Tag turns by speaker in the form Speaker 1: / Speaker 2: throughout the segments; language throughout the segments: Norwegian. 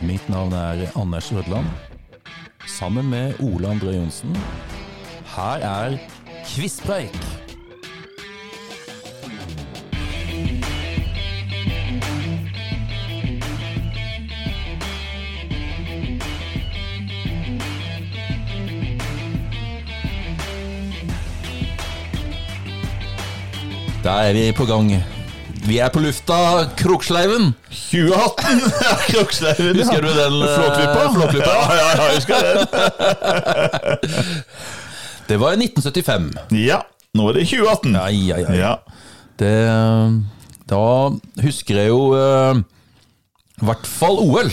Speaker 1: Mitt navn er Anders Rødland. Sammen med Ole André Johnsen. Her er Kvisspreik! Da er vi på gang. Vi er på lufta, Kroksleiven!
Speaker 2: 2018! Krokslaugen,
Speaker 1: Husker du den, eh,
Speaker 2: Flåklypa?
Speaker 1: Flåklypa?
Speaker 2: Ja, ja, ja, jeg husker den.
Speaker 1: Det var i 1975.
Speaker 2: Ja, nå er det 2018.
Speaker 1: Ai, ai, ai.
Speaker 2: Ja.
Speaker 1: Det, da husker jeg jo eh, i hvert fall OL.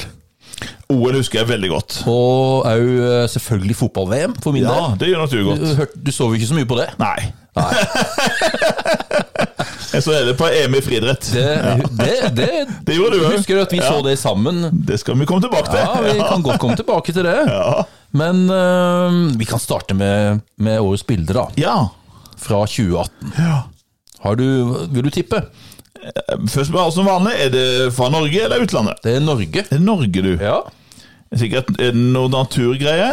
Speaker 2: OL husker jeg veldig godt.
Speaker 1: Og òg eh, selvfølgelig fotball-VM, for min
Speaker 2: Ja,
Speaker 1: del.
Speaker 2: det gjør nok du
Speaker 1: Du,
Speaker 2: godt.
Speaker 1: hørte, du så jo ikke så mye på det.
Speaker 2: Nei. jeg så heller på EM i friidrett.
Speaker 1: Det, det, det,
Speaker 2: Det gjorde du òg.
Speaker 1: Husker du at vi så det sammen?
Speaker 2: Det skal vi komme tilbake til.
Speaker 1: Ja, vi kan godt komme tilbake til det.
Speaker 2: Ja.
Speaker 1: Men eh, vi kan starte med, med årets bilde, da.
Speaker 2: ja.
Speaker 1: Fra 2018.
Speaker 2: ja.
Speaker 1: Har du, vil du tippe?
Speaker 2: Først bare som vanlig, er det fra Norge eller utlandet?
Speaker 1: Det er Norge.
Speaker 2: Det er Norge, du.
Speaker 1: Ja.
Speaker 2: Sikkert er det noe naturgreie?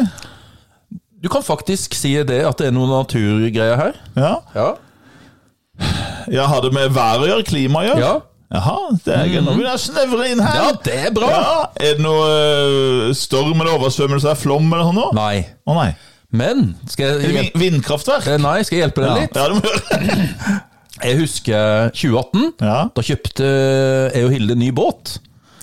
Speaker 1: Du kan faktisk si det, at det er noen naturgreier her.
Speaker 2: Ja.
Speaker 1: Ja.
Speaker 2: ja. Har det med vær å gjøre? Klima å gjøre?
Speaker 1: Ja.
Speaker 2: Jaha, det er gøy. Nå begynner jeg å snevre inn her.
Speaker 1: ja, det er bra!
Speaker 2: Ja, Er det noe eh, storm eller oversvømmelse eller flom eller noe sånt? nå?
Speaker 1: Nei.
Speaker 2: Å nei.
Speaker 1: Men skal jeg
Speaker 2: Vin-
Speaker 1: hjelpe,
Speaker 2: Vindkraftverk?
Speaker 1: eh, Nei, skal jeg hjelpe deg
Speaker 2: Ja,
Speaker 1: litt?
Speaker 2: ja, det må jeg gjøre.
Speaker 1: Jeg husker 2018.
Speaker 2: Ja.
Speaker 1: Da kjøpte jeg og Hilde ny båt.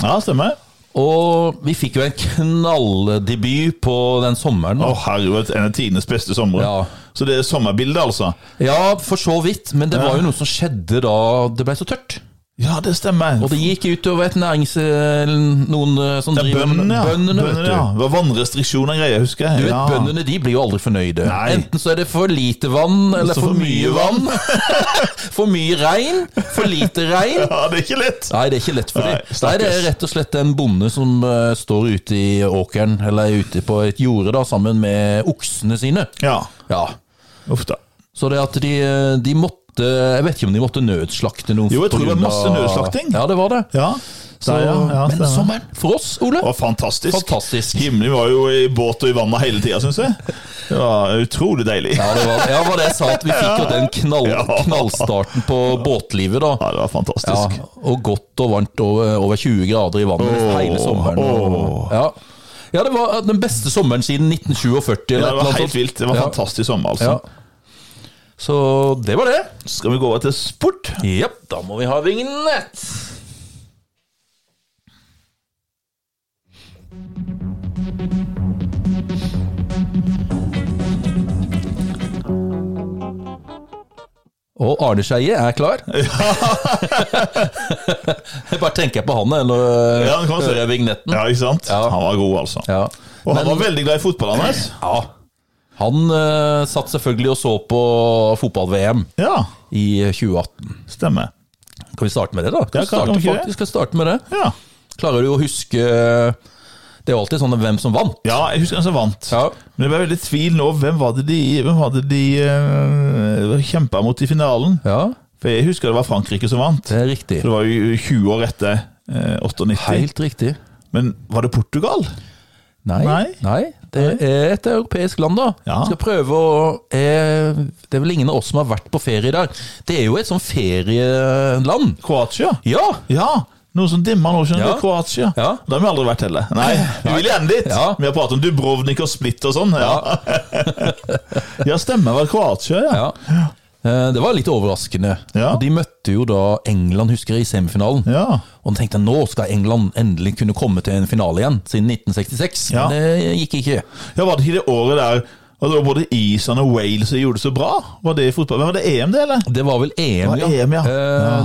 Speaker 2: ja, stemmer.
Speaker 1: Og vi fikk jo en knalldebut på den sommeren.
Speaker 2: Å herregud, en av tidenes beste somre.
Speaker 1: Ja.
Speaker 2: Så det er sommerbildet, altså?
Speaker 1: Ja, for så vidt, men det var jo noe som skjedde da det ble så tørt.
Speaker 2: Ja, det stemmer.
Speaker 1: Og det gikk utover et nærings... eller Noen eh, som
Speaker 2: ja,
Speaker 1: driver
Speaker 2: bøndene, ja.
Speaker 1: bøndene, vet du.
Speaker 2: ja. Det var vannrestriksjoner og greier, husker jeg.
Speaker 1: Du vet,
Speaker 2: ja.
Speaker 1: Bøndene de blir jo aldri fornøyde.
Speaker 2: Nei.
Speaker 1: Enten så er det for lite vann, eller
Speaker 2: Så
Speaker 1: for, mye vann. for mye regn, for lite regn.
Speaker 2: Ja, det er ikke lett.
Speaker 1: Nei, det er ikke lett for dem. Nei,
Speaker 2: Nei,
Speaker 1: det er
Speaker 2: stakkars.
Speaker 1: rett og slett en bonde som eh, står ute i åkeren, eller ute på et jorde, da, sammen med oksene sine.
Speaker 2: Ja.
Speaker 1: Ja.
Speaker 2: Uff da.
Speaker 1: Så det at de, eh, de måtte Jeg vet ikke om de måtte nødslakte noen
Speaker 2: Jo, jeg
Speaker 1: på
Speaker 2: tror det var
Speaker 1: grunn
Speaker 2: masse
Speaker 1: av-
Speaker 2: nødslakting.
Speaker 1: Ja, det var det.
Speaker 2: Ja.
Speaker 1: Så,
Speaker 2: Der, ja, ja,
Speaker 1: men
Speaker 2: stemmer.
Speaker 1: sommeren for oss, Ole
Speaker 2: Det var fantastisk.
Speaker 1: Fantastisk.
Speaker 2: Himmelen var jo i båt og i vannet hele tida, syns jeg. Det var utrolig deilig.
Speaker 1: ja, det var, ja, var det jeg sa, at vi fikk jo den knall,
Speaker 2: Ja.
Speaker 1: knallstarten på båtlivet, da.
Speaker 2: Ja, det var fantastisk.
Speaker 1: Ja, og godt og varmt over, over 20 grader i vannet
Speaker 2: Åh,
Speaker 1: hele sommeren.
Speaker 2: åh.
Speaker 1: Ja. ja, det var eh, den beste sommeren siden 1947.
Speaker 2: Ja,
Speaker 1: Eller
Speaker 2: det var helt vilt. Det var
Speaker 1: Ja.
Speaker 2: fantastisk sommer, altså.
Speaker 1: Ja. Så det var det.
Speaker 2: Skal vi gå over til sport?
Speaker 1: Jepp, da må vi ha vignett. Og Arne Skeie er klar. jeg bare tenker på han jeg, når
Speaker 2: Ja, det kan man si.
Speaker 1: hører jeg vignetten.
Speaker 2: Mm. Ja, ikke sant?
Speaker 1: Ja.
Speaker 2: Han var god, altså.
Speaker 1: Ja.
Speaker 2: Og han var veldig glad i fotball, Anders.
Speaker 1: Ja. Han eh, satt selvfølgelig og så på fotball-VM
Speaker 2: Ja,
Speaker 1: i 2018.
Speaker 2: stemmer.
Speaker 1: Kan vi starte med det, da? Kan vi
Speaker 2: Ja, kan-
Speaker 1: starte,
Speaker 2: kan vi ikke det?
Speaker 1: faktisk, skal vi starte med det?
Speaker 2: Ja.
Speaker 1: Klarer du å huske eh, Det er jo alltid sånn hvem som vant.
Speaker 2: ja, jeg husker han som vant.
Speaker 1: Ja.
Speaker 2: Men det ble veldig tvil nå. Hvem var det de, hvem var det de eh, kjempet mot i finalen? For jeg husker det var Frankrike som vant.
Speaker 1: det er riktig.
Speaker 2: Så det var jo 20 år etter eh, 98.
Speaker 1: Helt riktig.
Speaker 2: Men var det Portugal?
Speaker 1: Nei. Nei.
Speaker 2: Nei.
Speaker 1: Det er et europeisk land, da.
Speaker 2: Ja.
Speaker 1: Skal prøve å eh, Det er vel ingen av oss som har vært på ferie der. Det er jo et sånn ferieland.
Speaker 2: Kroatia?
Speaker 1: Ja!
Speaker 2: Ja, noe som dimmer nå, skjønner
Speaker 1: Ja.
Speaker 2: du. Kroatia.
Speaker 1: Ja.
Speaker 2: Det har vi aldri vært heller. Nei, vi vil gjerne dit.
Speaker 1: Ja.
Speaker 2: Vi har pratet om Dubrovnik og Split og sånn. Ja, ja stemmer vel Kroatia, ja.
Speaker 1: ja. Eh, Det var litt overraskende.
Speaker 2: Ja.
Speaker 1: Og De møtte jo da England, husker jeg, i semifinalen.
Speaker 2: Ja.
Speaker 1: Og tenkte jeg, nå skal England endelig kunne komme til en finale igjen, siden 1966.
Speaker 2: Ja.
Speaker 1: Men det gikk ikke.
Speaker 2: ja, var det ikke det året der og det var både Island og Wales som gjorde det så bra? Var det i fotball? Men Var det EM, det, eller?
Speaker 1: Det var vel EM,
Speaker 2: var EM, ja. Ja.
Speaker 1: Eh,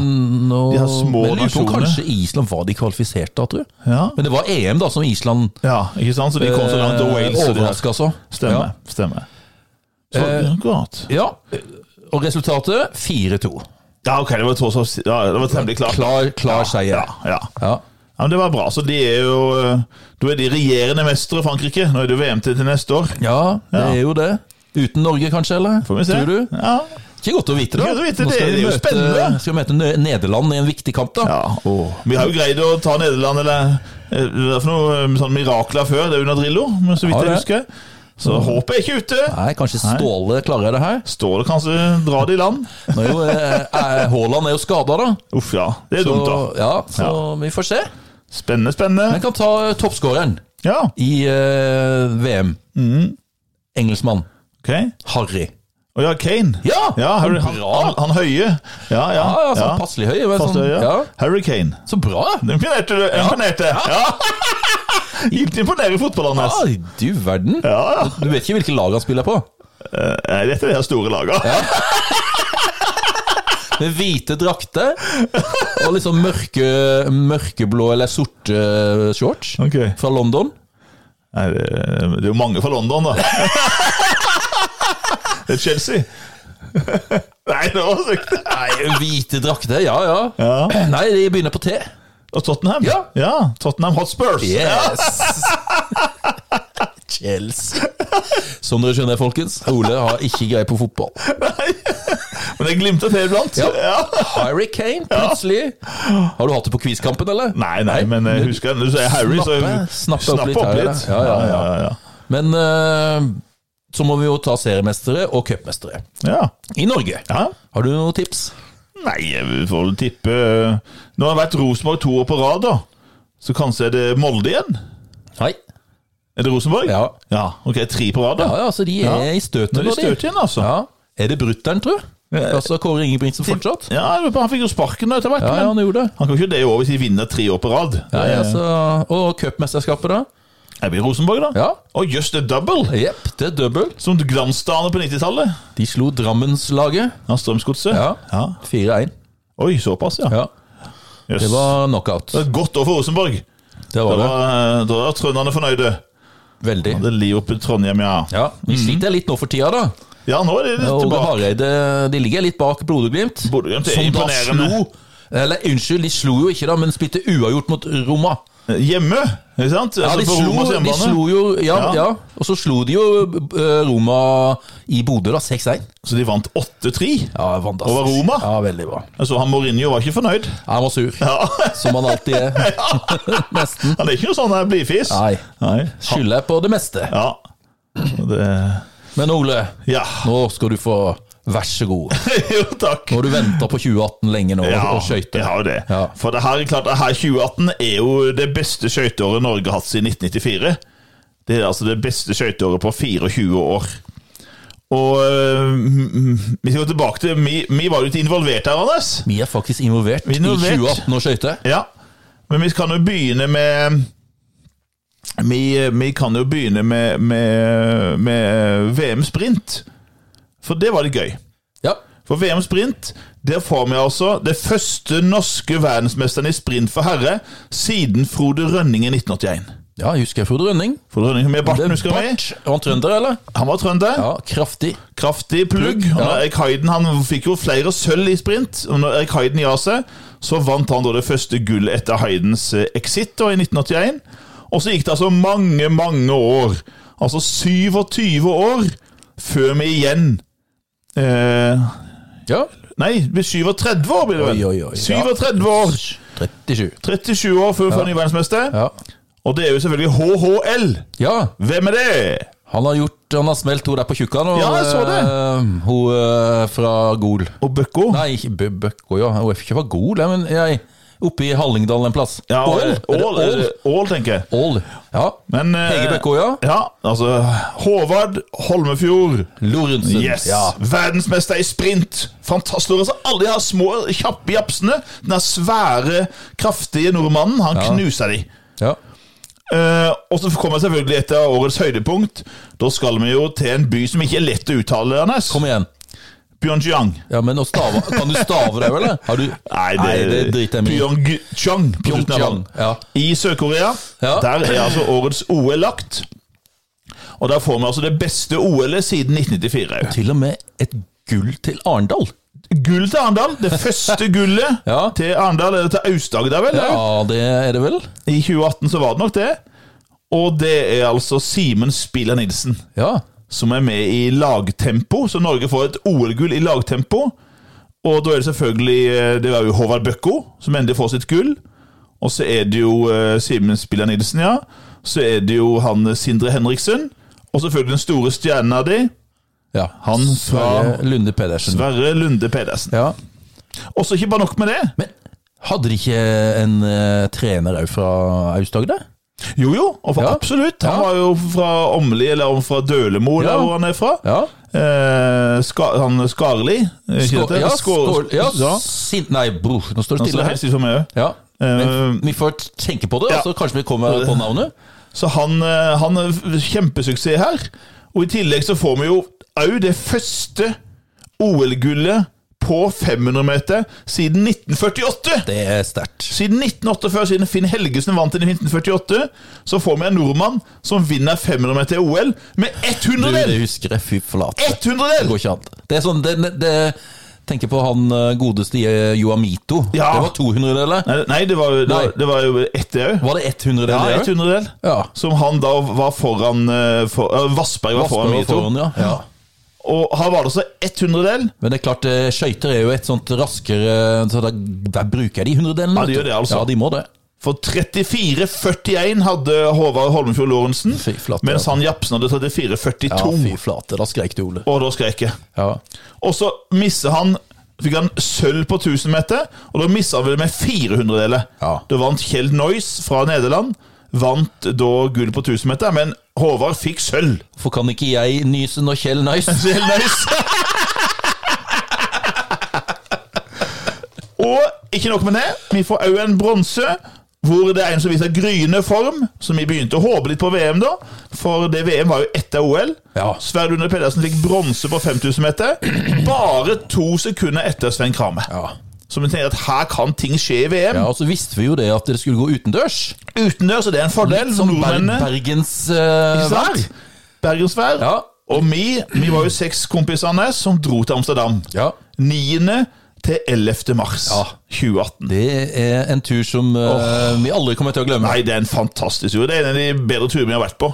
Speaker 1: nå,
Speaker 2: De her små
Speaker 1: men jeg lurer på om
Speaker 2: nasjonene.
Speaker 1: Kanskje Island var de kvalifisert da, tror jeg.
Speaker 2: Ja.
Speaker 1: Men det var EM, da, som Island altså.
Speaker 2: Ja, ikke sant? Så de kom
Speaker 1: Eh,
Speaker 2: så langt, og Wales og det her.
Speaker 1: overraska så.
Speaker 2: Stemmer. stemmer. Så,
Speaker 1: Eh.
Speaker 2: akkurat.
Speaker 1: Ja. ja. Og resultatet 4-2.
Speaker 2: Ja, ok, det var, tross alt- ja, det var temmelig klart.
Speaker 1: Klar, klar
Speaker 2: Ja,
Speaker 1: seier.
Speaker 2: ja.
Speaker 1: Ja.
Speaker 2: Ja, men Det var bra. Så de er jo eh, Da er de regjerende mestere, Frankrike. Nå er det jo VM til til neste år.
Speaker 1: ja, det
Speaker 2: Ja.
Speaker 1: er jo det. Uten Norge, kanskje, eller?
Speaker 2: Får vi se.
Speaker 1: Tror du?
Speaker 2: Ja.
Speaker 1: Ikke godt å vite, da.
Speaker 2: Ikke godt å vite,
Speaker 1: Nå skal
Speaker 2: det-
Speaker 1: vi
Speaker 2: det er jo
Speaker 1: møte-
Speaker 2: spennende.
Speaker 1: Skal vi møte Nø- Nederland i en viktig kamp, da?
Speaker 2: Ja, åh. Vi har jo greid å ta Nederland eller eh, det er for noe eh, sånn mirakler før, det er under Drillo, men så vidt
Speaker 1: Har
Speaker 2: jeg
Speaker 1: det.
Speaker 2: husker. Så håpet er ikke ute.
Speaker 1: Nei, kanskje Ståle klarer det her?
Speaker 2: Står det kanskje dra det i land?
Speaker 1: Nå er jo, eh, eh, Haaland er jo skada, da.
Speaker 2: Uff ja, det er
Speaker 1: Så,
Speaker 2: dumt da.
Speaker 1: ja, så vi får se.
Speaker 2: Spennende,
Speaker 1: Men
Speaker 2: spennende.
Speaker 1: kan ta eh, toppskåreren
Speaker 2: Ja,
Speaker 1: i eh, VM. Mm. Engelskmann.
Speaker 2: ok.
Speaker 1: Harry.
Speaker 2: Å ja, Kane.
Speaker 1: Ja! bra.
Speaker 2: Harry, han, han, han høye. Ja, ja.
Speaker 1: Ja, ja, sånn passelig høy. men
Speaker 2: Fast
Speaker 1: Sånn,
Speaker 2: høye.
Speaker 1: ja.
Speaker 2: Harry Kane.
Speaker 1: Så bra!
Speaker 2: Imponerte du? Imponerte. Ja. Gikk imponere i fotballen hans.
Speaker 1: Ai, du verden.
Speaker 2: Ja, ja.
Speaker 1: Du vet ikke hvilke lag han spiller på?
Speaker 2: Eh, Nei, dette er det her store laget.
Speaker 1: Med hvite drakter og liksom mørke, mørkeblå eller sorte eh, shorts
Speaker 2: Ok.
Speaker 1: fra London.
Speaker 2: Nei, det, eh, det er jo mange fra London, da. Det er Chelsea. Nei, det var sykt.
Speaker 1: Hvite drakter, ja ja.
Speaker 2: Ja.
Speaker 1: Nei, de begynner på T.
Speaker 2: Og Tottenham.
Speaker 1: Ja.
Speaker 2: Tottenham Hotspurs.
Speaker 1: Yes! Chelsea. Som dere skjønner, folkens, Ole har ikke greie på fotball.
Speaker 2: Men det glimter til iblant.
Speaker 1: Ja.
Speaker 2: Ja.
Speaker 1: Harry Kane, plutselig. Har du hatt det på quizkampen, eller?
Speaker 2: Nei, nei, men eh, husker jeg, når du sier Harry, så
Speaker 1: Snappe- snappe opp litt her,
Speaker 2: Ja,
Speaker 1: ja.
Speaker 2: ja,
Speaker 1: Ja, ja,
Speaker 2: ja.
Speaker 1: Men eh, så må vi jo ta seriemestere og cupmestere
Speaker 2: ja.
Speaker 1: i Norge.
Speaker 2: ja.
Speaker 1: Har du noen tips?
Speaker 2: Nei, jeg får vel tippe eh, Nå har det vært Rosenborg to år på rad, da. Så kanskje er det Molde igjen?
Speaker 1: Nei.
Speaker 2: Er det Rosenborg?
Speaker 1: Ja.
Speaker 2: ja. Ok, tre på rad, da.
Speaker 1: Ja, ja, altså de er
Speaker 2: Ja.
Speaker 1: i støtet
Speaker 2: Nå er
Speaker 1: nå,
Speaker 2: det
Speaker 1: de.
Speaker 2: støt igjen, altså.
Speaker 1: Ja. Er det brutter'n, tro?
Speaker 2: Ja.
Speaker 1: Altså Kåre Ingebrigtsen fortsatt?
Speaker 2: Ja, han fikk jo sparken etter hvert.
Speaker 1: Ja, ja,
Speaker 2: men
Speaker 1: han gjorde det.
Speaker 2: han kan ikke det i år hvis de vinner tre år på rad. Eh,
Speaker 1: Ja, ja, så, og cupmesterskapet, da?
Speaker 2: Er vi i Rosenborg, da?
Speaker 1: Ja.
Speaker 2: Og just the double,
Speaker 1: Jepp, det er double.
Speaker 2: som glansstjerne på 90-tallet.
Speaker 1: De slo Drammenslaget
Speaker 2: Ja, Strømsgodset.
Speaker 1: Ja. 4-1.
Speaker 2: Oi, såpass, ja.
Speaker 1: Ja,
Speaker 2: Jøss.
Speaker 1: det var knockout.
Speaker 2: Det var et godt år for Rosenborg.
Speaker 1: Det
Speaker 2: Da
Speaker 1: var det.
Speaker 2: var, da var trønderne fornøyde.
Speaker 1: Veldig.
Speaker 2: Det er liv oppe i Trondheim, ja.
Speaker 1: Ja, Vi sliter litt nå for tida, da.
Speaker 2: Ja, nå er det litt
Speaker 1: Og
Speaker 2: tilbake.
Speaker 1: Hareide de ligger litt bak Bodø-Glimt.
Speaker 2: Bodø-Glimt er
Speaker 1: Som da
Speaker 2: imponerende.
Speaker 1: slo Eller unnskyld, de slo jo ikke, da, men spilte uavgjort mot Roma.
Speaker 2: Hjemme, ikke sant?
Speaker 1: Ja,
Speaker 2: Altså,
Speaker 1: de
Speaker 2: på
Speaker 1: slo,
Speaker 2: Romas
Speaker 1: de
Speaker 2: hjemmebane.
Speaker 1: slo jo ja,
Speaker 2: Ja.
Speaker 1: ja. Og så slo de jo eh, Roma i Bodø, da. 6-1.
Speaker 2: Så de vant 8-3.
Speaker 1: Ja, fantastisk.
Speaker 2: Over Roma?
Speaker 1: Ja, veldig bra.
Speaker 2: Altså, han Mourinho var ikke fornøyd.
Speaker 1: Han var sur,
Speaker 2: Ja.
Speaker 1: som han alltid er. Nesten.
Speaker 2: Han er ikke noe sånn her blidfis.
Speaker 1: Nei.
Speaker 2: Nei.
Speaker 1: Skylder jeg på det meste.
Speaker 2: Ja. Det...
Speaker 1: Men Ole,
Speaker 2: Ja.
Speaker 1: nå skal du få Vær så god.
Speaker 2: jo, takk.
Speaker 1: Nå har du venta på 2018 lenge nå, og skøyter.
Speaker 2: jeg har jo det.
Speaker 1: Ja.
Speaker 2: For det her, er klart, det her 2018 er jo det beste skøyteåret Norge har hatt siden 1994. Det er altså det beste skøyteåret på 24 år. Og øh, mm, vi skal gå tilbake til Vi, vi var jo ikke involvert her, Anders.
Speaker 1: Vi er faktisk involvert,
Speaker 2: Involvert.
Speaker 1: i 2018 og skøyter.
Speaker 2: Ja, men vi kan jo begynne med Vi, vi kan jo begynne med, med, med VM sprint. For det var litt gøy.
Speaker 1: Ja.
Speaker 2: For VM sprint, der får vi altså det første norske verdensmesteren i sprint for herre siden Frode Rønning i 1981.
Speaker 1: ja, jeg husker Frode Rønning.
Speaker 2: Frode Rønning med barten,
Speaker 1: Det
Speaker 2: husker
Speaker 1: er
Speaker 2: vi?
Speaker 1: bart. Er han trønder, eller?
Speaker 2: Han var trønder.
Speaker 1: Ja, kraftig.
Speaker 2: Kraftig plugg.
Speaker 1: Plugg,
Speaker 2: Og
Speaker 1: ja.
Speaker 2: når Erik Heiden han fikk jo flere sølv i sprint. Og når Erik Heiden ga seg, så vant han da det første gullet etter Heidens eh, exit da, i 1981. Og så gikk det altså mange, mange år, altså 27 år, før vi igjen eh,
Speaker 1: Ja.
Speaker 2: Nei, ved 37 år blir det vel.
Speaker 1: Oi, oi, oi, ja.
Speaker 2: 37 år!
Speaker 1: 37.
Speaker 2: 37 år før vi får ny verdensmester.
Speaker 1: Ja.
Speaker 2: Og det er jo selvfølgelig HHL.
Speaker 1: ja.
Speaker 2: Hvem er det?
Speaker 1: Han har gjort Han har smelt hun der på Tjukkan. og,
Speaker 2: Ja, jeg så det.
Speaker 1: eh, hun eh, fra Gol.
Speaker 2: Og Bøkko?
Speaker 1: Nei, ikke Bø- Bøkko, ja. Hun er ikke fra Gol, ja, men jeg Oppe i Hallingdal en plass.
Speaker 2: Ja,
Speaker 1: Ål? Er det
Speaker 2: Ål, er
Speaker 1: Ål?
Speaker 2: det Ål, tenker jeg.
Speaker 1: Ål. Ja.
Speaker 2: Men eh,
Speaker 1: Hege Bøkko, ja.
Speaker 2: Ja, altså Håvard Holmefjord.
Speaker 1: Lorentzen.
Speaker 2: Yes!
Speaker 1: Ja.
Speaker 2: Verdensmester i sprint. Fantastisk. Altså, alle de her små, kjappe japsene. Den her svære, kraftige nordmannen, han knuser de.
Speaker 1: ja.
Speaker 2: Eh, og så kommer selvfølgelig et av årets høydepunkt. Da skal vi jo til en by som ikke er lett å uttale, Anders.
Speaker 1: Kom igjen.
Speaker 2: Pyeongchang.
Speaker 1: Ja, men å stave Kan du stave det, eller? Har du
Speaker 2: Nei, det,
Speaker 1: driter jeg meg i.
Speaker 2: Pyeongchang. på slutten av
Speaker 1: Pyeongchang,
Speaker 2: navnet.
Speaker 1: ja.
Speaker 2: I Sør-Korea.
Speaker 1: Ja.
Speaker 2: Der er altså årets OL lagt. Og der får vi altså det beste OL-et siden 1994.
Speaker 1: Til og med et gull til Arendal.
Speaker 2: gull til Arendal. Det første gullet
Speaker 1: Ja.
Speaker 2: til Arendal, eller til Aust-Agder, vel?
Speaker 1: Ja, det er det vel?
Speaker 2: I 2018 så var det nok det. Og det er altså Simen Spiller Nilsen.
Speaker 1: Ja.
Speaker 2: som er med i lagtempo. Så Norge får et OL-gull i lagtempo. Og da er det selvfølgelig eh, Det var jo Håvard Bøkko som endelig får sitt gull. Og så er det jo eh, Simen Spiller Nilsen, ja. Så er det jo han eh, Sindre Henriksen. Og selvfølgelig den store stjerna di,
Speaker 1: Ja.
Speaker 2: Han
Speaker 1: Sverre Lunde Pedersen.
Speaker 2: Sverre Lunde Pedersen.
Speaker 1: Ja.
Speaker 2: Og så ikke bare nok med det.
Speaker 1: Men hadde de ikke en eh, trener òg fra Aust-Agder?
Speaker 2: Jo, jo, og for,
Speaker 1: Ja.
Speaker 2: absolutt. Han
Speaker 1: Ja.
Speaker 2: var jo fra Åmli, eller om fra Dølemo,
Speaker 1: Ja.
Speaker 2: eller hvor han er fra.
Speaker 1: Ja.
Speaker 2: Eh, ska, han Skarli, er ikke
Speaker 1: Skål,
Speaker 2: dette?
Speaker 1: ja,
Speaker 2: Skål-
Speaker 1: skål, ja,
Speaker 2: ja.
Speaker 1: Sin, nei, bror, nå står det
Speaker 2: Han står
Speaker 1: stille
Speaker 2: helt
Speaker 1: her.
Speaker 2: stille for meg også.
Speaker 1: Ja. Men
Speaker 2: Eh,
Speaker 1: vi får tenke på det,
Speaker 2: ja.
Speaker 1: og så kanskje vi kommer på navnet.
Speaker 2: Så han, eh, han er f- kjempesuksess her. Og i tillegg så får vi jo òg det første OL-gullet på 500-meter siden 1948!
Speaker 1: Det er sterkt.
Speaker 2: Siden 1948, siden Finn Helgesen vant den i 1948, så får vi en nordmann som vinner 500 meter i OL med ett
Speaker 1: Du, det
Speaker 2: hundredel!
Speaker 1: husker jeg, fy flate.
Speaker 2: Ett hundredel!
Speaker 1: Det går ikke an. Det er sånn, det, det Tenker på han eh, godeste eh, Joamito.
Speaker 2: Ja.
Speaker 1: Det var 200 deler.
Speaker 2: Nei, nei, det var, det
Speaker 1: Nei.
Speaker 2: var, det var jo ett, det òg.
Speaker 1: Var det 100
Speaker 2: Ja, ett
Speaker 1: deler?
Speaker 2: hundredel.
Speaker 1: Ja.
Speaker 2: Som han da var foran eh, for, eh, Vassberg var
Speaker 1: Vassberg
Speaker 2: foran
Speaker 1: var
Speaker 2: Mito.
Speaker 1: foran, ja. ja.
Speaker 2: Og her var det altså ett hundredel.
Speaker 1: Men det er klart, eh, skøyter er jo et sånt raskere Så der, der bruker jeg de hundredelene.
Speaker 2: Ja, de
Speaker 1: vet
Speaker 2: gjør
Speaker 1: du.
Speaker 2: det, altså.
Speaker 1: Ja, de må det.
Speaker 2: For 34,41 hadde Håvard Holmfjord Lorentzen,
Speaker 1: Fy flate,
Speaker 2: mens
Speaker 1: ja.
Speaker 2: han Japsen hadde 34,42.
Speaker 1: Ja, fy flate, da skrek du, Ole.
Speaker 2: og da skrek jeg.
Speaker 1: Ja.
Speaker 2: Og så misser han Fikk han sølv på 1000 meter, og da missa han vel med 400 deler.
Speaker 1: Ja.
Speaker 2: Da vant Kjeld Noyes fra Nederland. Vant da gull på 1000 meter, men Håvard fikk sølv.
Speaker 1: Hvorfor kan ikke jeg nyse når Kjell nøys?
Speaker 2: Kjeld Noyes. og ikke nok med det, vi får òg en bronse. Hvor det er en som viser gryende form, som vi begynte å håpe litt på VM, da. For det VM var jo etter OL.
Speaker 1: Ja.
Speaker 2: Sverre Lunde Pedersen fikk bronse på 5000 meter. Bare to sekunder etter Svein Kramme.
Speaker 1: Ja.
Speaker 2: Så vi tenker at her kan ting skje i VM.
Speaker 1: ja, og så visste vi jo det at det skulle gå utendørs.
Speaker 2: Utendørs, og det er en fordel.
Speaker 1: Som Ber
Speaker 2: Nordmennene.
Speaker 1: Bergens eh,
Speaker 2: Ikke sant?
Speaker 1: vær.
Speaker 2: Bergensvær.
Speaker 1: Ja.
Speaker 2: Og vi, vi var jo seks kompisene som dro til Amsterdam.
Speaker 1: ja.
Speaker 2: 9. til 11. mars
Speaker 1: Ja.
Speaker 2: 2018.
Speaker 1: Det er en tur som eh, vi aldri kommer til å glemme.
Speaker 2: Nei, det er en fantastisk tur. Det er en av de bedre turene vi har vært på.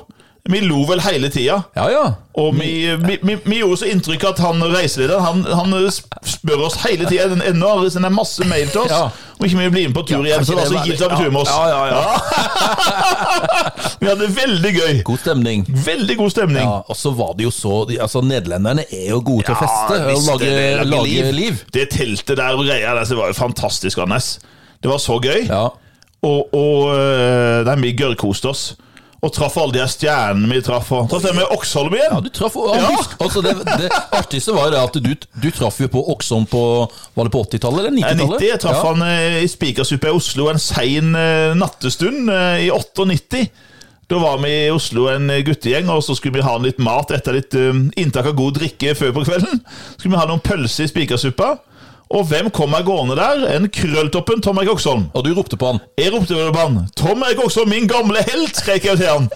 Speaker 2: Vi lo vel hele tida.
Speaker 1: Ja, ja.
Speaker 2: Og vi, vi, vi, vi gjorde så inntrykk at han reiselederen han, han sp- spør oss hele tida. Ennå har han sendt masse mail til oss.
Speaker 1: Ja.
Speaker 2: Og ikke vi blir med på tur igjen. Så
Speaker 1: kanskje
Speaker 2: det var så
Speaker 1: det
Speaker 2: gitt av
Speaker 1: var-
Speaker 2: tur med oss.
Speaker 1: Ja, ja, ja.
Speaker 2: Vi hadde veldig gøy.
Speaker 1: God stemning.
Speaker 2: Veldig god stemning.
Speaker 1: Ja, og så var det jo så Altså, nederlenderne er jo gode til å feste og
Speaker 2: visst,
Speaker 1: lage,
Speaker 2: det er-
Speaker 1: lage, liv.
Speaker 2: Det teltet der og greia der, så det var jo fantastisk, Anders. Det var så gøy.
Speaker 1: Ja.
Speaker 2: Og, og øh, nei, vi gørrkoste oss. Og traff alle de her stjernene vi traff. Og traff dem med Oksholm igjen.
Speaker 1: Ja, du traff han
Speaker 2: Ja.
Speaker 1: husk- altså, det, det artigste var jo det at du, du traff jo på Oksholm på Var det på 80-tallet eller
Speaker 2: Jeg er
Speaker 1: 90-tallet?
Speaker 2: 90, jeg traff han øh, i Spikersuppa i Oslo en sein øh, nattestund øh, i 98. Da var vi i Oslo en øh, guttegjeng, og så skulle vi ha litt mat etter litt øh, inntak av god drikke før på kvelden. Så skulle vi ha noen pølser i Spikersuppa. Og hvem kommer gående der? En krølltoppen Tom Erik Oksholm.
Speaker 1: Og du ropte på han.
Speaker 2: Jeg ropte over på han. Tom er ikke også min gamle helt, skrek jeg til han.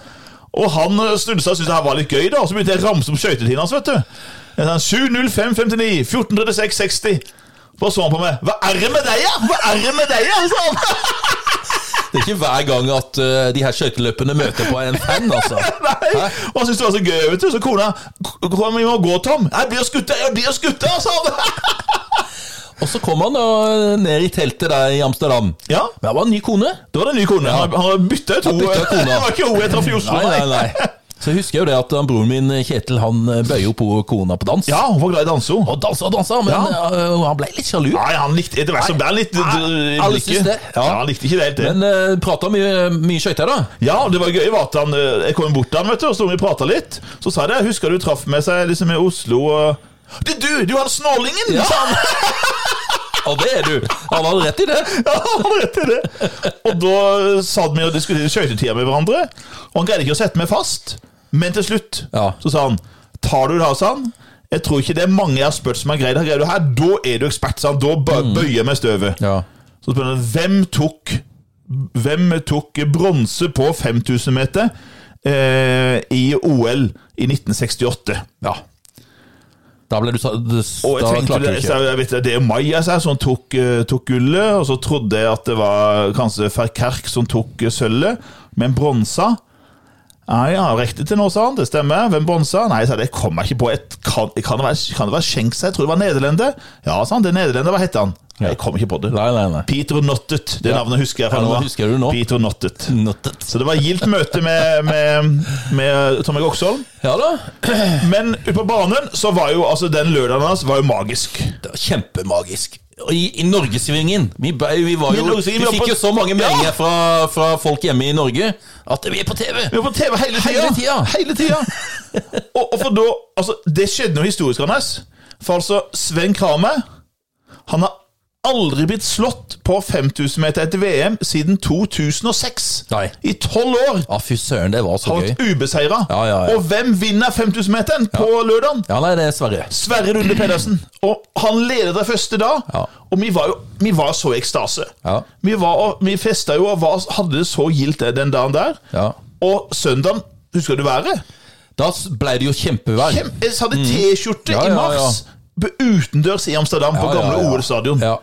Speaker 2: Og han eh, snudde seg og syntes det her var litt gøy, da. Og så begynte jeg å ramse opp skøytetiden hans, vet du. sånn Jeg sa, 7.05,59, 14.36,60. Da så han på meg. Hva er det med deg, ja? Hva er det med deg, ja? sa han.
Speaker 1: Det er ikke hver gang at eh, de her skøyteløpene møter på en fan, altså.
Speaker 2: Nei. Og han syntes det var så gøy, vet du. Så kona "K- Kom, vi må gå, Tom. Jeg blir skutt, jeg blir skutt, ja, sa han.
Speaker 1: Og så kom han da ned i teltet der i Amsterdam.
Speaker 2: Ja,
Speaker 1: Men han var en ny kone.
Speaker 2: da var det en ny kone. Han han har bytta ut
Speaker 1: Han
Speaker 2: henne.
Speaker 1: byttet ut kona.
Speaker 2: Det var ikke hun jeg traff i Oslo,
Speaker 1: Nei, nei, nei. Så jeg husker jo det at han, broren min Kjetil han eh, bøyer jo på kona på dans.
Speaker 2: Ja, hun var glad i å danse, hun.
Speaker 1: Og dansa og dansa, men
Speaker 2: Ja.
Speaker 1: eh, han ble litt sjalu.
Speaker 2: Nei, han likte etter hvert så ble han litt
Speaker 1: Nei, alle synes det.
Speaker 2: Ja.
Speaker 1: Ja.
Speaker 2: han likte ikke det helt. det.
Speaker 1: Men uh, prata mye, mye skøyter, da.
Speaker 2: Ja, og det var gøy var at han, eh, jeg kom bort til han, vet du, og så vi prata litt. Så sa jeg det, husker du traff med seg liksom i Oslo og Det er du! Du er han snålingen! Ja. sa han.
Speaker 1: Og det er du! Han hadde rett i det.
Speaker 2: Ja, han hadde rett i det. Og da eh, satt vi og diskuterte skøytetida med hverandre, og han greide ikke å sette meg fast. Men til slutt
Speaker 1: Ja.
Speaker 2: så sa han Tar du det, sa han. Jeg tror ikke det er mange jeg har spurt som har greid det. Greier du her, da er du ekspert, sa han. Da bø- bøyer jeg meg i støvet.
Speaker 1: Ja.
Speaker 2: Så spør han hvem tok Hvem tok bronse på 5000 meter eh, i OL i 1968?
Speaker 1: ja. Da ble du sa- da
Speaker 2: Og jeg tenkte,
Speaker 1: klarte du
Speaker 2: det,
Speaker 1: ikke.
Speaker 2: så jeg vet, det, det er Maja sa, som tok, eh, tok gullet, og så trodde jeg at det var kanskje Ferkerk som tok eh, sølvet, men bronsa Nei, ja, riktig til nå, sa han. Det stemmer. Hvem bronsa? Nei, sa jeg, det kom jeg ikke på. Et, kan, kan, det være, kan det være Schenks? Jeg tror det var nederlender. Ja, sa han. Det er nederlender. Hva heter han? Nei, Jeg kom ikke på det.
Speaker 1: Nei, nei, nei.
Speaker 2: Peter Nottet. Det navnet husker jeg fra
Speaker 1: Ja, nå
Speaker 2: av.
Speaker 1: husker du nå.
Speaker 2: Peter Nottet.
Speaker 1: Nottet.
Speaker 2: Så det var gildt møte med, med, med Tommy Goksholm.
Speaker 1: Ja da.
Speaker 2: Men ute på banen så var jo altså den lørdagen hans var jo magisk.
Speaker 1: Det var kjempemagisk. Og I, i Norgesvingen vi, ba- vi, var
Speaker 2: I
Speaker 1: jo,
Speaker 2: Norgesvingen,
Speaker 1: vi
Speaker 2: vi var
Speaker 1: fikk
Speaker 2: på-
Speaker 1: jo så mange
Speaker 2: Ja!
Speaker 1: meldinger fra, fra folk hjemme i Norge at vi er på TV!
Speaker 2: Vi var på TV hele tida!
Speaker 1: Hele tida.
Speaker 2: Hele tida. og, og for da Altså, det skjedde noe historisk, Anders. For altså, Sven Kramer Han har aldri blitt slått på 5000 meter etter VM siden 2006.
Speaker 1: Nei.
Speaker 2: I tolv år
Speaker 1: Ja, Ah, fy søren, det var så
Speaker 2: har
Speaker 1: gøy.
Speaker 2: han vært ubeseira.
Speaker 1: Ja, ja, ja.
Speaker 2: Og hvem vinner 5000-meteren på lørdagen?
Speaker 1: Ja, nei, det er Sverre.
Speaker 2: Sverre Runde Pedersen. Og han ledet det første da.
Speaker 1: Ja.
Speaker 2: Og vi var jo vi var så i ekstase.
Speaker 1: Ja.
Speaker 2: Vi, var, og- vi festa jo og var, hadde det så gildt det den dagen der.
Speaker 1: Ja.
Speaker 2: Og søndagen Husker du været?
Speaker 1: Da s- ble det jo kjempevær.
Speaker 2: Kjem- Jeg hadde T-skjorte
Speaker 1: Mm. Ja,
Speaker 2: i
Speaker 1: ja,
Speaker 2: mars b- utendørs i Amsterdam, på
Speaker 1: Ja, ja,
Speaker 2: gamle
Speaker 1: ja.
Speaker 2: OL-stadion.
Speaker 1: Ja.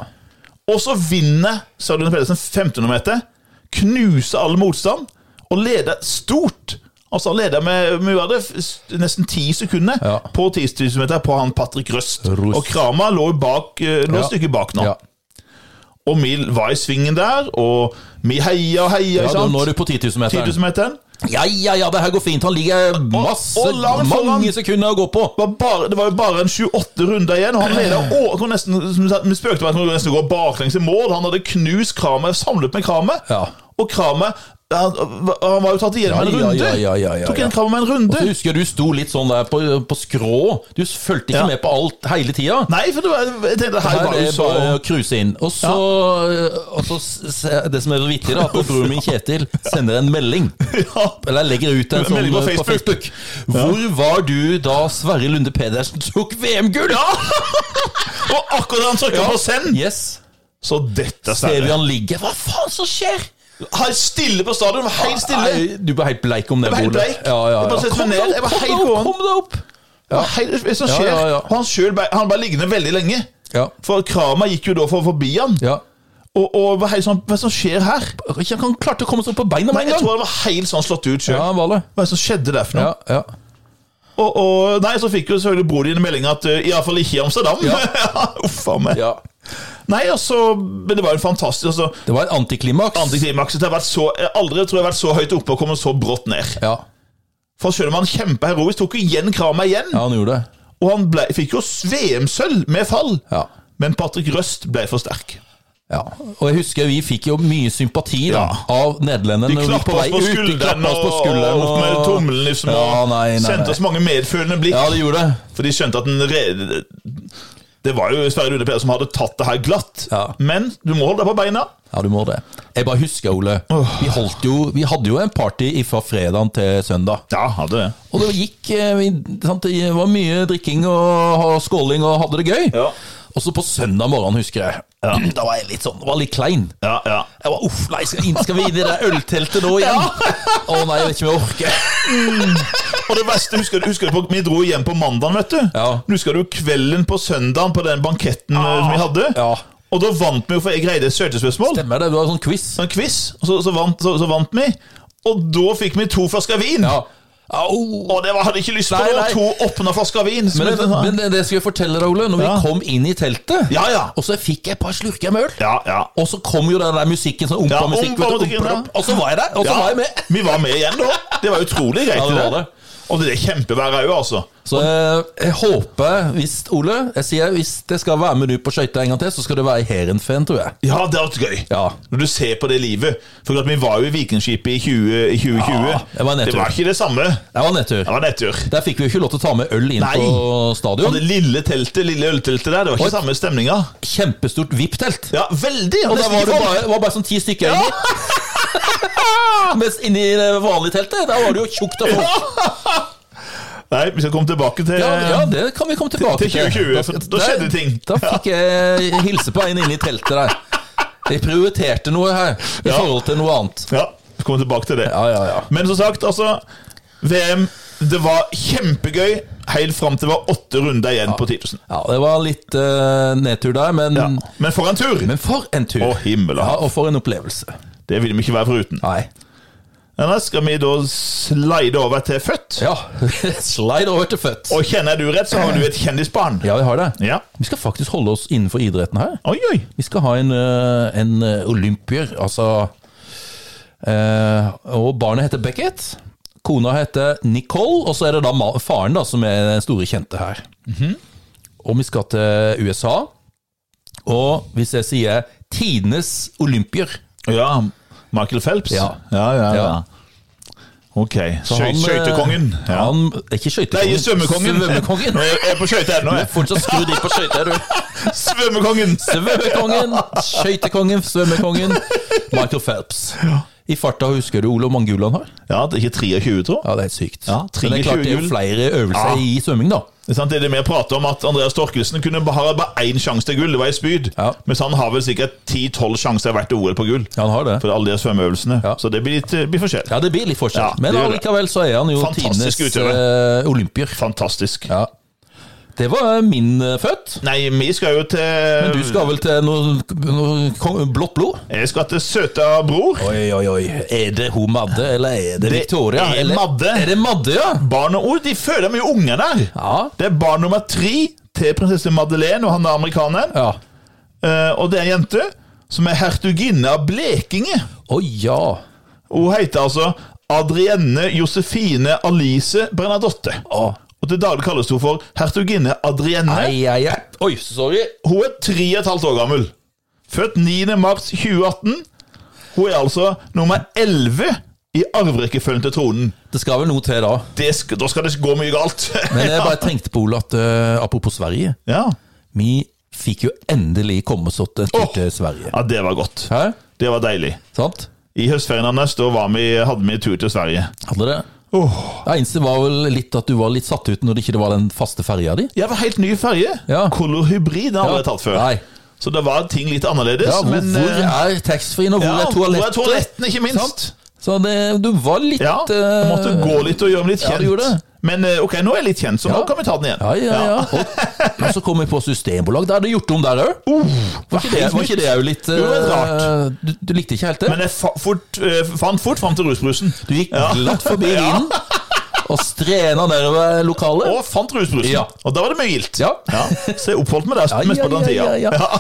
Speaker 2: Og så vinner Sverre Runde Pedersen 1500 meter, knuser all motstand, og leder stort. Altså Han leder med Muradov nesten ti sekunder
Speaker 1: Ja.
Speaker 2: på 10 000 meter på han Patrick Røst.
Speaker 1: Rust.
Speaker 2: Og Krama lå, bak, eh, lå
Speaker 1: Ja.
Speaker 2: et stykke bak nå.
Speaker 1: ja.
Speaker 2: Og vi var i svingen der, og vi heia og
Speaker 1: ja
Speaker 2: heia, ikke
Speaker 1: da, nå
Speaker 2: sant?
Speaker 1: er du på 10
Speaker 2: 10
Speaker 1: 000-meteren.
Speaker 2: 000 meteren.
Speaker 1: Ja, ja, ja, det her går fint. Han ligger masse,
Speaker 2: og langt foran.
Speaker 1: mange sekunder å gå på.
Speaker 2: var bare, det var jo bare en 28 runder igjen, og han leda og kunne nesten, som sagt, Vi spøkte med at han kunne nesten gå baklengs i mål. Han hadde knust Kramer, samlet med Kramer.
Speaker 1: Ja.
Speaker 2: Og Kramer han, han var jo tatt igjen
Speaker 1: Ja,
Speaker 2: med en
Speaker 1: ja,
Speaker 2: runde.
Speaker 1: ja, ja, ja, ja.
Speaker 2: Tok igjen Kramer med en
Speaker 1: Og
Speaker 2: runde.
Speaker 1: så husker jeg du sto litt sånn der på, på skrå. Du fulgte ikke
Speaker 2: Ja.
Speaker 1: med på alt hele tida.
Speaker 2: Nei, for det var, jeg tenkte, her
Speaker 1: Her
Speaker 2: var
Speaker 1: er
Speaker 2: jo
Speaker 1: det
Speaker 2: så
Speaker 1: bare å cruise inn. Og så, og så s- s- Det som er så vittig, da, at broren min Kjetil sender en melding.
Speaker 2: ja,
Speaker 1: Eller legger ut en
Speaker 2: En
Speaker 1: sånn
Speaker 2: melding på
Speaker 1: eh, på
Speaker 2: Facebook.
Speaker 1: Facebook. Hvor var du da Sverre Lunde Pedersen tok VM-gull?
Speaker 2: Og akkurat da han trykka på send,
Speaker 1: Yes.
Speaker 2: så dette
Speaker 1: Ser vi
Speaker 2: stedet.
Speaker 1: han ligger. Hva faen som skjer?
Speaker 2: Helt stille på stadion, var helt stille.
Speaker 1: Nei, du ble helt bleik om det
Speaker 2: Jeg ble helt
Speaker 1: bordet.
Speaker 2: bleik.
Speaker 1: Ja, ja,
Speaker 2: Jeg bare
Speaker 1: ja.
Speaker 2: setter
Speaker 1: Kom
Speaker 2: meg
Speaker 1: deg
Speaker 2: ned. Jeg
Speaker 1: opp,
Speaker 2: var
Speaker 1: kom
Speaker 2: helt
Speaker 1: deg opp,
Speaker 2: gåen.
Speaker 1: kom deg opp!
Speaker 2: Det var helt- Hva som
Speaker 1: Ja,
Speaker 2: skjer?
Speaker 1: ja, ja.
Speaker 2: Og han sjøl ble liggende veldig lenge.
Speaker 1: Ja.
Speaker 2: For Kramer gikk jo da for forbi han.
Speaker 1: ja.
Speaker 2: Og, og var helt sånn, hva som skjer her?
Speaker 1: Ikke Han klarte å komme seg opp på beina
Speaker 2: Nei,
Speaker 1: med en
Speaker 2: jeg
Speaker 1: gang!
Speaker 2: tror han var helt sånn slått ut sjøl.
Speaker 1: Ja, han var det.
Speaker 2: Hva er det som skjedde der for noe?
Speaker 1: Ja, ja.
Speaker 2: Og, og nei, så fikk jo selvfølgelig bror din en melding at uh, iallfall ikke i Amsterdam.
Speaker 1: Ja.
Speaker 2: Uff a meg.
Speaker 1: ja.
Speaker 2: Nei, altså, men det var jo en fantastisk altså,
Speaker 1: Det var et antiklimaks.
Speaker 2: Antiklimakset har vært så Jeg aldri tror jeg har vært så høyt oppe og kommet så brått ned.
Speaker 1: ja.
Speaker 2: For selv om han kjempa heroisk, tok jo igjen Kramer igjen.
Speaker 1: ja, han gjorde det.
Speaker 2: Og han ble, fikk jo VM-sølv med fall.
Speaker 1: Ja.
Speaker 2: Men Patrick Røst ble for sterk.
Speaker 1: Ja, og jeg husker vi fikk jo mye sympati da,
Speaker 2: Ja.
Speaker 1: av nederlenderne.
Speaker 2: De
Speaker 1: når vi
Speaker 2: klappa
Speaker 1: på vei
Speaker 2: oss på
Speaker 1: ut, de
Speaker 2: skulderen
Speaker 1: klappet oss på
Speaker 2: og,
Speaker 1: skulderen
Speaker 2: og opp med tommelen, liksom.
Speaker 1: Ja,
Speaker 2: og
Speaker 1: nei, nei,
Speaker 2: sendte
Speaker 1: nei.
Speaker 2: oss mange medfølende blikk.
Speaker 1: Ja, det gjorde det.
Speaker 2: For de skjønte at den re... Det var jo Sverre Rune Pedersen som hadde tatt det her glatt.
Speaker 1: Ja.
Speaker 2: Men du må holde deg på beina.
Speaker 1: Ja, du må det. Jeg bare husker, Ole, vi, holdt jo, vi hadde jo en party fra fredag til søndag.
Speaker 2: Ja, hadde det.
Speaker 1: Og det gikk eh, vi- sant, Det var mye drikking og og skåling og hadde det gøy.
Speaker 2: Ja.
Speaker 1: Og så på søndag morgen, husker jeg, da var jeg litt sånn, var litt klein.
Speaker 2: Ja, ja.
Speaker 1: Jeg var, uff, nei, skal, inn, skal vi inn i det der ølteltet nå igjen? Å nei, jeg vet ikke om jeg orker.
Speaker 2: Og det verste, husker du, husker du på, Vi dro hjem på mandagen, vet du.
Speaker 1: Ja.
Speaker 2: Husker du kvelden på søndagen på den banketten eh, som vi hadde?
Speaker 1: Ah, Ja.
Speaker 2: Og da vant vi jo, for jeg greide et søkespørsmål.
Speaker 1: Stemmer det, det var en sånn quiz.
Speaker 2: En quiz. Og så, så, vant, så, så vant vi. Og da fikk vi to flasker vin.
Speaker 1: Ja. Au.
Speaker 2: Og det var, hadde jeg ikke lyst på.
Speaker 1: Nei,
Speaker 2: det var
Speaker 1: nei.
Speaker 2: To åpna flasker vin. som
Speaker 1: Men,
Speaker 2: jeg-
Speaker 1: det, men det, det skal jeg fortelle deg, Ole. Når
Speaker 2: Ja.
Speaker 1: vi kom inn i teltet,
Speaker 2: Ja, ja.
Speaker 1: og så fikk jeg et par slurker med øl,
Speaker 2: ja, ja.
Speaker 1: og så kom jo den der musikken, sånn
Speaker 2: Ja,
Speaker 1: ompa-musikk, vet du,
Speaker 2: ompa-musikken,
Speaker 1: ompa-
Speaker 2: ja.
Speaker 1: ompa- og så var jeg der, og så
Speaker 2: Ja,
Speaker 1: var jeg med.
Speaker 2: Vi var med igjen da. Det var utrolig greit.
Speaker 1: Ja, det var det.
Speaker 2: Og det er kjempevær òg, altså.
Speaker 1: Så jeg, jeg håper, hvis Ole, jeg sier hvis det skal være med du på skøyter en gang til, så skal det være i Heerenveen, tror jeg.
Speaker 2: Ja, det har vært gøy.
Speaker 1: Ja.
Speaker 2: Når du ser på det livet. For at Vi var jo i Vikingskipet i, 20, i 2020.
Speaker 1: Ja, det var en nedtur.
Speaker 2: det var ikke det samme. Det
Speaker 1: Det var nedtur.
Speaker 2: var nedtur.
Speaker 1: Der fikk vi jo ikke lov til å ta med øl inn
Speaker 2: Nei.
Speaker 1: på stadion.
Speaker 2: Og det lille teltet, lille ølteltet der, det var ikke samme stemninga.
Speaker 1: Kjempestort VIP-telt.
Speaker 2: Ja, veldig.
Speaker 1: Og der
Speaker 2: nesten
Speaker 1: var
Speaker 2: ikke
Speaker 1: det
Speaker 2: folk.
Speaker 1: bare, var bare sånn ti stykker inni. Mens inni det vanlige teltet, der var det jo tjukt av folk.
Speaker 2: Nei, vi skal komme tilbake til
Speaker 1: Ja, ja, det kan vi komme tilbake
Speaker 2: til
Speaker 1: til.
Speaker 2: 2020, for da
Speaker 1: der-
Speaker 2: skjedde ting.
Speaker 1: Da fikk jeg hilse på en inne i teltet der. Jeg prioriterte noe her i
Speaker 2: Ja.
Speaker 1: forhold til noe annet.
Speaker 2: Ja, vi kommer tilbake til det.
Speaker 1: Ja, ja, ja.
Speaker 2: Men som sagt, altså VM, det var kjempegøy helt fram til det var åtte runder igjen på 10 000.
Speaker 1: Ja, Det var litt eh, nedtur der, men,
Speaker 2: Ja. Men for en tur!
Speaker 1: men for en tur!
Speaker 2: Å, himmel og
Speaker 1: ja,
Speaker 2: hav.
Speaker 1: og for en opplevelse.
Speaker 2: Det vil vi ikke være foruten.
Speaker 1: Nei.
Speaker 2: Eller skal vi da slide over til født?
Speaker 1: Ja, slide over til født.
Speaker 2: Og kjenner jeg du rett, så har du et kjendisbarn.
Speaker 1: Ja, vi har det.
Speaker 2: Ja.
Speaker 1: Vi skal faktisk holde oss innenfor idretten her.
Speaker 2: Oi, oi.
Speaker 1: Vi skal ha en, eh, en eh, olympier, altså eh, Og barnet heter Beckett. Kona heter Nicole, og så er det da ma- faren da, som er den store kjente her.
Speaker 2: Mhm.
Speaker 1: Og vi skal til USA. Og hvis jeg sier tidenes olympier
Speaker 2: Ja. Michael Phelps?
Speaker 1: Ja.
Speaker 2: ja, ja. ja.
Speaker 1: Ja.
Speaker 2: Ok.
Speaker 1: så han,
Speaker 2: Skøy-
Speaker 1: eh,
Speaker 2: Skøytekongen. Ja.
Speaker 1: Han, er ikke skøytekongen.
Speaker 2: Nei, svømmekongen.
Speaker 1: Svømmekongen.
Speaker 2: Jeg er på skøyter ennå, jeg.
Speaker 1: Fortsatt skrudd inn på skøyter, du.
Speaker 2: Svømmekongen!
Speaker 1: Svømmekongen, skøytekongen, svømmekongen. Michael Phelps. I farta husker du Olof Mangulan har?
Speaker 2: Ja, det er ikke 23, tror jeg.
Speaker 1: Ja, det er helt sykt.
Speaker 2: Ja,
Speaker 1: Men det er klart det er jo
Speaker 2: 23
Speaker 1: flere øvelser
Speaker 2: Ja.
Speaker 1: i svømming, da.
Speaker 2: Det er sant, det er det vi prater om, at Andreas Torkelsen kunne bare ha bare én sjanse til gull, det var i spyd.
Speaker 1: Ja.
Speaker 2: Mens han har vel sikkert 10-12 sjanser hvert OL på gull.
Speaker 1: Ja, han har det.
Speaker 2: For alle de svømmeøvelsene.
Speaker 1: Ja.
Speaker 2: Så det blir litt eh, blir forskjell.
Speaker 1: Ja, det blir litt forskjell.
Speaker 2: Ja, det
Speaker 1: Men
Speaker 2: gjør det.
Speaker 1: allikevel så er han jo tidenes
Speaker 2: Fantastisk
Speaker 1: eh, olympier.
Speaker 2: Fantastisk.
Speaker 1: Ja. Det var min eh, født.
Speaker 2: Nei, vi skal jo til
Speaker 1: Men du skal vel til noe, noe kong- blått blod?
Speaker 2: Jeg skal til søta bror.
Speaker 1: Oi, oi, oi. Er det hun Madde, eller er det Victoria?
Speaker 2: er
Speaker 1: eller?
Speaker 2: Madde.
Speaker 1: Er det Madde, ja?
Speaker 2: Barn og ord, de føler mye unger der.
Speaker 1: Ja.
Speaker 2: Det er barn nummer tre til prinsesse Madeleine og han er amerikaneren.
Speaker 1: ja.
Speaker 2: Eh, og det er ei jente som er hertuginne av Blekinge.
Speaker 1: Å ja.
Speaker 2: Hun heter altså Adrienne Josefine Alice Bernadotte.
Speaker 1: Å.
Speaker 2: Og til daglig kalles hun for hertuginne Adrienne.
Speaker 1: Ai, ai, ai. Oi, sorry.
Speaker 2: Hun er tre og et halvt år gammel. Født 9. mars 2018. Hun er altså nummer 11 i arverekkefølgen til tronen.
Speaker 1: Det skal vel noe til da.
Speaker 2: Det sk da skal det gå mye galt.
Speaker 1: Men jeg bare tenkte på Ole at eh, apropos Sverige
Speaker 2: ja.
Speaker 1: Vi fikk jo endelig komme oss opp en tur
Speaker 2: Åh.
Speaker 1: til Sverige.
Speaker 2: ja, det var godt.
Speaker 1: Hæ?
Speaker 2: Det var deilig.
Speaker 1: Sant?
Speaker 2: I høstferien hans da var vi, hadde vi tur til Sverige.
Speaker 1: Hadde det? Det eneste var vel litt at du var litt satt ut når det ikke var den faste ferja di.
Speaker 2: Jeg var helt ny ferge.
Speaker 1: Ja.
Speaker 2: Color Hybrid har jeg aldri tatt før.
Speaker 1: Nei.
Speaker 2: Så det var ting litt annerledes.
Speaker 1: Ja, hvor,
Speaker 2: men,
Speaker 1: hvor
Speaker 2: eh,
Speaker 1: er taxfree-en, og hvor
Speaker 2: ja,
Speaker 1: er toalettet?
Speaker 2: toalettene, ikke minst?
Speaker 1: Sant? Så det, du var litt
Speaker 2: Ja, jeg måtte
Speaker 1: eh,
Speaker 2: gå litt og gjøre meg litt
Speaker 1: ja,
Speaker 2: kjent.
Speaker 1: du gjorde det.
Speaker 2: Men eh, ok, nå er jeg litt kjent, så
Speaker 1: Ja.
Speaker 2: nå kan vi ta den igjen.
Speaker 1: Ja, ja, ja. Og, og så kom vi på systembolag. Da er det gjort om der òg. var, ikke det- var ikke det jo litt
Speaker 2: Uh, det var rart.
Speaker 1: eh, Du, du likte ikke helt det?
Speaker 2: Men jeg fa fort, eh, fant fort fram til rusbrusen.
Speaker 1: Du gikk glatt forbi vinen og strena nedover lokalet.
Speaker 2: Og fant rusbrusen.
Speaker 1: Ja.
Speaker 2: Og da var det mye gildt.
Speaker 1: Ja.
Speaker 2: Så jeg oppholdt meg der mest på den tida.
Speaker 1: ja, ja.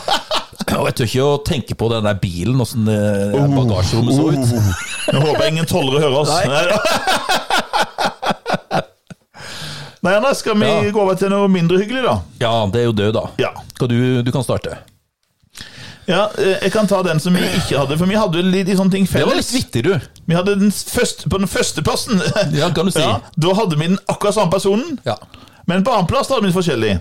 Speaker 1: Og jeg tør ikke å tenke på den der bilen, åssen
Speaker 2: Uh.
Speaker 1: bagasjerommet så ut.
Speaker 2: Jeg håper ingen tollere hører oss.
Speaker 1: Nei.
Speaker 2: Nei. Nei, Anna, skal vi
Speaker 1: Ja.
Speaker 2: gå over til noe mindre hyggelig, da?
Speaker 1: Ja, det er jo død, da.
Speaker 2: Ja.
Speaker 1: Skal du, du kan starte.
Speaker 2: ja. eh, Jeg kan ta den som vi ikke hadde, for vi hadde jo litt sånne ting
Speaker 1: Det var litt
Speaker 2: felles.
Speaker 1: vittig, du.
Speaker 2: Vi hadde den første, på den førsteplassen.
Speaker 1: Ja, kan du si.
Speaker 2: da hadde vi den akkurat samme personen.
Speaker 1: Ja.
Speaker 2: Men på annenplass hadde vi litt forskjellig.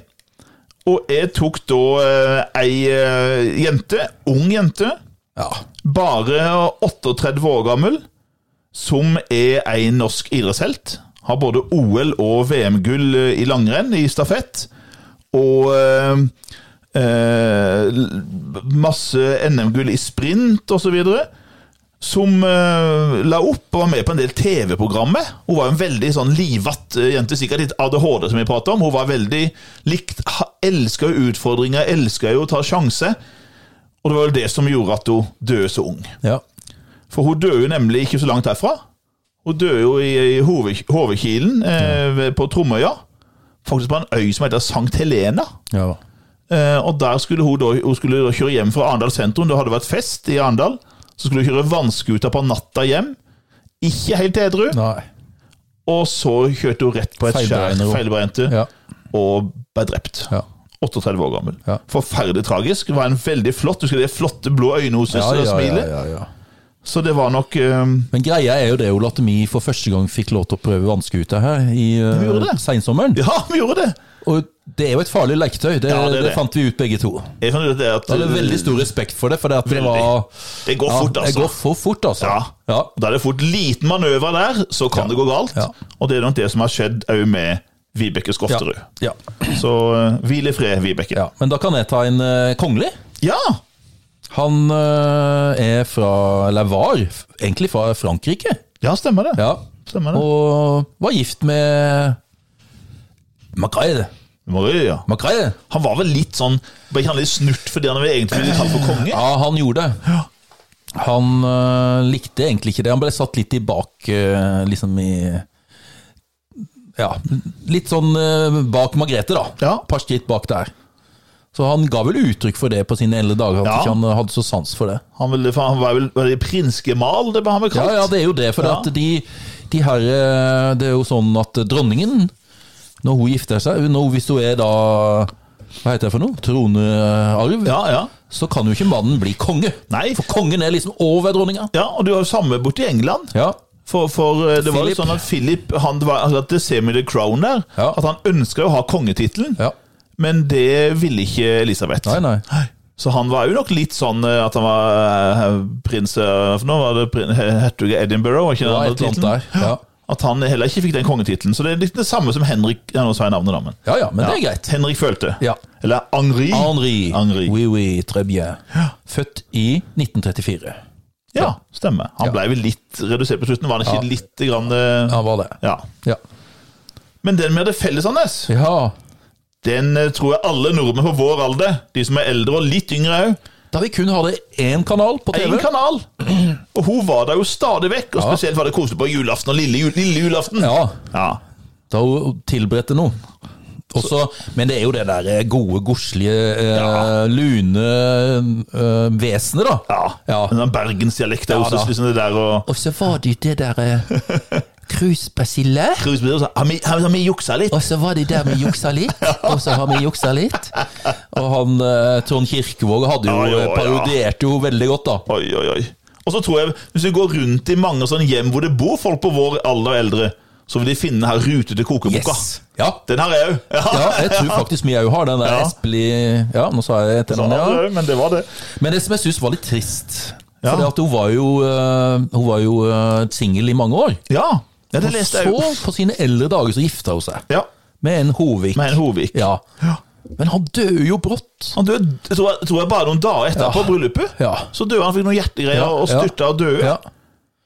Speaker 2: Og jeg tok da eh, ei eh, jente, ung jente,
Speaker 1: ja.
Speaker 2: bare 38 år gammel, som er ei norsk idrettshelt. Har både OL- og VM-gull eh, i langrenn, i stafett. Og eh, eh, l- masse NM-gull i sprint osv. Som eh, la opp og var med på en del TV-programmer. Hun var jo en veldig sånn livatt eh, jente, sikkert litt ADHD, som vi prater om. Hun var veldig likt, ha- elska jo utfordringer, elska jo å ta sjanser. Og det var vel det som gjorde at hun døde så ung.
Speaker 1: ja.
Speaker 2: For hun døde jo nemlig ikke så langt herfra. Hun døde jo i, i Hove- Hovekilen
Speaker 1: Mm.
Speaker 2: eh, ved- på Tromøya. Faktisk på en øy som heter Sankt Helena.
Speaker 1: ja.
Speaker 2: Eh, og der skulle hun, da, hun skulle da kjøre hjem fra Arendal sentrum. Det hadde vært fest i Arendal. Så skulle hun kjøre vannskuta på natta hjem. Ikke helt edru.
Speaker 1: Nei.
Speaker 2: Og så kjørte hun rett på et skjær,
Speaker 1: Feilberegner hun.
Speaker 2: feilberegnet,
Speaker 1: Ja.
Speaker 2: og ble drept.
Speaker 1: Ja.
Speaker 2: 38 år gammel.
Speaker 1: Ja.
Speaker 2: Forferdelig tragisk. Det var en veldig flott, du husker de flotte blå øynene hos
Speaker 1: Ja,
Speaker 2: henne og
Speaker 1: ja, ja,
Speaker 2: smilet.
Speaker 1: ja, ja.
Speaker 2: Så det var nok eh,
Speaker 1: Men greia er jo det, Ole, at vi for første gang fikk lov til å prøve vannskuter her i
Speaker 2: Vi gjorde
Speaker 1: uh,
Speaker 2: det.
Speaker 1: seinsommeren.
Speaker 2: Ja, vi gjorde det!
Speaker 1: Og det er jo et farlig leketøy, det,
Speaker 2: Ja, det er
Speaker 1: det,
Speaker 2: det.
Speaker 1: fant vi ut begge to.
Speaker 2: Jeg fant ut det at
Speaker 1: Jeg hadde veldig stor respekt for det, for det, at det
Speaker 2: Veldig.
Speaker 1: var
Speaker 2: Det går fort,
Speaker 1: Ja, det
Speaker 2: altså.
Speaker 1: går for fort, altså.
Speaker 2: Ja. Da er det fort liten manøver der, så kan det gå galt.
Speaker 1: Ja.
Speaker 2: Og det er nok det som har skjedd òg med Vibeke
Speaker 1: Ja.
Speaker 2: Skofterud.
Speaker 1: Ja.
Speaker 2: Så eh, hvil i fred, Vibeke.
Speaker 1: ja. Men da kan jeg ta en eh, kongelig.
Speaker 2: Ja!
Speaker 1: Han eh, er fra, eller var, f- egentlig fra Frankrike.
Speaker 2: Ja, stemmer det.
Speaker 1: Ja.
Speaker 2: Stemmer det.
Speaker 1: Og var gift med Macaire.
Speaker 2: Marie, ja.
Speaker 1: Macaire.
Speaker 2: Han var vel litt sånn Ble ikke han litt snurt fordi han var egentlig litt kalt for konge?
Speaker 1: Ja, han gjorde det. Han øh, likte egentlig ikke det. Han ble satt litt tilbake, øh, liksom i Ja, litt sånn øh, bak Margrethe, da.
Speaker 2: Ja.
Speaker 1: Et par skritt bak der. Så han ga vel uttrykk for det på sine eldre dager, at
Speaker 2: Ja.
Speaker 1: ikke han øh, hadde så sans for det.
Speaker 2: Han, ville, for han var vel var det prinsgemal, det ble han vel
Speaker 1: Ja,
Speaker 2: kalt?
Speaker 1: ja, det er jo det. For
Speaker 2: Ja.
Speaker 1: at de, de her øh, Det er jo sånn at dronningen, når hun gifter seg når, Hvis hun er da Hva heter det for noe? Tronearv?
Speaker 2: ja, ja.
Speaker 1: Så kan jo ikke mannen bli konge.
Speaker 2: Nei.
Speaker 1: For kongen er liksom over dronninga.
Speaker 2: Ja, og du har jo samme borti England.
Speaker 1: Ja.
Speaker 2: For, for eh, det var jo
Speaker 1: Philip.
Speaker 2: sånn at Philip han det var akkurat det ser med The Crown der,
Speaker 1: Ja.
Speaker 2: at han ønska å ha kongetittelen,
Speaker 1: ja.
Speaker 2: men det ville ikke Elisabeth.
Speaker 1: Nei, nei.
Speaker 2: Så han var jo nok litt sånn eh, at han var eh, prins eh, For nå var det prin, he- hertug av Edinburgh, var ikke
Speaker 1: Det
Speaker 2: den
Speaker 1: var
Speaker 2: andre
Speaker 1: et eller annet
Speaker 2: tittelen?
Speaker 1: der. Ja.
Speaker 2: At han heller ikke fikk den kongetittelen. Så det er litt det samme som Henrik ja, Nå sa jeg navnet, da, men.
Speaker 1: ja ja, men det er greit.
Speaker 2: Henrik følte.
Speaker 1: Ja.
Speaker 2: Eller Henri.
Speaker 1: Henri.
Speaker 2: Henri.
Speaker 1: Oui, oui, très bien. Født i 1934.
Speaker 2: Ja, stemmer. Han
Speaker 1: Ja.
Speaker 2: ble vel litt redusert på slutten, var han
Speaker 1: Ja.
Speaker 2: ikke litt grann eh,
Speaker 1: Han var det.
Speaker 2: Ja.
Speaker 1: Ja.
Speaker 2: Men den vi hadde felles, Anders,
Speaker 1: ja.
Speaker 2: den eh, tror jeg alle nordmenn på vår alder, de som er eldre og litt yngre òg,
Speaker 1: Da vi kun hadde én kanal på TV.
Speaker 2: én kanal. Og hun var der jo stadig vekk, og
Speaker 1: Ja.
Speaker 2: spesielt var det koselig på julaften og lille, jul, lille julaften.
Speaker 1: Ja,
Speaker 2: Ja.
Speaker 1: da hun tilberedte noe. Også, men det er jo det der eh, gode, godslige, eh,
Speaker 2: Ja.
Speaker 1: lune eh, vesenet, da.
Speaker 2: Ja. Den der bergensdialekten
Speaker 1: Ja,
Speaker 2: hos oss,
Speaker 1: da.
Speaker 2: liksom det der og
Speaker 1: Og så var det jo det eh, derre krusbasille.
Speaker 2: Krusbyrå sa Har vi- har vi- har vi juksa litt?
Speaker 1: Og så var de der med juksa litt, og så har vi juksa litt. Og han eh, Trond Kirkevåg hadde jo,
Speaker 2: Ja, jo,
Speaker 1: eh, parodierte jo veldig godt, da.
Speaker 2: Oi, oi, oi. Og så tror jeg, hvis vi går rundt i mange sånne hjem hvor det bor folk på vår alder og eldre, så vil de finne den her rute til kokeboka.
Speaker 1: Yes. Ja.
Speaker 2: Den har jeg òg.
Speaker 1: ja, jeg tror faktisk vi òg har den der
Speaker 2: Ja.
Speaker 1: Espelid Ja, nå sa jeg et eller annet, ja.
Speaker 2: Men det var det.
Speaker 1: Men det som jeg syns var litt trist
Speaker 2: Ja.
Speaker 1: Fordi at hun var jo, eh, hun var jo eh, singel i mange år.
Speaker 2: Ja, ja det
Speaker 1: Og
Speaker 2: leste
Speaker 1: så,
Speaker 2: jeg jo.
Speaker 1: på sine eldre dager, så gifta hun seg.
Speaker 2: Ja,
Speaker 1: Med en Hovik.
Speaker 2: Med en Hovik.
Speaker 1: Ja. Men han døde jo brått.
Speaker 2: Han døde jeg tror, jeg, tror jeg bare noen dager etterpå
Speaker 1: Ja.
Speaker 2: bryllupet.
Speaker 1: Ja.
Speaker 2: Så døde han, fikk noen hjertegreier
Speaker 1: Ja,
Speaker 2: og
Speaker 1: ja.
Speaker 2: styrta og døde.
Speaker 1: Ja,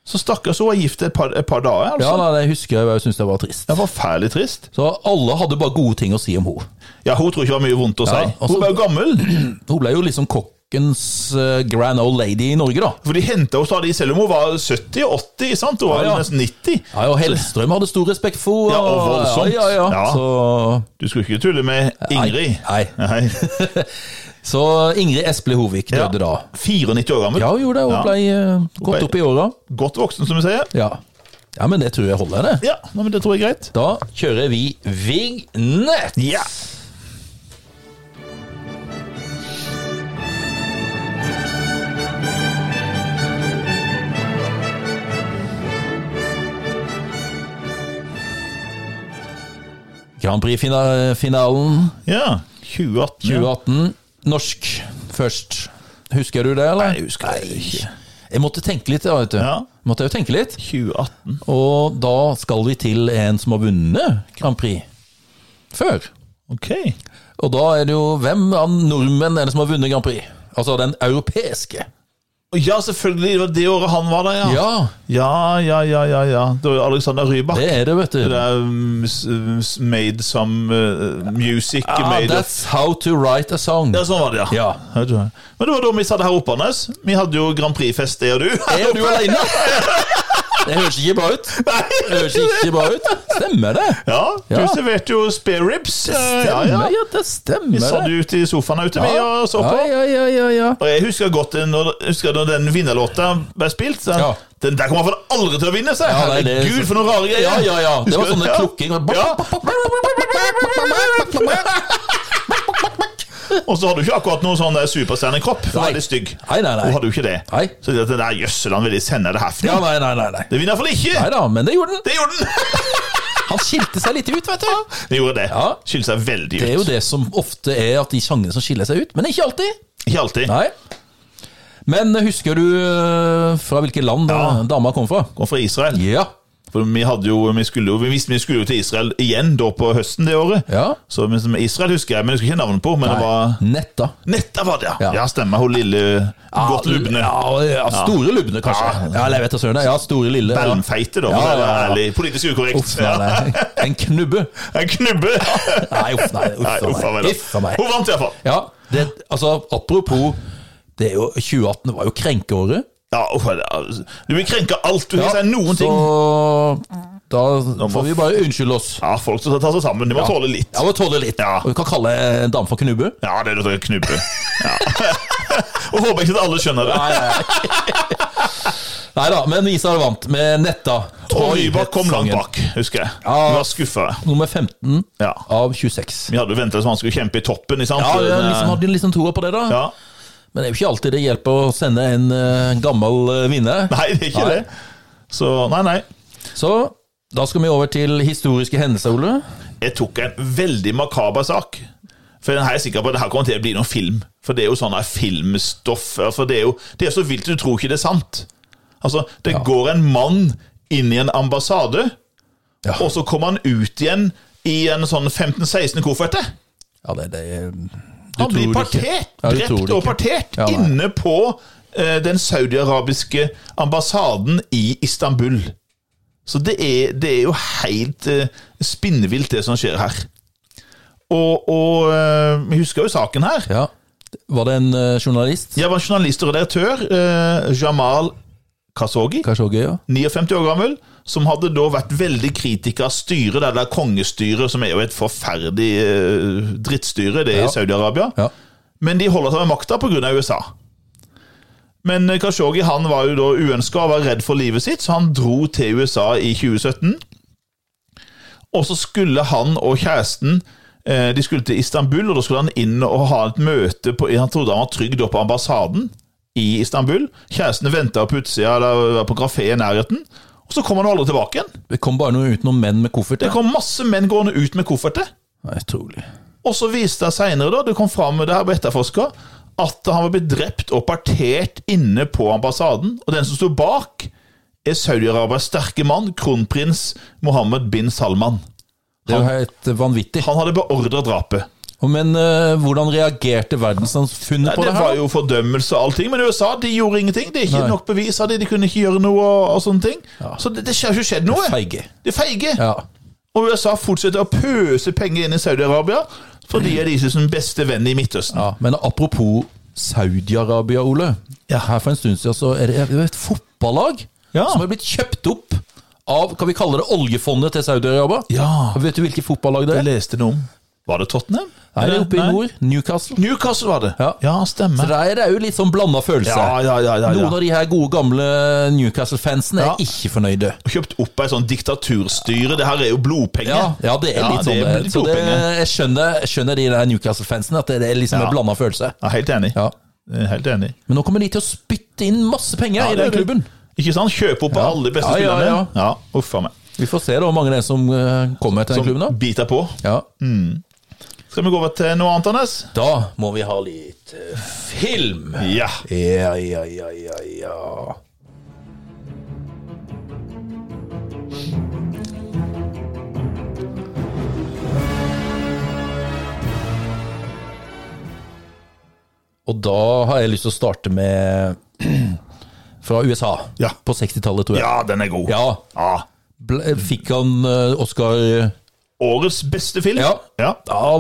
Speaker 2: Så stakkars, hun var gift et par, et par dager.
Speaker 1: ja
Speaker 2: altså.
Speaker 1: nei, det husker jeg, jeg syns det var trist.
Speaker 2: Det er forferdelig trist.
Speaker 1: Så alle hadde bare gode ting å si om henne.
Speaker 2: Ja, Hun tror ikke det var mye vondt å si.
Speaker 1: Nei, altså-
Speaker 2: hun ble jo gammel.
Speaker 1: Hun ble jo liksom kokkens eh, grand old lady i Norge, da.
Speaker 2: For de henta henne stadig, selv om hun var 70-80. sant? Hun var
Speaker 1: Ja, ja.
Speaker 2: nesten 90.
Speaker 1: Ja, og Hellstrøm hadde stor respekt for
Speaker 2: Ja, og voldsomt.
Speaker 1: Ja, ja, ja.
Speaker 2: Ja.
Speaker 1: Så,
Speaker 2: Du skulle ikke tulle med Ingrid.
Speaker 1: Nei,
Speaker 2: Nei.
Speaker 1: så Ingrid Espelid Hovik døde da.
Speaker 2: 94 år gammel.
Speaker 1: Ja, hun gjorde det. Hun
Speaker 2: Ja.
Speaker 1: ble eh,
Speaker 2: ble-
Speaker 1: godt opp i åra.
Speaker 2: Godt voksen, som vi sier.
Speaker 1: Ja. ja, men det tror jeg holder, det.
Speaker 2: Ja, nei, men Det tror jeg er greit.
Speaker 1: Da kjører vi vignett.
Speaker 2: Ja.
Speaker 1: Grand Prix-finalen
Speaker 2: ja. 2018. ja.
Speaker 1: 2018. Norsk først. Husker du det, eller?
Speaker 2: Nei, jeg husker det ikke.
Speaker 1: Jeg måtte tenke litt, ja, vet du.
Speaker 2: Ja.
Speaker 1: Måtte jeg jo tenke litt.
Speaker 2: 2018.
Speaker 1: Og da skal vi til en som har vunnet Grand Prix før.
Speaker 2: Ok.
Speaker 1: Og da er det jo hvem av nordmenn er det som har vunnet Grand Prix? Altså den europeiske.
Speaker 2: Og Ja, selvfølgelig. Det var det året han var der, ja.
Speaker 1: Ja,
Speaker 2: Ja, ja, ja. ja, ja. Det var jo Alexander Rybak.
Speaker 1: det er det, vet
Speaker 2: Det
Speaker 1: du.
Speaker 2: er um, s- s- made some uh, music
Speaker 1: Ah,
Speaker 2: made of
Speaker 1: that's how to write a song.
Speaker 2: Ja, sånn var det, ja.
Speaker 1: Ja.
Speaker 2: Hørte du det? Men det var da vi satt her oppe, Anders. Vi hadde jo Grand Prix-fest, det og du.
Speaker 1: Er du alene? Det høres ikke bra ut. Det høres ikke bra ut. Stemmer det?
Speaker 2: Ja, du
Speaker 1: Ja.
Speaker 2: serverte jo spare ribs. eh, ja, ja.
Speaker 1: Stemmer, ja, det
Speaker 2: Vi
Speaker 1: stemmer
Speaker 2: satt
Speaker 1: det.
Speaker 2: jo ute i sofaen ute med og så på.
Speaker 1: Ja, ja, ja, ja, ja.
Speaker 2: Og jeg husker godt den- når, husker når den vinnerlåta ble spilt. Den,
Speaker 1: Ja.
Speaker 2: den der kommer han aldri til å vinne, seg!
Speaker 1: Ja, nei, det-
Speaker 2: Herregud, for noen rare greier!
Speaker 1: Ja, ja, ja. Det var
Speaker 2: Husker du-
Speaker 1: sånne
Speaker 2: ja.
Speaker 1: klukking.
Speaker 2: Og så hadde du ikke akkurat noen sånn der superstjernekropp. for
Speaker 1: Nei.
Speaker 2: Veldig stygg.
Speaker 1: Nei, nei, nei.
Speaker 2: Hun hadde jo ikke det.
Speaker 1: Nei.
Speaker 2: Så det at den der jøsseland ville sende det herfra.
Speaker 1: Ja, nei, nei, nei. nei.
Speaker 2: Det vinner iallfall ikke!
Speaker 1: Nei da, men det gjorde den.
Speaker 2: Det gjorde den!
Speaker 1: Han skilte seg litt ut, vet du.
Speaker 2: Den gjorde det.
Speaker 1: Ja.
Speaker 2: Skilte seg veldig ut.
Speaker 1: Det er jo det som ofte er at de sjangene som skiller seg ut, men ikke alltid.
Speaker 2: Ikke alltid.
Speaker 1: Nei. Men husker du eh, fra hvilket land eh, dama kom fra?
Speaker 2: Kom fra Israel.
Speaker 1: Ja.
Speaker 2: For vi, hadde jo, vi, skulle jo, vi visste vi skulle jo til Israel igjen da på høsten det året.
Speaker 1: Ja.
Speaker 2: Så men som Israel husker jeg, men jeg husker ikke navnet på. Men det var
Speaker 1: Netta.
Speaker 2: Netta var det, ja.
Speaker 1: Ja. Ah,
Speaker 2: Ja, stemmer. Hun lille godt lubne.
Speaker 1: Ja, ja, store lubne, kanskje.
Speaker 2: Ja.
Speaker 1: Ja, eller jeg vet da søren. Ja, store lille. ja.
Speaker 2: Belmfeite, da,
Speaker 1: Ja,
Speaker 2: for å være
Speaker 1: ja, ja.
Speaker 2: ærlig. Politisk ukorrekt.
Speaker 1: Uff, nei, nei. En knubbe.
Speaker 2: Ja. En knubbe.
Speaker 1: Nei, uff, nei. Uff
Speaker 2: Nei,
Speaker 1: a meg. Uff a meg.
Speaker 2: Hun vant iallfall.
Speaker 1: Ja, det, altså, apropos det er jo, 2018 var jo krenkeåret.
Speaker 2: Ja, uff, det er- du vil krenke alt du vil si
Speaker 1: så
Speaker 2: noen ting.
Speaker 1: da
Speaker 2: må-
Speaker 1: får vi bare unnskylde oss.
Speaker 2: Ja, folk som tar seg sammen, de må tåle litt.
Speaker 1: Ja, må tåle litt.
Speaker 2: Ja.
Speaker 1: Og vi kan kalle en dame for knubbe.
Speaker 2: Ja, det er det å knubbe. Ja. Og håper ikke at alle skjønner det.
Speaker 1: Nei, nei. nei da, men Isar vant med netta.
Speaker 2: Og Nybakk kom langt
Speaker 1: Sangen.
Speaker 2: bak, husker jeg. Vi
Speaker 1: Ja.
Speaker 2: var skuffa.
Speaker 1: Nummer 15
Speaker 2: Ja.
Speaker 1: av 26.
Speaker 2: Vi hadde jo venta at han skulle kjempe i toppen. Ikke sant?
Speaker 1: Ja, jeg
Speaker 2: Men,
Speaker 1: liksom, hadde liksom troa på det, da.
Speaker 2: ja.
Speaker 1: Men det er jo ikke alltid det hjelper å sende en eh, gammel eh, vinner.
Speaker 2: Nei, det er ikke
Speaker 1: Nei.
Speaker 2: det. Så nei, nei.
Speaker 1: Så da skal vi over til historiske hendelser, Ole.
Speaker 2: Jeg tok en veldig makaber sak. For den her er jeg sikker på at det her kommer til å bli noen film. For det er jo sånn her filmstoff. For det er jo det er så vilt du tror ikke det er sant. Altså, det går en mann inn i en ambassade,
Speaker 1: Ja.
Speaker 2: og så kommer han ut igjen i en sånn 15-16 kofferte.
Speaker 1: Ja, det, det du
Speaker 2: Han blir
Speaker 1: tror det ikke.
Speaker 2: partert,
Speaker 1: Ja, du tror
Speaker 2: drept
Speaker 1: det
Speaker 2: og
Speaker 1: ikke.
Speaker 2: partert,
Speaker 1: Ja, nei.
Speaker 2: inne på eh, den saudiarabiske ambassaden i Istanbul. Så det er, det er jo helt eh, spinnvilt, det som skjer her. Og, og eh, vi husker jo saken her.
Speaker 1: Ja. Var det en eh, journalist?
Speaker 2: Jeg var journalist og redaktør, eh, Jamal Khashoggi.
Speaker 1: Khashoggi, ja.
Speaker 2: 59 år gammel, som hadde da vært veldig kritiker av styret, det der kongestyret, som er jo et forferdelig eh, drittstyre, det er
Speaker 1: Ja.
Speaker 2: i Saudi-Arabia.
Speaker 1: ja.
Speaker 2: Men de holder seg ved makta pga. USA. Men eh, Khashoggi han var jo da uønska og var redd for livet sitt, så han dro til USA i 2017. Og så skulle han og kjæresten eh, de skulle til Istanbul, og da skulle han inn og ha et møte på Han trodde han var trygg da på ambassaden i Istanbul. Kjæresten venta på utsida eller var på kafé i nærheten. Og så kom han aldri tilbake igjen.
Speaker 1: Det kom bare noe ut noen menn med koffert.
Speaker 2: Det
Speaker 1: Ja.
Speaker 2: kom masse menn gående ut med kofferter.
Speaker 1: Nei, trolig.
Speaker 2: Og så viste det seg senere, da, det kom fram det her ble etterforska, at han var blitt drept og partert inne på ambassaden. Og den som sto bak, er Saudi-Arabias sterke mann, kronprins Mohammed bin Salman.
Speaker 1: Det er jo helt vanvittig.
Speaker 2: Han hadde beordra drapet.
Speaker 1: Og Men eh, hvordan reagerte verdenssamfunnet
Speaker 2: Nei,
Speaker 1: på
Speaker 2: det
Speaker 1: det
Speaker 2: var
Speaker 1: her? da?
Speaker 2: jo fordømmelse og allting, men USA de gjorde ingenting. Det er ikke
Speaker 1: Nei.
Speaker 2: nok bevis av det, de kunne ikke gjøre noe og, og sånne ting. Så det, det har ikke skjedd noe.
Speaker 1: Feige.
Speaker 2: De er feige.
Speaker 1: Ja.
Speaker 2: Og USA fortsetter å pøse penger inn i Saudi-Arabia, for de er deres beste venn i Midtøsten.
Speaker 1: ja. Men apropos Saudi-Arabia, Ole.
Speaker 2: Ja.
Speaker 1: Her for en stund siden så er det er det et fotballag
Speaker 2: Ja.
Speaker 1: som er blitt kjøpt opp av kan vi kalle det oljefondet til Saudi-Arabia.
Speaker 2: Ja.
Speaker 1: Og Vet du hvilket fotballag det
Speaker 2: Jeg
Speaker 1: er?
Speaker 2: leste noe om Var det Tottenham?
Speaker 1: Nei, det er oppe i
Speaker 2: Nei.
Speaker 1: nord. Newcastle.
Speaker 2: Newcastle var det.
Speaker 1: Ja. Så
Speaker 2: stemmer.
Speaker 1: der er det jo litt sånn blanda følelse.
Speaker 2: Ja, ja, ja, ja,
Speaker 1: Noen av
Speaker 2: ja.
Speaker 1: de her gode, gamle Newcastle-fansen er
Speaker 2: Ja.
Speaker 1: ikke fornøyde.
Speaker 2: Kjøpt opp ei sånn diktaturstyre. Det her er jo blodpenger.
Speaker 1: Ja, ja, det er
Speaker 2: Ja,
Speaker 1: litt sånn.
Speaker 2: det er
Speaker 1: det. Så det,
Speaker 2: blodpenger.
Speaker 1: jeg, skjønner, jeg skjønner de der Newcastle-fansen, at det er liksom
Speaker 2: Ja.
Speaker 1: en blanda følelse.
Speaker 2: Ja, helt enig.
Speaker 1: Ja.
Speaker 2: Helt enig.
Speaker 1: Men nå kommer de til å spytte inn masse penger
Speaker 2: Ja,
Speaker 1: i den
Speaker 2: det er det.
Speaker 1: klubben.
Speaker 2: Ikke sant? Kjøpe opp alle de beste
Speaker 1: Ja, ja,
Speaker 2: spillerne.
Speaker 1: ja.
Speaker 2: ja uffa meg.
Speaker 1: Vi får se da hvor mange det er som eh, kommer til den klubben.
Speaker 2: Som
Speaker 1: Da
Speaker 2: biter på.
Speaker 1: Ja
Speaker 2: Skal vi gå over til noe annet, Anders?
Speaker 1: Da må vi ha litt eh, film.
Speaker 2: Ja.
Speaker 1: Ja, ja, ja, ja, ja. Og da har jeg lyst til å starte med fra USA.
Speaker 2: Ja.
Speaker 1: På 60-tallet, tror jeg.
Speaker 2: ja, den er god.
Speaker 1: Ja. Ble, fikk han eh, Oscar
Speaker 2: Årets beste film.
Speaker 1: Ja. Ja,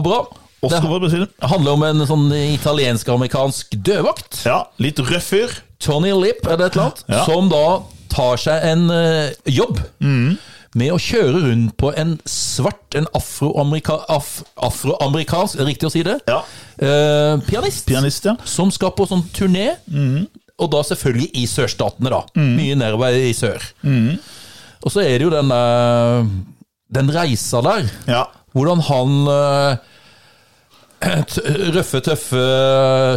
Speaker 1: bra. Det
Speaker 2: Oscar beste film.
Speaker 1: handler om en sånn italiensk-amerikansk dødvakt.
Speaker 2: Ja, Litt røff fyr.
Speaker 1: Tony Lipp, er det et eller annet,
Speaker 2: Ja.
Speaker 1: som da tar seg en eh, jobb
Speaker 2: Mm.
Speaker 1: med å kjøre rundt på en svart, en afroamerika, af, afroamerikansk, er det riktig å si det,
Speaker 2: Ja.
Speaker 1: Eh, pianist,
Speaker 2: Pianist, ja.
Speaker 1: som skal på sånn turné,
Speaker 2: Mm.
Speaker 1: og da selvfølgelig i sørstatene da, mye nedover i sør.
Speaker 2: Mm.
Speaker 1: Og så er det jo den, eh, den reisa der,
Speaker 2: ja.
Speaker 1: hvordan han... eh, t- røffe, tøffe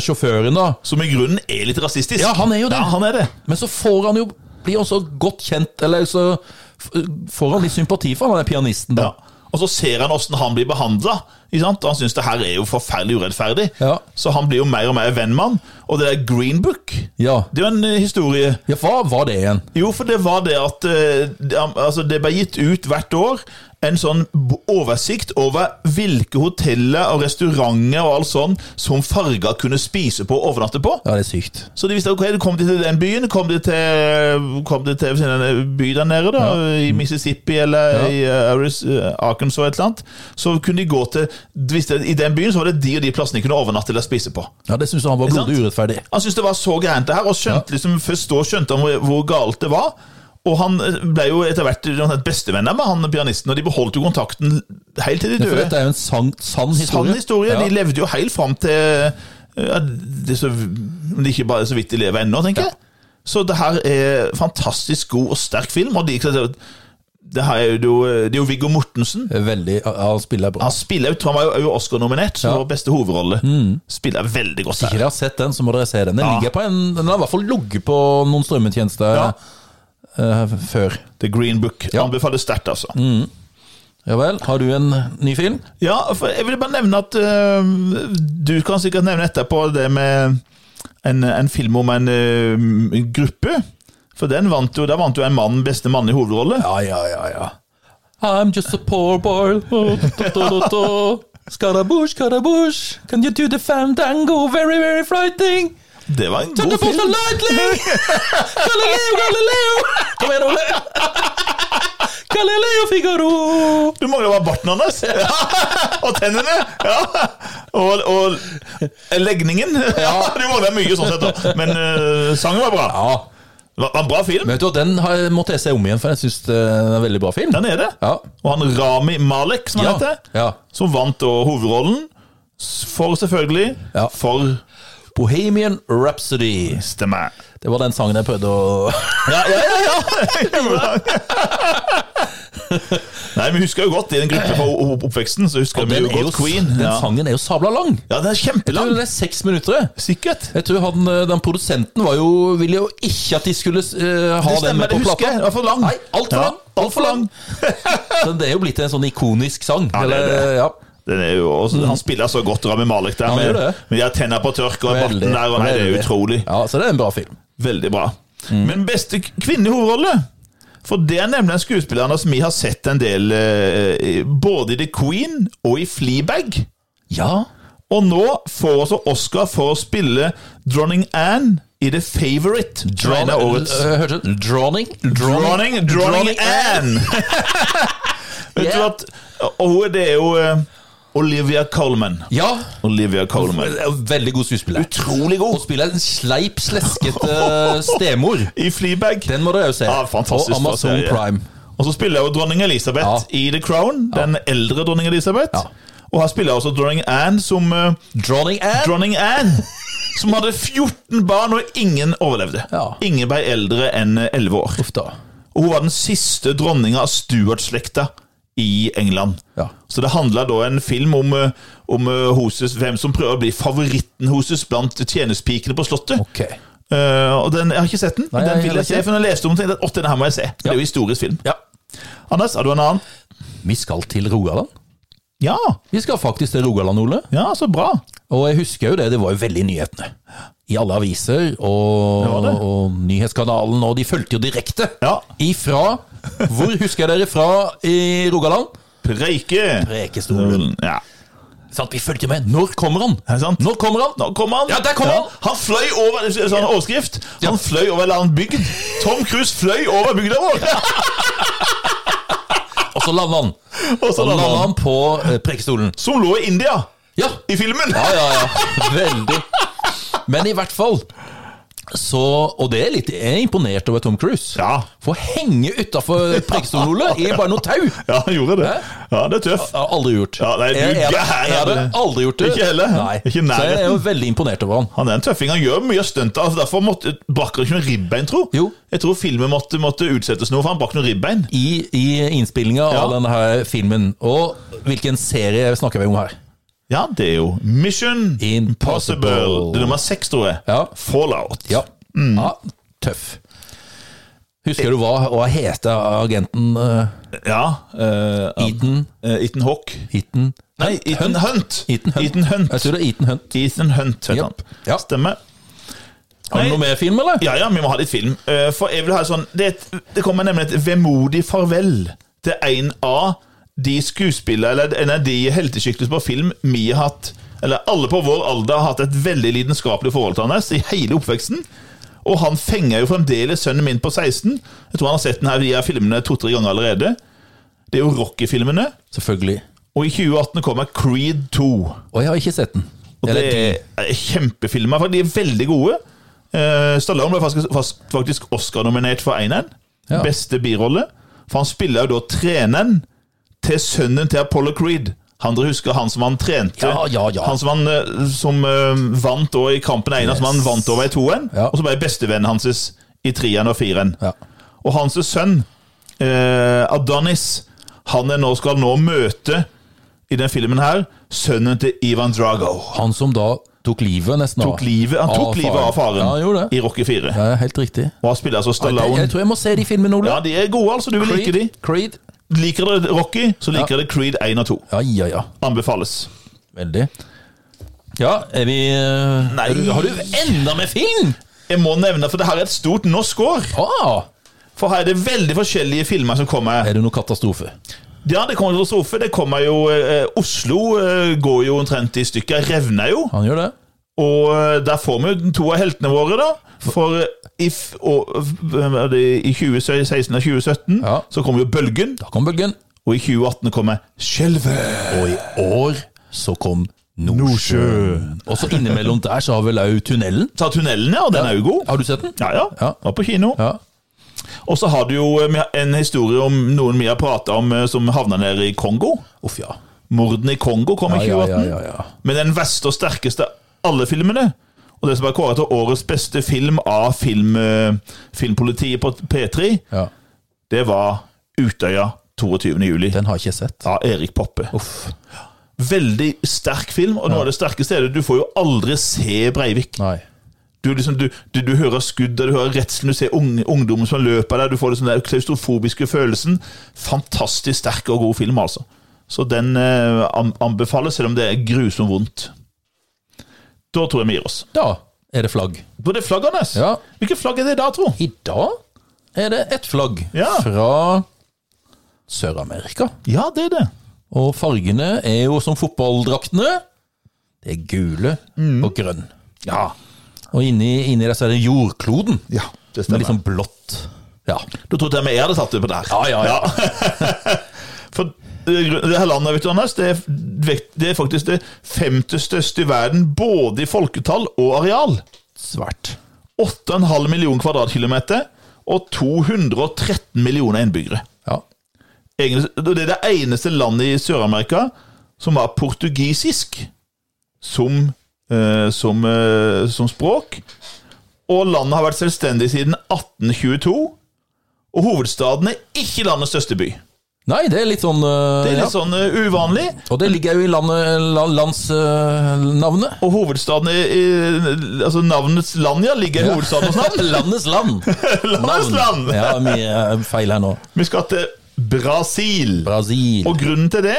Speaker 1: sjåføren da
Speaker 2: Som i grunnen er litt rasistisk.
Speaker 1: Ja, han er jo det.
Speaker 2: Ja, han er det.
Speaker 1: men så får han jo blir han så godt kjent, eller så f- får han litt sympati for han der pianisten, da.
Speaker 2: Ja. Og så ser han åssen han blir behandla. Han syns det her er jo forferdelig urettferdig.
Speaker 1: Ja.
Speaker 2: Så han blir jo mer og mer venn med han. Og det der Green Book,
Speaker 1: Ja.
Speaker 2: det er jo en eh, historie
Speaker 1: ja hva var det igjen?
Speaker 2: Jo, for det var det at eh, det, altså, det ble gitt ut hvert år en sånn b- oversikt over hvilke hoteller og restauranter og alt sånn som farger kunne spise på og overnatte på.
Speaker 1: Ja, det er sykt.
Speaker 2: Så de visste ok, du kom de til den byen, kom de til, kom de til en by der nede, da, i Mississippi eller
Speaker 1: Ja.
Speaker 2: i eh, Aris- eh, Arkansas et eller annet, så kunne de gå til de visste, I den byen så var det de og de plassene de kunne overnatte eller spise på.
Speaker 1: Ja, Det syns han var
Speaker 2: sant?
Speaker 1: blodig urettferdig.
Speaker 2: Han syntes det var så gærent, det her, og skjønte liksom, først da skjønte han hvor, hvor galt det var. Og han eh, ble jo etter hvert omtrent bestevenner med han pianisten, og de beholdt jo kontakten helt til de
Speaker 1: For
Speaker 2: døde.
Speaker 1: dette er jo en sann, sann historie.
Speaker 2: Sann historie.
Speaker 1: Ja.
Speaker 2: De levde jo helt fram til ja, det er så, Om de ikke bare så vidt de lever ennå, tenker jeg. Så det her er fantastisk god og sterk film. Og de, det, her er jo, eh, det er jo Viggo Mortensen.
Speaker 1: Veldig, ja, Han spiller bra.
Speaker 2: Han spiller jo, han var jo Oscar-nominert som
Speaker 1: Ja.
Speaker 2: vår beste hovedrolle. Spiller veldig godt
Speaker 1: Hvis ikke
Speaker 2: her.
Speaker 1: dere har sett den, så må dere se den. Den
Speaker 2: Ja.
Speaker 1: ligger på en, den har i hvert fall ligget på noen strømmetjenester
Speaker 2: Ja.
Speaker 1: eh, før.
Speaker 2: The Green Book.
Speaker 1: Ja.
Speaker 2: Anbefaler sterkt, altså.
Speaker 1: Ja vel. Har du en ny film?
Speaker 2: Ja, for jeg ville bare nevne at øh, Du kan sikkert nevne etterpå det med en, en film om en øh, en gruppe. For den vant jo, der vant jo en mann beste mann i hovedrolle.
Speaker 1: Ja, ja, ja. ja. I'm just a poor boy. Oh, da, da, da, da. Skarabush, Skarabush. Can you do the fandango? Very, very frightening.
Speaker 2: Det var en
Speaker 1: Turn the
Speaker 2: god
Speaker 1: boat
Speaker 2: film.
Speaker 1: lightly! Galileo, Galileo! Kom igjen, Ole. Galileo Figaro.
Speaker 2: Du mangler bare barten hans! Ja. Og tennene! Ja. Og, og legningen. Du mangler mye sånn sett, da. Men øh, sangen var bra.
Speaker 1: Ja,
Speaker 2: Det var var en bra film.
Speaker 1: men vet du hva, den har, måtte jeg se om igjen, for jeg syns det er en veldig bra film.
Speaker 2: Den er det.
Speaker 1: Ja.
Speaker 2: Og han Rami Malek, som han
Speaker 1: Ja.
Speaker 2: heter,
Speaker 1: ja.
Speaker 2: som vant da hovedrollen. For selvfølgelig
Speaker 1: Ja.
Speaker 2: For
Speaker 1: Bohemian Rhapsody.
Speaker 2: stemmer.
Speaker 1: Det var den sangen jeg prøvde å
Speaker 2: Ja, ja, ja, ja. Nei, vi husker jo godt i den gruppen fra oppveksten. Så husker vi
Speaker 1: Den,
Speaker 2: jo
Speaker 1: er jo,
Speaker 2: godt Queen.
Speaker 1: den
Speaker 2: Ja.
Speaker 1: sangen er jo sabla lang.
Speaker 2: ja, den er kjempelang.
Speaker 1: Det er seks minutter.
Speaker 2: Sikkert.
Speaker 1: Jeg tror han, eh, den produsenten var jo, ville jo ikke at de skulle eh, ha
Speaker 2: Det
Speaker 1: den
Speaker 2: stemmer,
Speaker 1: med
Speaker 2: det
Speaker 1: på
Speaker 2: husker
Speaker 1: plata.
Speaker 2: jeg. Det var for lang.
Speaker 1: Nei, altfor
Speaker 2: Ja,
Speaker 1: lang! Alt for lang. Så det er jo blitt en sånn ikonisk sang.
Speaker 2: Ja, det er
Speaker 1: eller, ja.
Speaker 2: Den er jo også, han spiller så godt Rami Malek der,
Speaker 1: Han
Speaker 2: med,
Speaker 1: gjør det.
Speaker 2: med de her tenna på tørk og barten der. Og nei, det er
Speaker 1: veldig.
Speaker 2: utrolig.
Speaker 1: Ja, Så det er en bra film.
Speaker 2: Veldig bra. Men beste k- kvinne i hovedrolle? For det er nemlig en skuespiller som vi har sett en del eh, i- både i The Queen og i Fleabag.
Speaker 1: Ja,
Speaker 2: Og nå får også Oscar for å spille Dronning Anne i The Favourite. Drawing, årets.
Speaker 1: Eh, Hørte du? Drawing?
Speaker 2: Drawing, Drawning Anne! Vet du
Speaker 1: Yeah.
Speaker 2: at Og hun det er jo eh, Olivia Colman.
Speaker 1: Ja.
Speaker 2: Olivia Colman.
Speaker 1: Veldig god skuespiller.
Speaker 2: Utrolig god.
Speaker 1: Hun spiller en sleip, sleskete stemor.
Speaker 2: I Fleabag.
Speaker 1: Den må dere jo se.
Speaker 2: Ja, fantastisk
Speaker 1: På Amazon
Speaker 2: serie.
Speaker 1: Prime.
Speaker 2: Og så spiller jo dronning Elisabeth
Speaker 1: Ja.
Speaker 2: i The Crown. Den eldre dronning Elisabeth.
Speaker 1: Ja.
Speaker 2: Og her spiller også dronning Anne som eh,
Speaker 1: Drawing Anne.
Speaker 2: Dronning Anne! Som hadde 14 barn, og ingen overlevde.
Speaker 1: Ja.
Speaker 2: Ingen ble eldre enn eh, 11 år.
Speaker 1: Uff da.
Speaker 2: Og hun var den siste dronninga av Stuart-slekta i England.
Speaker 1: Ja.
Speaker 2: Så det handla da en film om, eh, om eh, hoses, hvem som prøver å bli favoritten hoses blant tjenestepikene på Slottet.
Speaker 1: Ok.
Speaker 2: Eh, og den, Jeg har ikke sett den, men
Speaker 1: Nei,
Speaker 2: den
Speaker 1: jeg
Speaker 2: vil
Speaker 1: heller
Speaker 2: jeg se.
Speaker 1: ikke.
Speaker 2: For når jeg leste om den, tenkte jeg at «Åh, den her må jeg se. Det er jo historisk film.
Speaker 1: Ja.
Speaker 2: Anders, har du en annen?
Speaker 1: Vi skal til Rogaland.
Speaker 2: Ja,
Speaker 1: Vi skal faktisk til Rogaland, Ole.
Speaker 2: ja, så bra.
Speaker 1: Og jeg husker jo det, det var jo veldig i nyhetene. I alle aviser og,
Speaker 2: Det var det.
Speaker 1: og Nyhetskanalen, og de fulgte jo direkte.
Speaker 2: Ja.
Speaker 1: Ifra Hvor husker jeg dere fra i Rogaland?
Speaker 2: Preike. Mm,
Speaker 1: Prekestolen.
Speaker 2: Ja.
Speaker 1: Sånn at vi fulgte med. Når kommer han?
Speaker 2: Er det sant?
Speaker 1: Når kommer han?
Speaker 2: Nå kommer han.
Speaker 1: Ja, der kom han.
Speaker 2: Han fløy over det er sånn overskrift. Han
Speaker 1: Ja.
Speaker 2: fløy over en eller annen bygd. Tom Cruise fløy over bygda vår!
Speaker 1: Og så landa han.
Speaker 2: Og så
Speaker 1: Så
Speaker 2: landet
Speaker 1: landa
Speaker 2: han.
Speaker 1: han på eh, Prekestolen.
Speaker 2: Som lå i India,
Speaker 1: Ja.
Speaker 2: i filmen.
Speaker 1: Ja, ja, ja. Veldig. Men i hvert fall så, Og det er litt Jeg er imponert over Tom Cruise.
Speaker 2: Ja.
Speaker 1: For å henge utafor Preikestolen, Ole, i bare noe tau.
Speaker 2: Ja, han gjorde det. Ja, det er tøft.
Speaker 1: Jeg har aldri gjort.
Speaker 2: Ja, nei, du
Speaker 1: jeg, jeg, jeg,
Speaker 2: gæren.
Speaker 1: hadde aldri gjort det.
Speaker 2: Ikke heller.
Speaker 1: Nei. Så
Speaker 2: Ikke i
Speaker 1: jeg er jo
Speaker 2: nærheten.
Speaker 1: veldig imponert over han.
Speaker 2: Han er en tøffing. Han gjør mye stunt. altså, Derfor måtte, brakk han ikke noe ribbein, tro.
Speaker 1: Jo.
Speaker 2: Jeg tror filmen måtte, måtte utsettes noe, for han brakk noe ribbein.
Speaker 1: I, i innspillinga
Speaker 2: Ja.
Speaker 1: av denne her filmen. Og hvilken serie snakker vi om her?
Speaker 2: Ja, det er jo Mission
Speaker 1: Impossible.
Speaker 2: Impossible. Det er nummer seks, tror jeg.
Speaker 1: Ja.
Speaker 2: Fallout.
Speaker 1: Ja,
Speaker 2: Mm.
Speaker 1: ja tøff. Husker du hva, hva heter agenten eh,
Speaker 2: Ja, eh,
Speaker 1: Ethan
Speaker 2: eh, Ethan Hawk.
Speaker 1: Ethan
Speaker 2: Nei, Ethan Hunt.
Speaker 1: Ethan Hunt.
Speaker 2: Ethan Hunt.
Speaker 1: Jeg tror det er Ethan Hunt.
Speaker 2: Ethan Hunt heter han.
Speaker 1: Japp. Ja.
Speaker 2: Stemmer.
Speaker 1: Har du
Speaker 2: Nei.
Speaker 1: noe mer film, eller?
Speaker 2: Ja, ja, vi må ha litt film. Eh, For jeg vil ha sånn Det, er et- det kommer nemlig et vemodig farvel til en av de skuespillere, eller en av de helteskikkelser på film vi har hatt Eller alle på vår alder har hatt et veldig lidenskapelig forhold til hans i hele oppveksten. Og han fenger jo fremdeles sønnen min på 16. Jeg tror han har sett den her via filmene to-tre ganger allerede. Det er jo Rocky-filmene.
Speaker 1: Selvfølgelig.
Speaker 2: Og i 2018 kommer Creed 2.
Speaker 1: Og jeg har ikke sett den.
Speaker 2: Og det
Speaker 1: Eller de.
Speaker 2: er kjempefilmer. for De er veldig gode. Eh, Stallone ble faktisk, fast- faktisk Oscar-nominert for Einen.
Speaker 1: Ja.
Speaker 2: Beste birolle. For han spiller jo da treneren til sønnen til Apollo Creed. Han dere husker han som han trente?
Speaker 1: Ja, ja, ja.
Speaker 2: Han som, han, eh, som eh, vant da i kampen Einar, som han
Speaker 1: Yes.
Speaker 2: vant over i toen.
Speaker 1: Ja.
Speaker 2: Og så ble bestevennen hans i treeren og fireren.
Speaker 1: Ja.
Speaker 2: Og hans sønn, eh, Adonis, han er nå, skal nå møte i den filmen her sønnen til Ivan Drago
Speaker 1: Han som da tok livet nesten
Speaker 2: tok livet, han tok livet av faren
Speaker 1: Ja, han gjorde det.
Speaker 2: i Rocky 4.
Speaker 1: Ja, helt riktig.
Speaker 2: Og han spiller altså
Speaker 1: Jeg,
Speaker 2: Stallone.
Speaker 1: jeg tror jeg må se de filmene, Ole.
Speaker 2: Ja, de er gode, altså. Du vil like de.
Speaker 1: Creed.
Speaker 2: Liker dere Rocky, så liker dere Creed 1 og 2.
Speaker 1: Ja, ja, ja.
Speaker 2: Anbefales.
Speaker 1: Veldig. Ja, er vi eh,
Speaker 2: Nei.
Speaker 1: er du- Har du enda med film?!
Speaker 2: Jeg må nevne, for det her er et stort norsk år.
Speaker 1: Ah,
Speaker 2: For her er det veldig forskjellige filmer som kommer.
Speaker 1: er det noe katastrofe?
Speaker 2: Ja, det kommer katastrofe. Det kommer jo eh, Oslo eh, går jo omtrent i stykker. Revner jo.
Speaker 1: Han gjør det.
Speaker 2: Og eh, der får vi jo to av heltene våre, da. For eh, i, f- og, eh, det- i 2016 og 2017
Speaker 1: Ja.
Speaker 2: så kommer jo Bølgen.
Speaker 1: Da kom bølgen.
Speaker 2: Og i 2018 kommer Skjelvet.
Speaker 1: Og i år så kom Nordsjøen. Og så innimellom der så har vel òg tunnelen.
Speaker 2: Ta tunnelen, ja. Den er jo god.
Speaker 1: Har du sett den?
Speaker 2: Ja, ja.
Speaker 1: Ja.
Speaker 2: Var på kino.
Speaker 1: Ja.
Speaker 2: Og så har du jo eh, en historie om noen vi har prata om eh, som havna nede i Kongo.
Speaker 1: Uff, ja.
Speaker 2: Mordene i Kongo kom i
Speaker 1: Ja,
Speaker 2: 2018.
Speaker 1: ja, ja, ja, ja.
Speaker 2: Men den verste og sterkeste av alle filmene, og det som er kåret til årets beste film av film, eh, filmpolitiet på P3,
Speaker 1: ja.
Speaker 2: det var Utøya 22. juli
Speaker 1: Den har ikke jeg sett.
Speaker 2: av Erik Poppe.
Speaker 1: Uff.
Speaker 2: Veldig sterk film, og noe av det sterkeste er det du får jo aldri se Breivik.
Speaker 1: Nei.
Speaker 2: Du, liksom, du, du, du hører skuddet, du hører redselen, du ser unge, ungdommen som løper der. Du får liksom den klaustrofobiske følelsen. Fantastisk sterk og god film, altså. Så den eh, an- anbefales, selv om det er grusomt vondt. Da tror jeg vi gir oss.
Speaker 1: Da er det flagg.
Speaker 2: Da er det flagg, Anders.
Speaker 1: Ja.
Speaker 2: Hvilket flagg er det da, tro?
Speaker 1: I dag er det ett flagg
Speaker 2: Ja.
Speaker 1: fra Sør-Amerika.
Speaker 2: Ja, det er det.
Speaker 1: Og fargene er jo som fotballdraktene. Det er gule
Speaker 2: Mm.
Speaker 1: og grønn.
Speaker 2: Ja.
Speaker 1: Og inni, inni der så er det jordkloden.
Speaker 2: ja det
Speaker 1: Med
Speaker 2: stemmer.
Speaker 1: liksom blått. Ja.
Speaker 2: Da trodde jeg vi hadde tatt det på der.
Speaker 1: Ja, ja, ja.
Speaker 2: For eh, det det her landet, vet du, Anders, det er, vekt- det er faktisk det femte største i verden, både i folketall og areal.
Speaker 1: Svært.
Speaker 2: 8,5 millioner kvadratkilometer og 213 millioner innbyggere.
Speaker 1: Ja.
Speaker 2: Egentlig- Det er det eneste landet i Sør-Amerika som har portugisisk som, eh, som, eh, som språk. Og landet har vært selvstendig siden 1822. Og hovedstaden er ikke landets største by.
Speaker 1: Nei, det er litt sånn eh,
Speaker 2: Det er litt
Speaker 1: ja.
Speaker 2: sånn eh, uvanlig.
Speaker 1: Og det ligger jo i landet, la- eh, landsnavnet.
Speaker 2: Og hovedstaden i, i, altså navnets land, ja, ligger i hovedstadens navn.
Speaker 1: Landets land.
Speaker 2: Landets
Speaker 1: Navn.
Speaker 2: land!
Speaker 1: Ja, mye eh, feil her nå.
Speaker 2: Vi skal til Brasil.
Speaker 1: Brasil.
Speaker 2: Og grunnen til det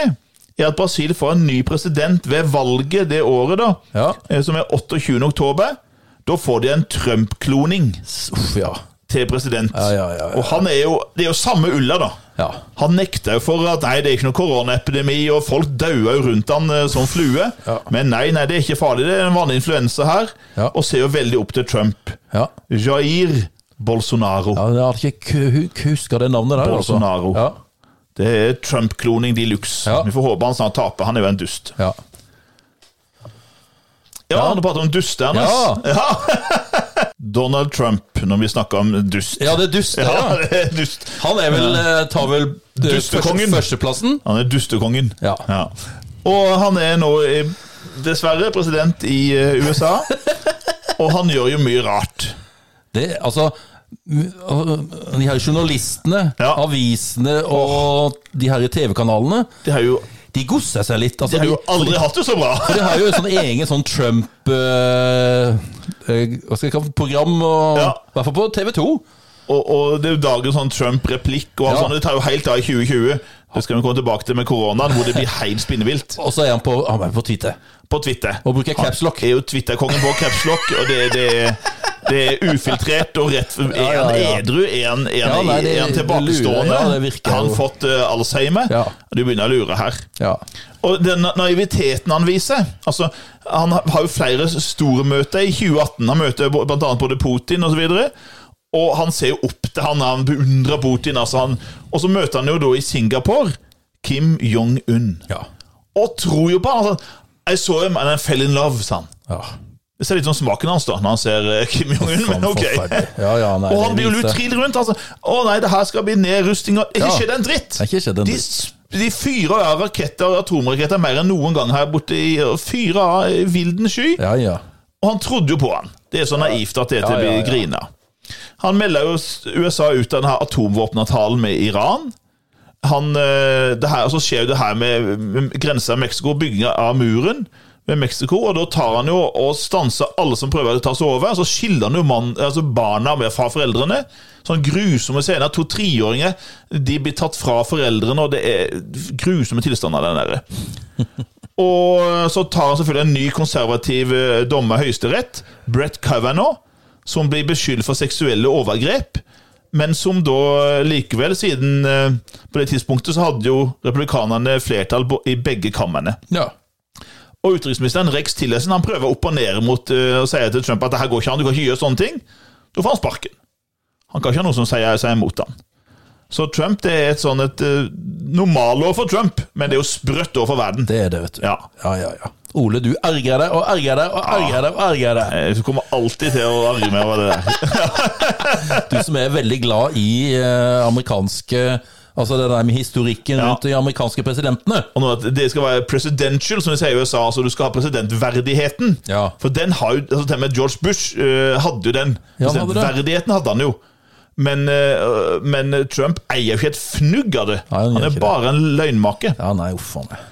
Speaker 2: er at Brasil får en ny president ved valget det året, da,
Speaker 1: Ja.
Speaker 2: eh, som er 28. oktober. Da får de en Trump-kloning
Speaker 1: Uff, ja.
Speaker 2: til president.
Speaker 1: Ja, ja, ja, ja.
Speaker 2: Og han er jo, det er jo samme ulla, da.
Speaker 1: Ja.
Speaker 2: Han nekta jo for at nei, det er ikke noe koronaepidemi, og folk daua jo rundt han eh, som flue.
Speaker 1: Ja.
Speaker 2: Men nei, nei, det er ikke farlig, det er en vanlig influensa her.
Speaker 1: Ja.
Speaker 2: Og ser jo veldig opp til Trump.
Speaker 1: ja.
Speaker 2: Jair Bolsonaro.
Speaker 1: Ja, Jeg hadde ikke ku- ku- huska det navnet der. altså.
Speaker 2: Bolsonaro.
Speaker 1: Ja.
Speaker 2: Det er Trump-kloning de luxe.
Speaker 1: Ja.
Speaker 2: Vi får håpe han snart taper, han er jo en dust.
Speaker 1: Ja.
Speaker 2: Ja, han prater om duster, Anders.
Speaker 1: Ja.
Speaker 2: Donald Trump, når vi snakker om dust.
Speaker 1: ja, det er dust. det,
Speaker 2: Ja,
Speaker 1: Ja.
Speaker 2: det er dust.
Speaker 1: Han er vel, eh, tar vel eh,
Speaker 2: Dustekongen.
Speaker 1: første- førsteplassen.
Speaker 2: Han er dustekongen.
Speaker 1: Ja.
Speaker 2: Og han er nå eh, dessverre president i eh, USA, og han gjør jo mye rart.
Speaker 1: Det, altså, m- de her journalistene,
Speaker 2: Ja.
Speaker 1: avisene og de her TV-kanalene,
Speaker 2: De har jo,
Speaker 1: de gosser seg litt. Altså,
Speaker 2: de har jo aldri hatt det så bra.
Speaker 1: for de har jo en sånn egen sånn Trump eh, eh, Hva skal jeg kalle det, program, og,
Speaker 2: Ja.
Speaker 1: i hvert fall på TV 2.
Speaker 2: Og, og det er jo dagen sånn Trump-replikk og alt
Speaker 1: Ja.
Speaker 2: sånt. Det tar jo helt av i 2020. Det skal vi komme tilbake til med koronaen, hvor det blir helt spinnevilt.
Speaker 1: Og så er han på, han er på Twitter.
Speaker 2: På Twitter.
Speaker 1: Og bruker caps lock.
Speaker 2: Han er jo Twitter-kongen på capslock, og det, det, det er ufiltrert og rett Er
Speaker 1: ja,
Speaker 2: han
Speaker 1: ja.
Speaker 2: edru? Er han, er han,
Speaker 1: Ja, nei, det-
Speaker 2: er han
Speaker 1: det lurer,
Speaker 2: tilbakestående?
Speaker 1: ja, det virker
Speaker 2: Har han
Speaker 1: jo.
Speaker 2: fått eh, Alzheimer?
Speaker 1: Ja.
Speaker 2: Du begynner å lure her.
Speaker 1: Ja.
Speaker 2: Og den na- naiviteten han viser altså, Han har har jo flere stormøter i 2018. Han møter bo- blant annet både Putin osv. Og, så videre, og han ser jo opp til han, han beundrer Putin. Altså han, og så møter han jo da i Singapore Kim Jong-un.
Speaker 1: Ja.
Speaker 2: Og tror jo på han. Altså, I saw him and I fell in love, sa han.
Speaker 1: ja.
Speaker 2: Det ser litt sånn smaken hans da, når han ser eh, Kim Jong-un, men ok.
Speaker 1: Forferdelig. Ja, ja, nei,
Speaker 2: Og han
Speaker 1: det
Speaker 2: blir jo
Speaker 1: viser-
Speaker 2: lutrill rundt. altså. Å nei, det her skal bli nedrusting og Ikke
Speaker 1: Ja.
Speaker 2: skjedd en dritt!
Speaker 1: Det er ikke skjedd en
Speaker 2: De,
Speaker 1: dritt.
Speaker 2: s- de fyrer av raketter og atomraketter mer enn noen gang her borte. i og Fyrer av eh, vilden sky.
Speaker 1: Ja, ja.
Speaker 2: Og han trodde jo på han. Det er så naivt at det er til å
Speaker 1: Ja,
Speaker 2: bli
Speaker 1: ja, ja.
Speaker 2: grina. Han melder jo s- USA ut av denne atomvåpenavtalen med Iran. Han, eh, det her, og så skjer jo det her med, med grensa i Mexico, bygging av muren ved Mexico. Og da tar han jo og stanser alle som prøver å ta seg over. Så skiller han jo mann, altså barna med fra foreldrene. Sånn grusomme scener. To treåringer de blir tatt fra foreldrene, og det er grusomme tilstander der nede. Og så tar han selvfølgelig en ny konservativ eh, dommer i Høyesterett, Brett Kavanaugh, som blir beskyldt for seksuelle overgrep. Men som da eh, likevel, siden eh, på det tidspunktet så hadde jo republikanerne flertall på- i begge kammerne.
Speaker 1: ja.
Speaker 2: Og utenriksministeren Rex Tillerson han prøver å opponere mot eh, og sier til Trump at det her går ikke an, du kan ikke gjøre sånne ting. Da får han sparken. Han kan ikke ha noen som sier seg imot han. Så Trump det er et sånn et eh, normalår for Trump, men det er jo sprøtt år for verden.
Speaker 1: Det er det, vet du.
Speaker 2: Ja.
Speaker 1: ja, ja. ja. Ole, du ergrer deg og ergrer deg og ergrer deg. og ergrer deg.
Speaker 2: Jeg Eh, kommer alltid til å arre meg over det der.
Speaker 1: Du som er veldig glad i eh, amerikanske Altså det der med historikken
Speaker 2: Ja.
Speaker 1: rundt de amerikanske presidentene.
Speaker 2: Og nå at Det skal være presidential, som de sier i USA. altså Du skal ha presidentverdigheten.
Speaker 1: Ja.
Speaker 2: For den har jo, altså til og med George Bush eh, hadde jo den.
Speaker 1: Ja, han hadde det.
Speaker 2: Presidentverdigheten hadde han jo. Men, eh, men Trump eier jo ikke et fnugg av det.
Speaker 1: Nei, han gjør
Speaker 2: han
Speaker 1: ikke
Speaker 2: er
Speaker 1: det.
Speaker 2: bare en løgnmake.
Speaker 1: Ja, nei, uff a meg.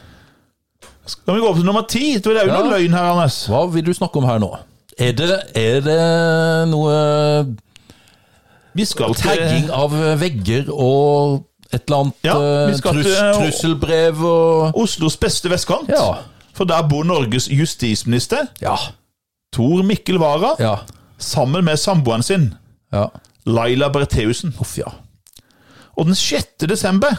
Speaker 2: Skal vi gå opp til nummer ti? Det er jo
Speaker 1: Ja.
Speaker 2: noe løgn her, Anders.
Speaker 1: Hva vil du snakke om her nå? Er det, er det noe
Speaker 2: Vi skal til
Speaker 1: tagging av vegger og et eller annet
Speaker 2: Ja, vi
Speaker 1: eh,
Speaker 2: skal
Speaker 1: trus,
Speaker 2: til-
Speaker 1: trusselbrev og
Speaker 2: Oslos beste vestkant.
Speaker 1: Ja.
Speaker 2: For der bor Norges justisminister,
Speaker 1: Ja.
Speaker 2: Tor Mikkel Wara,
Speaker 1: Ja.
Speaker 2: sammen med samboeren sin,
Speaker 1: ja.
Speaker 2: Laila Bertheussen.
Speaker 1: Uff, ja.
Speaker 2: Og den 6. desember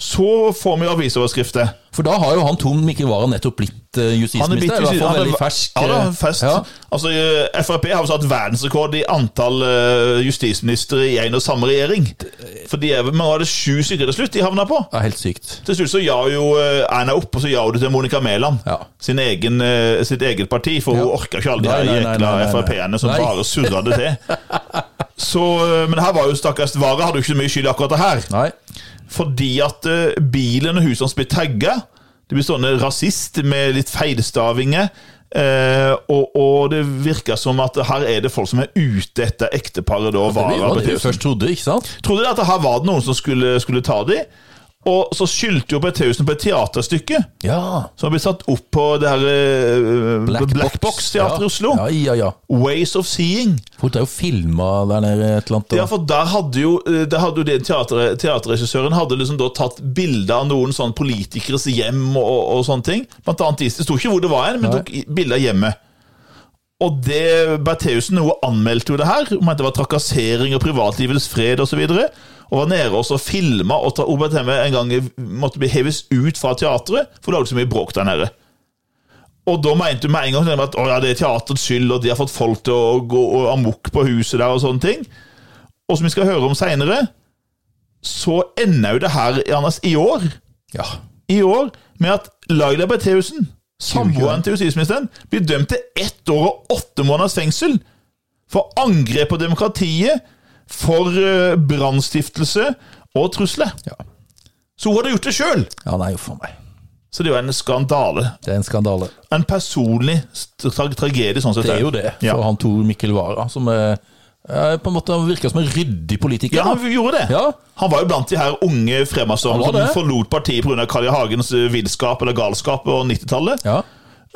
Speaker 2: så får vi avisoverskrifter.
Speaker 1: For da har jo han Tom Mikkel Wara nettopp blitt eh, justisminister. I hvert fall veldig fersk.
Speaker 2: Ja, da,
Speaker 1: eh,
Speaker 2: fersk.
Speaker 1: Ja.
Speaker 2: Altså, eh, Frp har jo satt verdensrekord i antall eh, justisministre i en og samme regjering. For de er vel, men var det sju stykker til slutt de havna på?
Speaker 1: Det er helt sykt.
Speaker 2: Til slutt så ja jo eh, Erna opp, og så ja det til Monica Mæland.
Speaker 1: Ja.
Speaker 2: Sin egen, eh, sitt eget parti, for hun orka ikke alle de
Speaker 1: Nei,
Speaker 2: her
Speaker 1: nei, nei,
Speaker 2: jækla
Speaker 1: nei, nei, nei.
Speaker 2: Frp-ene som
Speaker 1: Nei.
Speaker 2: bare surra det til. Så, eh, men her var jo stakkars Vara hadde jo ikke så mye skyld i akkurat det her.
Speaker 1: Nei.
Speaker 2: Fordi at eh, bilen og huset hans blir tagga. Det blir stående rasist med litt feilstavinger. eh, og, og det virker som at her er det folk som er ute etter ekteparet. da,
Speaker 1: Det
Speaker 2: Vara
Speaker 1: var det vi
Speaker 2: Bertheussen.
Speaker 1: først trodde, ikke sant?
Speaker 2: Trodde de at her var det noen som skulle, skulle ta dem. Og så skyldte jo Bertheussen på et teaterstykke
Speaker 1: Ja.
Speaker 2: som har blitt satt opp på det her eh, Black, Box Teater i Oslo.
Speaker 1: Ja, ja, ja.
Speaker 2: Ways of Seeing.
Speaker 1: For det er jo filma der nede et eller annet.
Speaker 2: Ja, for der hadde jo, eh, der hadde jo det teater, teaterregissøren hadde liksom da tatt bilde av noen sånn politikeres hjem og, og sånne ting. Blant annet de, det sto ikke hvor det var hen, men
Speaker 1: Nei.
Speaker 2: tok i- bilde av hjemmet. Og det Bertheussen hun anmeldte jo det her, om at det var trakassering og privatlivets fred osv. Og, så videre, og var nede også og filma, og ta- hun ble til og med en gang måtte bli heves ut fra teatret, for det var jo så mye bråk der nede. Og da mente hun med en gang at å, ja, det er teaterets skyld, og de har fått folk til å gå amok på huset der og sånne ting. Og som vi skal høre om seinere, så ender jo det her Anders, i år
Speaker 1: ja.
Speaker 2: i år med at Laila Bertheussen, samboeren til justisministeren, blir dømt til ett år og åtte måneders fengsel for angrep på demokratiet, for eh, brannstiftelse og trusler.
Speaker 1: Ja.
Speaker 2: Så hun hadde gjort det sjøl!
Speaker 1: ja, nei, uff a meg.
Speaker 2: Så det er jo en skandale.
Speaker 1: Det er en skandale.
Speaker 2: En personlig tra tragedie, sånn sett.
Speaker 1: Det er jo det,
Speaker 2: Ja.
Speaker 1: for han Tor Mikkel Wara, som er, er på en måte han virker som en ryddig politiker.
Speaker 2: Ja,
Speaker 1: da.
Speaker 2: han gjorde det.
Speaker 1: Ja.
Speaker 2: Han var jo blant de her unge fremadstormene
Speaker 1: Han var
Speaker 2: som
Speaker 1: det.
Speaker 2: forlot partiet pga. Carl I. Hagens eh, villskap eller galskap på 90-tallet.
Speaker 1: Ja.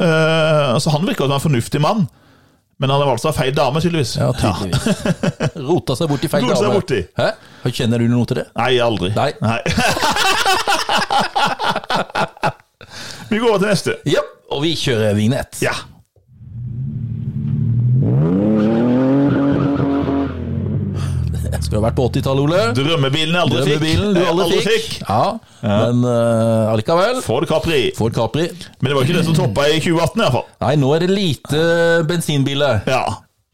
Speaker 2: Eh, altså, han virker som en fornuftig mann. Men han har valgt seg feil dame, tydeligvis.
Speaker 1: Ja, tydeligvis. Rota seg borti feil
Speaker 2: Rota seg borti.
Speaker 1: Hæ? Kjenner du noe til det?
Speaker 2: Nei, aldri.
Speaker 1: Nei.
Speaker 2: Vi går over til neste.
Speaker 1: Ja, og vi kjører vignett.
Speaker 2: Ja.
Speaker 1: Jeg Skulle ha vært på 80-tallet, Ole.
Speaker 2: Drømmebilen jeg aldri fikk.
Speaker 1: Drømmebilen du
Speaker 2: Jeg
Speaker 1: aldri fikk. Ja, Men eh, allikevel.
Speaker 2: Ford Capri.
Speaker 1: Ford Capri.
Speaker 2: Men det var ikke det som toppa i 2018, iallfall.
Speaker 1: Nei, nå er det lite bensinbiler.
Speaker 2: Ja.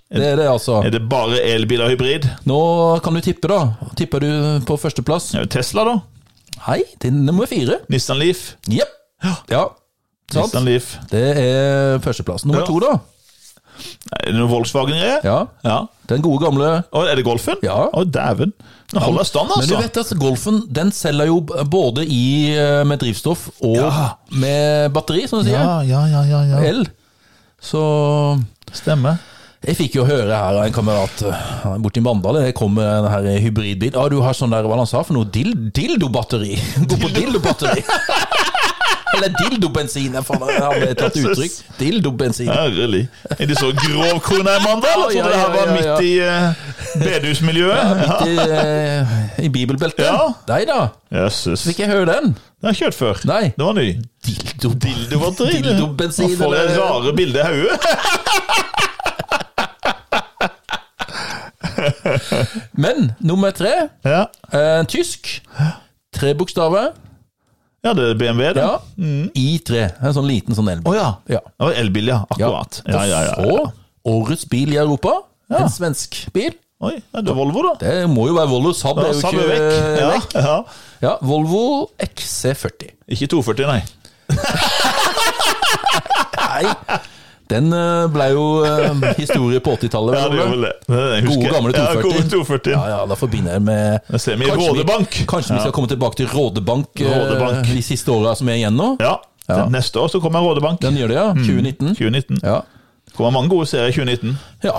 Speaker 1: Det er det, altså.
Speaker 2: Er det bare elbil og hybrid?
Speaker 1: Nå kan du tippe, da. Tipper du på førsteplass?
Speaker 2: Det er jo Tesla, da.
Speaker 1: Nei, det er nummer fire.
Speaker 2: Nissan Leaf.
Speaker 1: Jepp. Ja. Sant?
Speaker 2: Nissan Leaf.
Speaker 1: Det er førsteplass. Nummer
Speaker 2: Ja.
Speaker 1: to, da.
Speaker 2: Er det noe Volkswagen-greie?
Speaker 1: Ja.
Speaker 2: ja.
Speaker 1: Den gode gamle
Speaker 2: Og er det Golfen?
Speaker 1: Ja.
Speaker 2: Å, dæven. Den holder stand,
Speaker 1: Men du
Speaker 2: altså.
Speaker 1: vet at Golfen den selger jo både i, eh, med drivstoff og
Speaker 2: Ja.
Speaker 1: med batteri, som du sier.
Speaker 2: ja, ja, ja, ja.
Speaker 1: El. Så
Speaker 2: Stemmer.
Speaker 1: jeg fikk jo høre her av en kamerat eh, borti Mandal Jeg kom med den her hybridbil. Ja, du har sånn der, hva han sa for noe? Dil, dildobatteri. Gå på dildobatteri. Eller dildobensin. Jeg faen, jeg har tatt
Speaker 2: Jesus.
Speaker 1: uttrykk. Dildobensin.
Speaker 2: Herlig. Er de så grovkorna i Mandal? Jeg
Speaker 1: Ja,
Speaker 2: trodde det
Speaker 1: ja,
Speaker 2: her var
Speaker 1: ja, ja.
Speaker 2: midt i eh, bedehusmiljøet. Ja.
Speaker 1: I, eh, I bibelbeltet?
Speaker 2: Ja.
Speaker 1: Nei da,
Speaker 2: Jøsses.
Speaker 1: fikk jeg høre den.
Speaker 2: Den har jeg kjørt før.
Speaker 1: Nei.
Speaker 2: Det var ny.
Speaker 1: Dildo,
Speaker 2: Dildobatteri.
Speaker 1: Dildobensin,
Speaker 2: Nå får jeg
Speaker 1: eller-
Speaker 2: rare bilder i hodet.
Speaker 1: Men nummer tre,
Speaker 2: Ja.
Speaker 1: eh, tysk. Tre bokstaver.
Speaker 2: ja, det er BMW, det.
Speaker 1: Ja.
Speaker 2: Mm.
Speaker 1: I3. En sånn liten sånn elbil.
Speaker 2: Å ja.
Speaker 1: Ja.
Speaker 2: Det var elbil, ja.
Speaker 1: Ja.
Speaker 2: Akkurat. Ja, ja, ja.
Speaker 1: Og så årets bil i Europa. En svensk bil.
Speaker 2: Oi, er det Volvo, da?
Speaker 1: Det må jo være Volvo Saab.
Speaker 2: Ja,
Speaker 1: Det er jo
Speaker 2: Samme
Speaker 1: ikke
Speaker 2: vekk.
Speaker 1: eh,
Speaker 2: Ja,
Speaker 1: vekk.
Speaker 2: ja.
Speaker 1: Ja, Volvo XC40.
Speaker 2: Ikke 240, nei.
Speaker 1: Nei, den eh, ble jo eh, historie på 80-tallet.
Speaker 2: Ja,
Speaker 1: vel,
Speaker 2: det
Speaker 1: Ole?
Speaker 2: gjør vel det. det. er det jeg
Speaker 1: Gode
Speaker 2: husker.
Speaker 1: gamle
Speaker 2: Ja,
Speaker 1: 240.
Speaker 2: gode 240.
Speaker 1: Ja, ja, da forbinder jeg med
Speaker 2: Jeg ser meg i Rådebank.
Speaker 1: Vi, kanskje vi skal komme tilbake til Rådebank, eh,
Speaker 2: Rådebank.
Speaker 1: de siste åra som er igjen nå?
Speaker 2: Ja.
Speaker 1: Ja.
Speaker 2: Til Neste år så kommer Rådebank.
Speaker 1: Den gjør det, ja.
Speaker 2: Mm.
Speaker 1: 2019.
Speaker 2: 2019.
Speaker 1: Ja.
Speaker 2: Kommer mange gode serier i 2019.
Speaker 1: ja.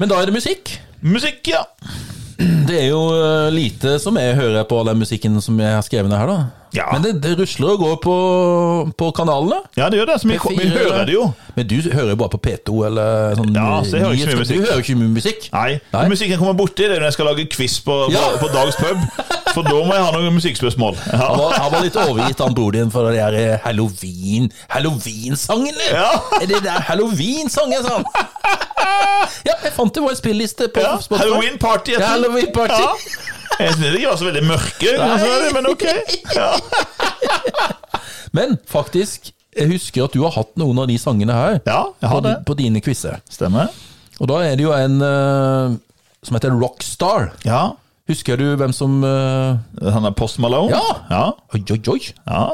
Speaker 1: Men da er det musikk.
Speaker 2: Musikk, ja!
Speaker 1: Det er jo eh, lite som jeg hører på den musikken som jeg har skrevet ned her, da.
Speaker 2: Ja.
Speaker 1: Men det, det rusler og går på, på kanalene.
Speaker 2: Ja, det gjør det. Så vi,
Speaker 1: P4,
Speaker 2: vi hører det jo.
Speaker 1: Men du hører jo bare på P2 eller sånn
Speaker 2: Ja, så jeg hører ikke så mye
Speaker 1: nyhets-
Speaker 2: musikk.
Speaker 1: Du hører ikke mye musikk?
Speaker 2: Nei.
Speaker 1: Nei.
Speaker 2: Musikken kommer borti det er når jeg skal lage quiz på, på,
Speaker 1: Ja.
Speaker 2: på Dags pub. For da må jeg ha noen musikkspørsmål. Ja.
Speaker 1: Han var, han var litt overgitt, han broren din, for den der eh, halloween Halloween-sangen, eller?
Speaker 2: Ja.
Speaker 1: Er det der halloween-sangen, sa han? Ja, jeg fant det var en spilliste på
Speaker 2: Ja.
Speaker 1: Spotify.
Speaker 2: Halloween party.
Speaker 1: Ja, Halloween party.
Speaker 2: Jeg synes ikke de var så veldig mørke,
Speaker 1: Nei.
Speaker 2: men ok. Ja.
Speaker 1: Men faktisk, jeg husker at du har hatt noen av de sangene her
Speaker 2: ja, jeg
Speaker 1: på,
Speaker 2: har det.
Speaker 1: di- på dine quizer.
Speaker 2: Stemmer.
Speaker 1: Og da er det jo en eh, som heter Rockstar.
Speaker 2: Ja.
Speaker 1: Husker du hvem som eh,
Speaker 2: Han er Post Malone.
Speaker 1: Ja.
Speaker 2: Ja.
Speaker 1: Oi, oi, oi.
Speaker 2: Ja.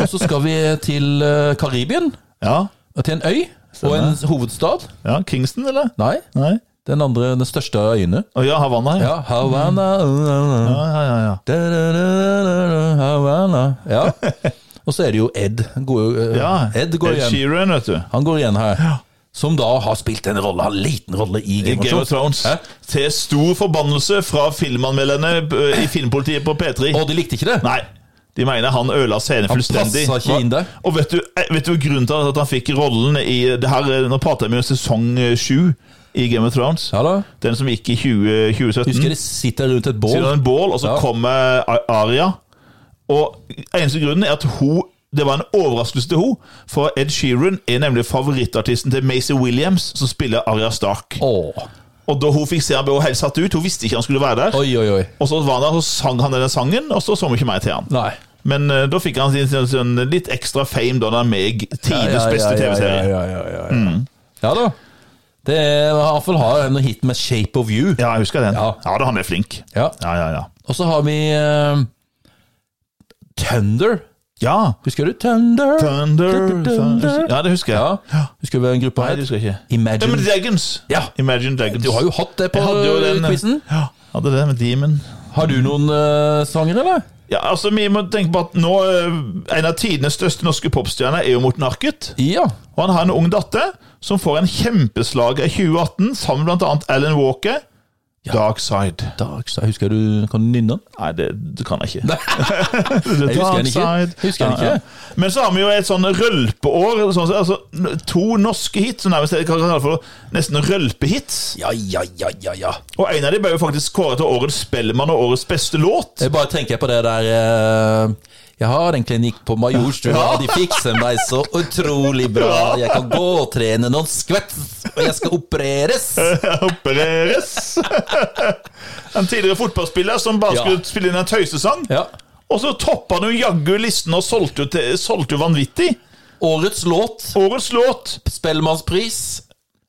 Speaker 1: Og så skal vi til eh, Karibien,
Speaker 2: ja.
Speaker 1: og til en øy og en hovedstad.
Speaker 2: ja. Kingston, eller?
Speaker 1: Nei,
Speaker 2: Nei.
Speaker 1: den andre, den største av øyene.
Speaker 2: Å ja, Havanna. Ja.
Speaker 1: Ja, Havana
Speaker 2: Ja, ja, ja, ja.
Speaker 1: da, da, da, da, da, Havana Ja. Og så er det jo Ed. Går, jo, eh,
Speaker 2: ja.
Speaker 1: Ed går igjen.
Speaker 2: Sheeran, vet du.
Speaker 1: Han går igjen her. Som da har spilt en rolle, en liten rolle i
Speaker 2: I
Speaker 1: Game of Thrones. Hæ?
Speaker 2: Til stor forbannelse fra filmanmelderne eh, i Filmpolitiet på P3.
Speaker 1: Og de likte ikke det?
Speaker 2: Nei. De mener han ødela scenen fullstendig.
Speaker 1: passet ikke inn der.
Speaker 2: Og vet du, eh, vet du grunnen til at han fikk rollen i det her, eh, Nå prater jeg om sesong eh, sju i Game of Thrones.
Speaker 1: Ja da.
Speaker 2: Den som gikk i 20,
Speaker 1: Husker
Speaker 2: 2017.
Speaker 1: de sitter rundt et bål.
Speaker 2: Siden en bål, og så
Speaker 1: Ja.
Speaker 2: kommer A- Aria. Og eneste grunnen er at hun det var en overraskelse til hun, for Ed Sheeran er nemlig favorittartisten til Maisie Williams, som spiller Aria Stark.
Speaker 1: Åh.
Speaker 2: Og da hun fikk se han ble hun helt satt ut, hun visste ikke han skulle være der.
Speaker 1: Oi, oi, oi.
Speaker 2: Og så var han der, så sang han denne sangen, og så så vi ikke mer til han.
Speaker 1: Nei.
Speaker 2: Men eh, da fikk han sin, sin, sin litt ekstra fame da han er med i tidenes beste TV-serie.
Speaker 1: Ja, ja, ja, ja, ja. ja da. Det er, i hvert fall har en hit med 'Shape of You'.
Speaker 2: Ja, jeg husker den.
Speaker 1: Ja.
Speaker 2: Ja, da han er flink.
Speaker 1: Ja.
Speaker 2: Ja, ja, ja.
Speaker 1: Og så har vi eh, Thunder.
Speaker 2: Ja,
Speaker 1: Husker du Thunder?
Speaker 2: Thunder
Speaker 1: Thunder.
Speaker 2: Ja, det husker jeg.
Speaker 1: Ja. Husker du hva en gruppe
Speaker 2: Nei,
Speaker 1: her?
Speaker 2: det husker jeg ikke. Ja,
Speaker 1: Imagine
Speaker 2: men Dragons.
Speaker 1: Ja.
Speaker 2: Imagine Dragons.
Speaker 1: Du har jo hatt det på
Speaker 2: Jeg hadde jo den, eh,
Speaker 1: quizen.
Speaker 2: Ja, hadde det med Demon.
Speaker 1: Har du noen eh, sanger, eller?
Speaker 2: Ja, altså, vi må tenke på at nå eh, En av tidenes største norske popstjerner er jo Morten Arket.
Speaker 1: Ja.
Speaker 2: Og han har en ung datter som får en kjempeslag i 2018, sammen med blant annet Alan Walker Dark Side.
Speaker 1: Dag, så jeg husker du Kan du nynne den?
Speaker 2: Nei, det, det kan jeg ikke. The
Speaker 1: Jeg husker den ikke.
Speaker 2: Dark Side.
Speaker 1: Jeg husker den ikke.
Speaker 2: Men så har vi jo et sånn rølpeår. Sånn, altså, to norske hits, som nærmest er hva kan jeg kalle for, nesten rølpehits.
Speaker 1: Ja, ja, ja, ja, ja.
Speaker 2: Og en av dem ble jo faktisk kåret til årets Spellemann og årets beste låt.
Speaker 1: Jeg bare tenker på det der eh, Jeg har en klinikk på Majorstua, og de fikser meg så utrolig bra. Jeg kan gå og trene noen skvett, og jeg skal opereres.
Speaker 2: Opereres! en tidligere fotballspiller som bare
Speaker 1: Ja.
Speaker 2: skulle spille inn en tøysesang.
Speaker 1: Ja.
Speaker 2: Og så toppa han jo jaggu listen og solgte jo, til, solgte jo vanvittig.
Speaker 1: Årets låt,
Speaker 2: Årets låt.
Speaker 1: Spellemannspris.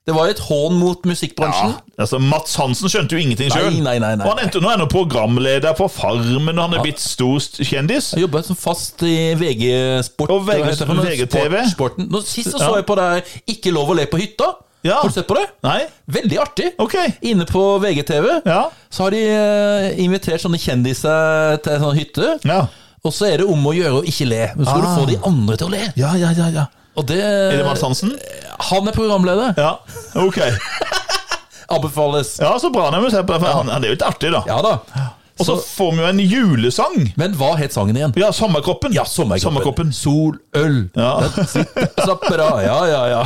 Speaker 1: Det var jo et hån mot
Speaker 2: Ja,
Speaker 1: musikkbransjen.
Speaker 2: altså Mats Hansen skjønte jo ingenting
Speaker 1: Nei,
Speaker 2: sjøl.
Speaker 1: nei, nei, nei.
Speaker 2: Og han endte nå ennå programleder for Farmen, og han er blitt stor kjendis.
Speaker 1: Jeg jobba som fast i VG-sport.
Speaker 2: Og VG
Speaker 1: hva heter det for noe?
Speaker 2: VGTV.
Speaker 1: Sport- Sporten. Nå, sist så, så
Speaker 2: Ja.
Speaker 1: jeg på det her 'Ikke lov å le på hytta'.
Speaker 2: Ja.
Speaker 1: Har du sett på det?
Speaker 2: Nei?
Speaker 1: Veldig artig.
Speaker 2: Ok.
Speaker 1: Inne på VGTV
Speaker 2: Ja.
Speaker 1: så har de eh, invitert sånne kjendiser til en sånn hytte.
Speaker 2: Ja.
Speaker 1: Og så er det om å gjøre å ikke le. Men så skal
Speaker 2: Ah.
Speaker 1: du få de andre til å le.
Speaker 2: Ja, ja, ja, ja.
Speaker 1: Og det,
Speaker 2: Er det Mats
Speaker 1: Eh,
Speaker 2: Hansen?
Speaker 1: Han er programleder.
Speaker 2: Ja. Ok.
Speaker 1: Anbefales.
Speaker 2: Ja, så bra. Når vi ser på det, for han, han er jo litt artig, da.
Speaker 1: Ja da.
Speaker 2: Og så
Speaker 1: Så-
Speaker 2: får vi jo en julesang.
Speaker 1: Men hva het sangen igjen?
Speaker 2: Ja, Sommerkroppen.
Speaker 1: Ja, sommerkroppen.
Speaker 2: Sommerkroppen.
Speaker 1: Sol, øl.
Speaker 2: Ja.
Speaker 1: Den sitter- Slapper av. Ja, ja, ja.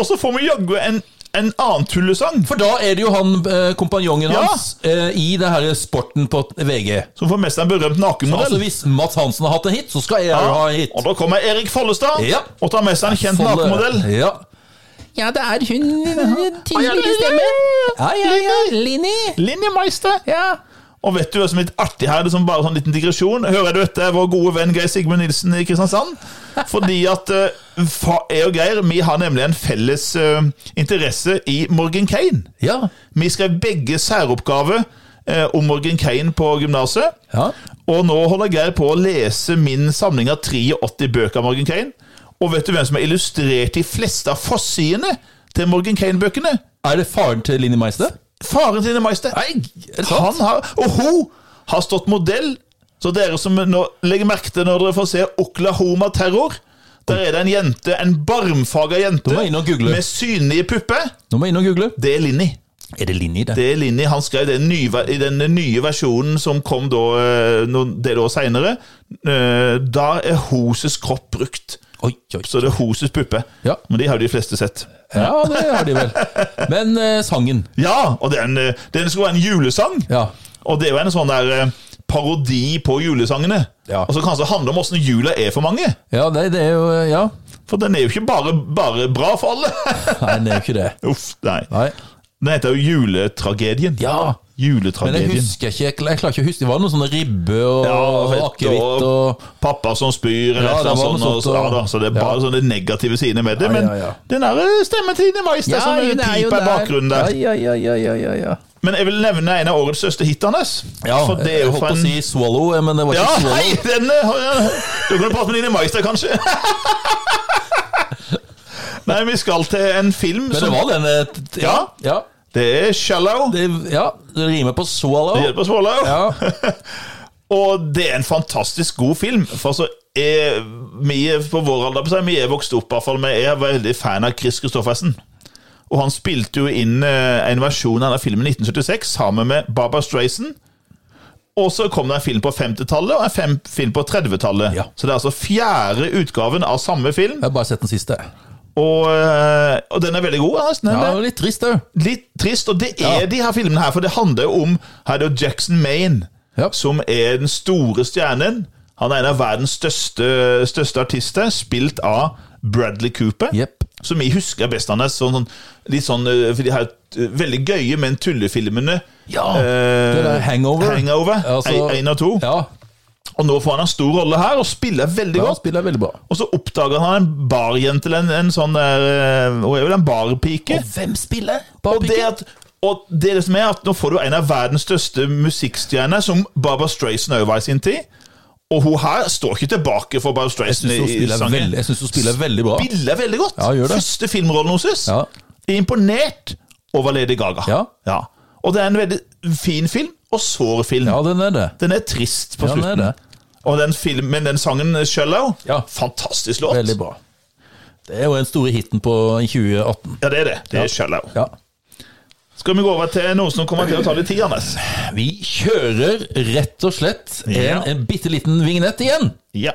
Speaker 2: Og så får vi jaggu en, en annen tullesang
Speaker 1: For da er det jo han eh, kompanjongen
Speaker 2: Ja.
Speaker 1: hans eh, i det her sporten på VG.
Speaker 2: som får mest en berømt
Speaker 1: Altså
Speaker 2: nakenmodell.
Speaker 1: Hvis Mats Hansen har hatt en hit, så skal jeg jo ha en hit.
Speaker 2: Og da kommer Erik Follestad
Speaker 1: Ja.
Speaker 2: og tar med seg en kjent
Speaker 1: Sånn,
Speaker 2: nakenmodell.
Speaker 1: Ja. ja, det er hun tidligere stemmen. Ja, ja, ja. Linni.
Speaker 2: Linni Meister.
Speaker 1: Ja.
Speaker 2: Og vet du hva som er litt artig her? Det er som bare sånn liten digresjon. Hører du dette, vår gode venn Geir Sigmund Nilsen i Kristiansand? Fordi at eh, fa- jeg og Geir vi har nemlig en felles eh, interesse i Morgan Kane.
Speaker 1: Ja.
Speaker 2: Vi skrev begge særoppgave eh, om Morgan Kane på gymnaset.
Speaker 1: ja.
Speaker 2: Og nå holder Geir på å lese min samling av 83 bøker av Morgan Kane. Og vet du hvem som har illustrert de fleste av forsidene til Morgan Kane-bøkene?
Speaker 1: Er det faren til Linni Meister?
Speaker 2: Faren til Ine Meister.
Speaker 1: Nei, er det sant?
Speaker 2: Han har, og hun har stått modell. Så dere som nå legger merke til når dere får se Oklahoma Terror Der er det en jente, en barmfaga jente
Speaker 1: må jeg inn og google.
Speaker 2: med synlige pupper.
Speaker 1: Nå må jeg inn og google.
Speaker 2: Det er Linni.
Speaker 1: Er det Linni der?
Speaker 2: Det er Linni. Han skrev den nye, i den nye versjonen som kom da, eh, noen del år seinere. Eh, Da er Hoses kropp brukt.
Speaker 1: Oi, oi.
Speaker 2: Så det er Hoses puppe.
Speaker 1: Ja.
Speaker 2: Men de har jo de fleste sett.
Speaker 1: Ja, det har de vel. Men eh, sangen.
Speaker 2: Ja, og det er en, eh, den skulle være en julesang.
Speaker 1: Ja.
Speaker 2: Og det er jo en sånn der eh, parodi på julesangene.
Speaker 1: Ja.
Speaker 2: Og så kanskje det handler om åssen jula er for mange.
Speaker 1: Ja, det, det er jo Ja.
Speaker 2: For den er jo ikke bare, bare bra for alle.
Speaker 1: Nei, det er jo ikke det.
Speaker 2: Uff, nei.
Speaker 1: Nei.
Speaker 2: Den heter jo Juletragedien.
Speaker 1: Ja. Men jeg
Speaker 2: Juletragedien.
Speaker 1: husker ikke Jeg, jeg klarer ikke å huske. Det var noen sånne ribbe og,
Speaker 2: Ja,
Speaker 1: og
Speaker 2: fett,
Speaker 1: akevitt og
Speaker 2: Pappa som spyr, eller
Speaker 1: Ja,
Speaker 2: et eller
Speaker 1: det var
Speaker 2: annet sånt.
Speaker 1: noe
Speaker 2: Og,
Speaker 1: sånt,
Speaker 2: så- ja,
Speaker 1: og-
Speaker 2: da, så det er bare sånne negative sider med det.
Speaker 1: Ja,
Speaker 2: Men
Speaker 1: ja, ja.
Speaker 2: den der eh, stemmen til Ine Meister som eh, piper i bakgrunnen der.
Speaker 1: Ja, ja, ja, ja, ja, ja.
Speaker 2: Men jeg vil nevne en av årets største hit hans.
Speaker 1: Ja,
Speaker 2: for det er
Speaker 1: jeg
Speaker 2: jo
Speaker 1: holdt
Speaker 2: fra
Speaker 1: på å
Speaker 2: en
Speaker 1: si Swallow, eh, men det var
Speaker 2: Ja,
Speaker 1: ikke Swallow.
Speaker 2: hei! Den, eh, har jeg- du kan jo prate med Line Meister, kanskje. Nei, vi skal til en film
Speaker 1: Men det
Speaker 2: som
Speaker 1: var den eh, t- t-
Speaker 2: Ja.
Speaker 1: ja.
Speaker 2: Det er 'Shallow'.
Speaker 1: Det, ja, det rimer på Swallow.
Speaker 2: Det hjelper Swallow.
Speaker 1: Ja.
Speaker 2: Og det er en fantastisk god film. For altså, er, vi er på vår alder på seg, vi er vokst opp i hvert fall, men jeg er veldig fan av Chris Christoffersen. Og han spilte jo inn eh, en versjon av denne filmen i 1976 sammen med Barbara Strayson. Og så kom det en film på 50-tallet og en fem, film på 30-tallet.
Speaker 1: Ja.
Speaker 2: Så det er altså fjerde utgaven av samme film.
Speaker 1: Jeg har bare sett den siste.
Speaker 2: Og, eh, og den er veldig god. altså. Den
Speaker 1: Ja, det
Speaker 2: er
Speaker 1: var litt trist òg.
Speaker 2: Litt trist, og det er
Speaker 1: Ja.
Speaker 2: de her filmene her, for det handler jo om Her er det jo Jackson Maine,
Speaker 1: Ja.
Speaker 2: som er den store stjernen. Han er en av verdens største, største artister, spilt av Bradley Cooper.
Speaker 1: Jepp.
Speaker 2: Som jeg husker best han er sånn, sånn, litt sånn eh, For de her eh, veldig gøye, men tullefilmene.
Speaker 1: Ja,
Speaker 2: Eh,
Speaker 1: det der Hangover.
Speaker 2: Hangover,
Speaker 1: Altså-
Speaker 2: en- en og to.
Speaker 1: Ja,
Speaker 2: Og nå får han en stor rolle her, og spiller veldig
Speaker 1: ja,
Speaker 2: godt.
Speaker 1: han spiller veldig bra.
Speaker 2: Og så oppdager han en barjente eller en, en sånn der eh, Hun er vel en barpike.
Speaker 1: Og hvem spiller?
Speaker 2: Og det, at, og det er det som er at nå får du en av verdens største musikkstjerner, som Barbara Strayson også var i sin tid. Og hun her står ikke tilbake for Barbara Strayson i
Speaker 1: Hun
Speaker 2: i
Speaker 1: spiller
Speaker 2: sangen.
Speaker 1: veldig, jeg syns hun spiller veldig bra.
Speaker 2: Spiller veldig godt.
Speaker 1: Ja, gjør det.
Speaker 2: Første filmrollen hennes.
Speaker 1: Ja.
Speaker 2: Er imponert over Lady Gaga.
Speaker 1: Ja.
Speaker 2: Og det er en veldig fin film, og sår film.
Speaker 1: Ja, den er det.
Speaker 2: Den er trist på
Speaker 1: Ja, den er
Speaker 2: slutten.
Speaker 1: det.
Speaker 2: Og den, film, men den sangen, 'Shallow',
Speaker 1: Ja.
Speaker 2: fantastisk låt.
Speaker 1: Veldig bra. Det er jo den store hiten på i 2018.
Speaker 2: Ja, det er det. Det er 'Shallow'.
Speaker 1: Ja.
Speaker 2: Skal vi gå over til noe som kommer til å ta litt tid, Anders?
Speaker 1: Vi kjører rett og slett en,
Speaker 2: Ja.
Speaker 1: en bitte liten vignett igjen.
Speaker 2: Ja.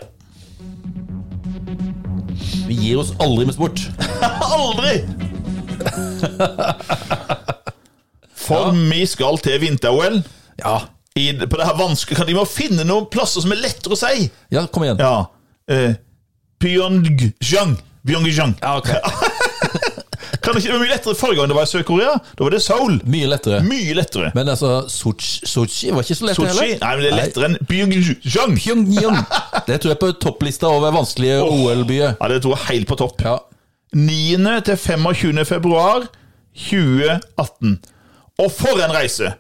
Speaker 1: Vi gir oss aldri med sport.
Speaker 2: Aldri! For vi skal til vinter-OL.
Speaker 1: Ja,
Speaker 2: I, på det her vanskelig, kan de må finne noen plasser som er lettere å si?
Speaker 1: ja kom igjen.
Speaker 2: Ja. Eh, Pyeongchang. Pyeongchang.
Speaker 1: Ja, ok.
Speaker 2: Kan det ikke, det var mye lettere forrige gang det var i Sør-Korea. Da var det Seoul.
Speaker 1: Mye lettere.
Speaker 2: Mye lettere.
Speaker 1: Men altså, Sotsji Sotsji var ikke så lett
Speaker 2: Sotsji?
Speaker 1: heller.
Speaker 2: Nei, men det er lettere enn Pyeongchang.
Speaker 1: Pyongyang. Det tror jeg er på topplista over vanskelige OL-byer.
Speaker 2: Ja, det tror jeg er helt på topp.
Speaker 1: Ja.
Speaker 2: 9. til 25. februar 2018. Og for en reise!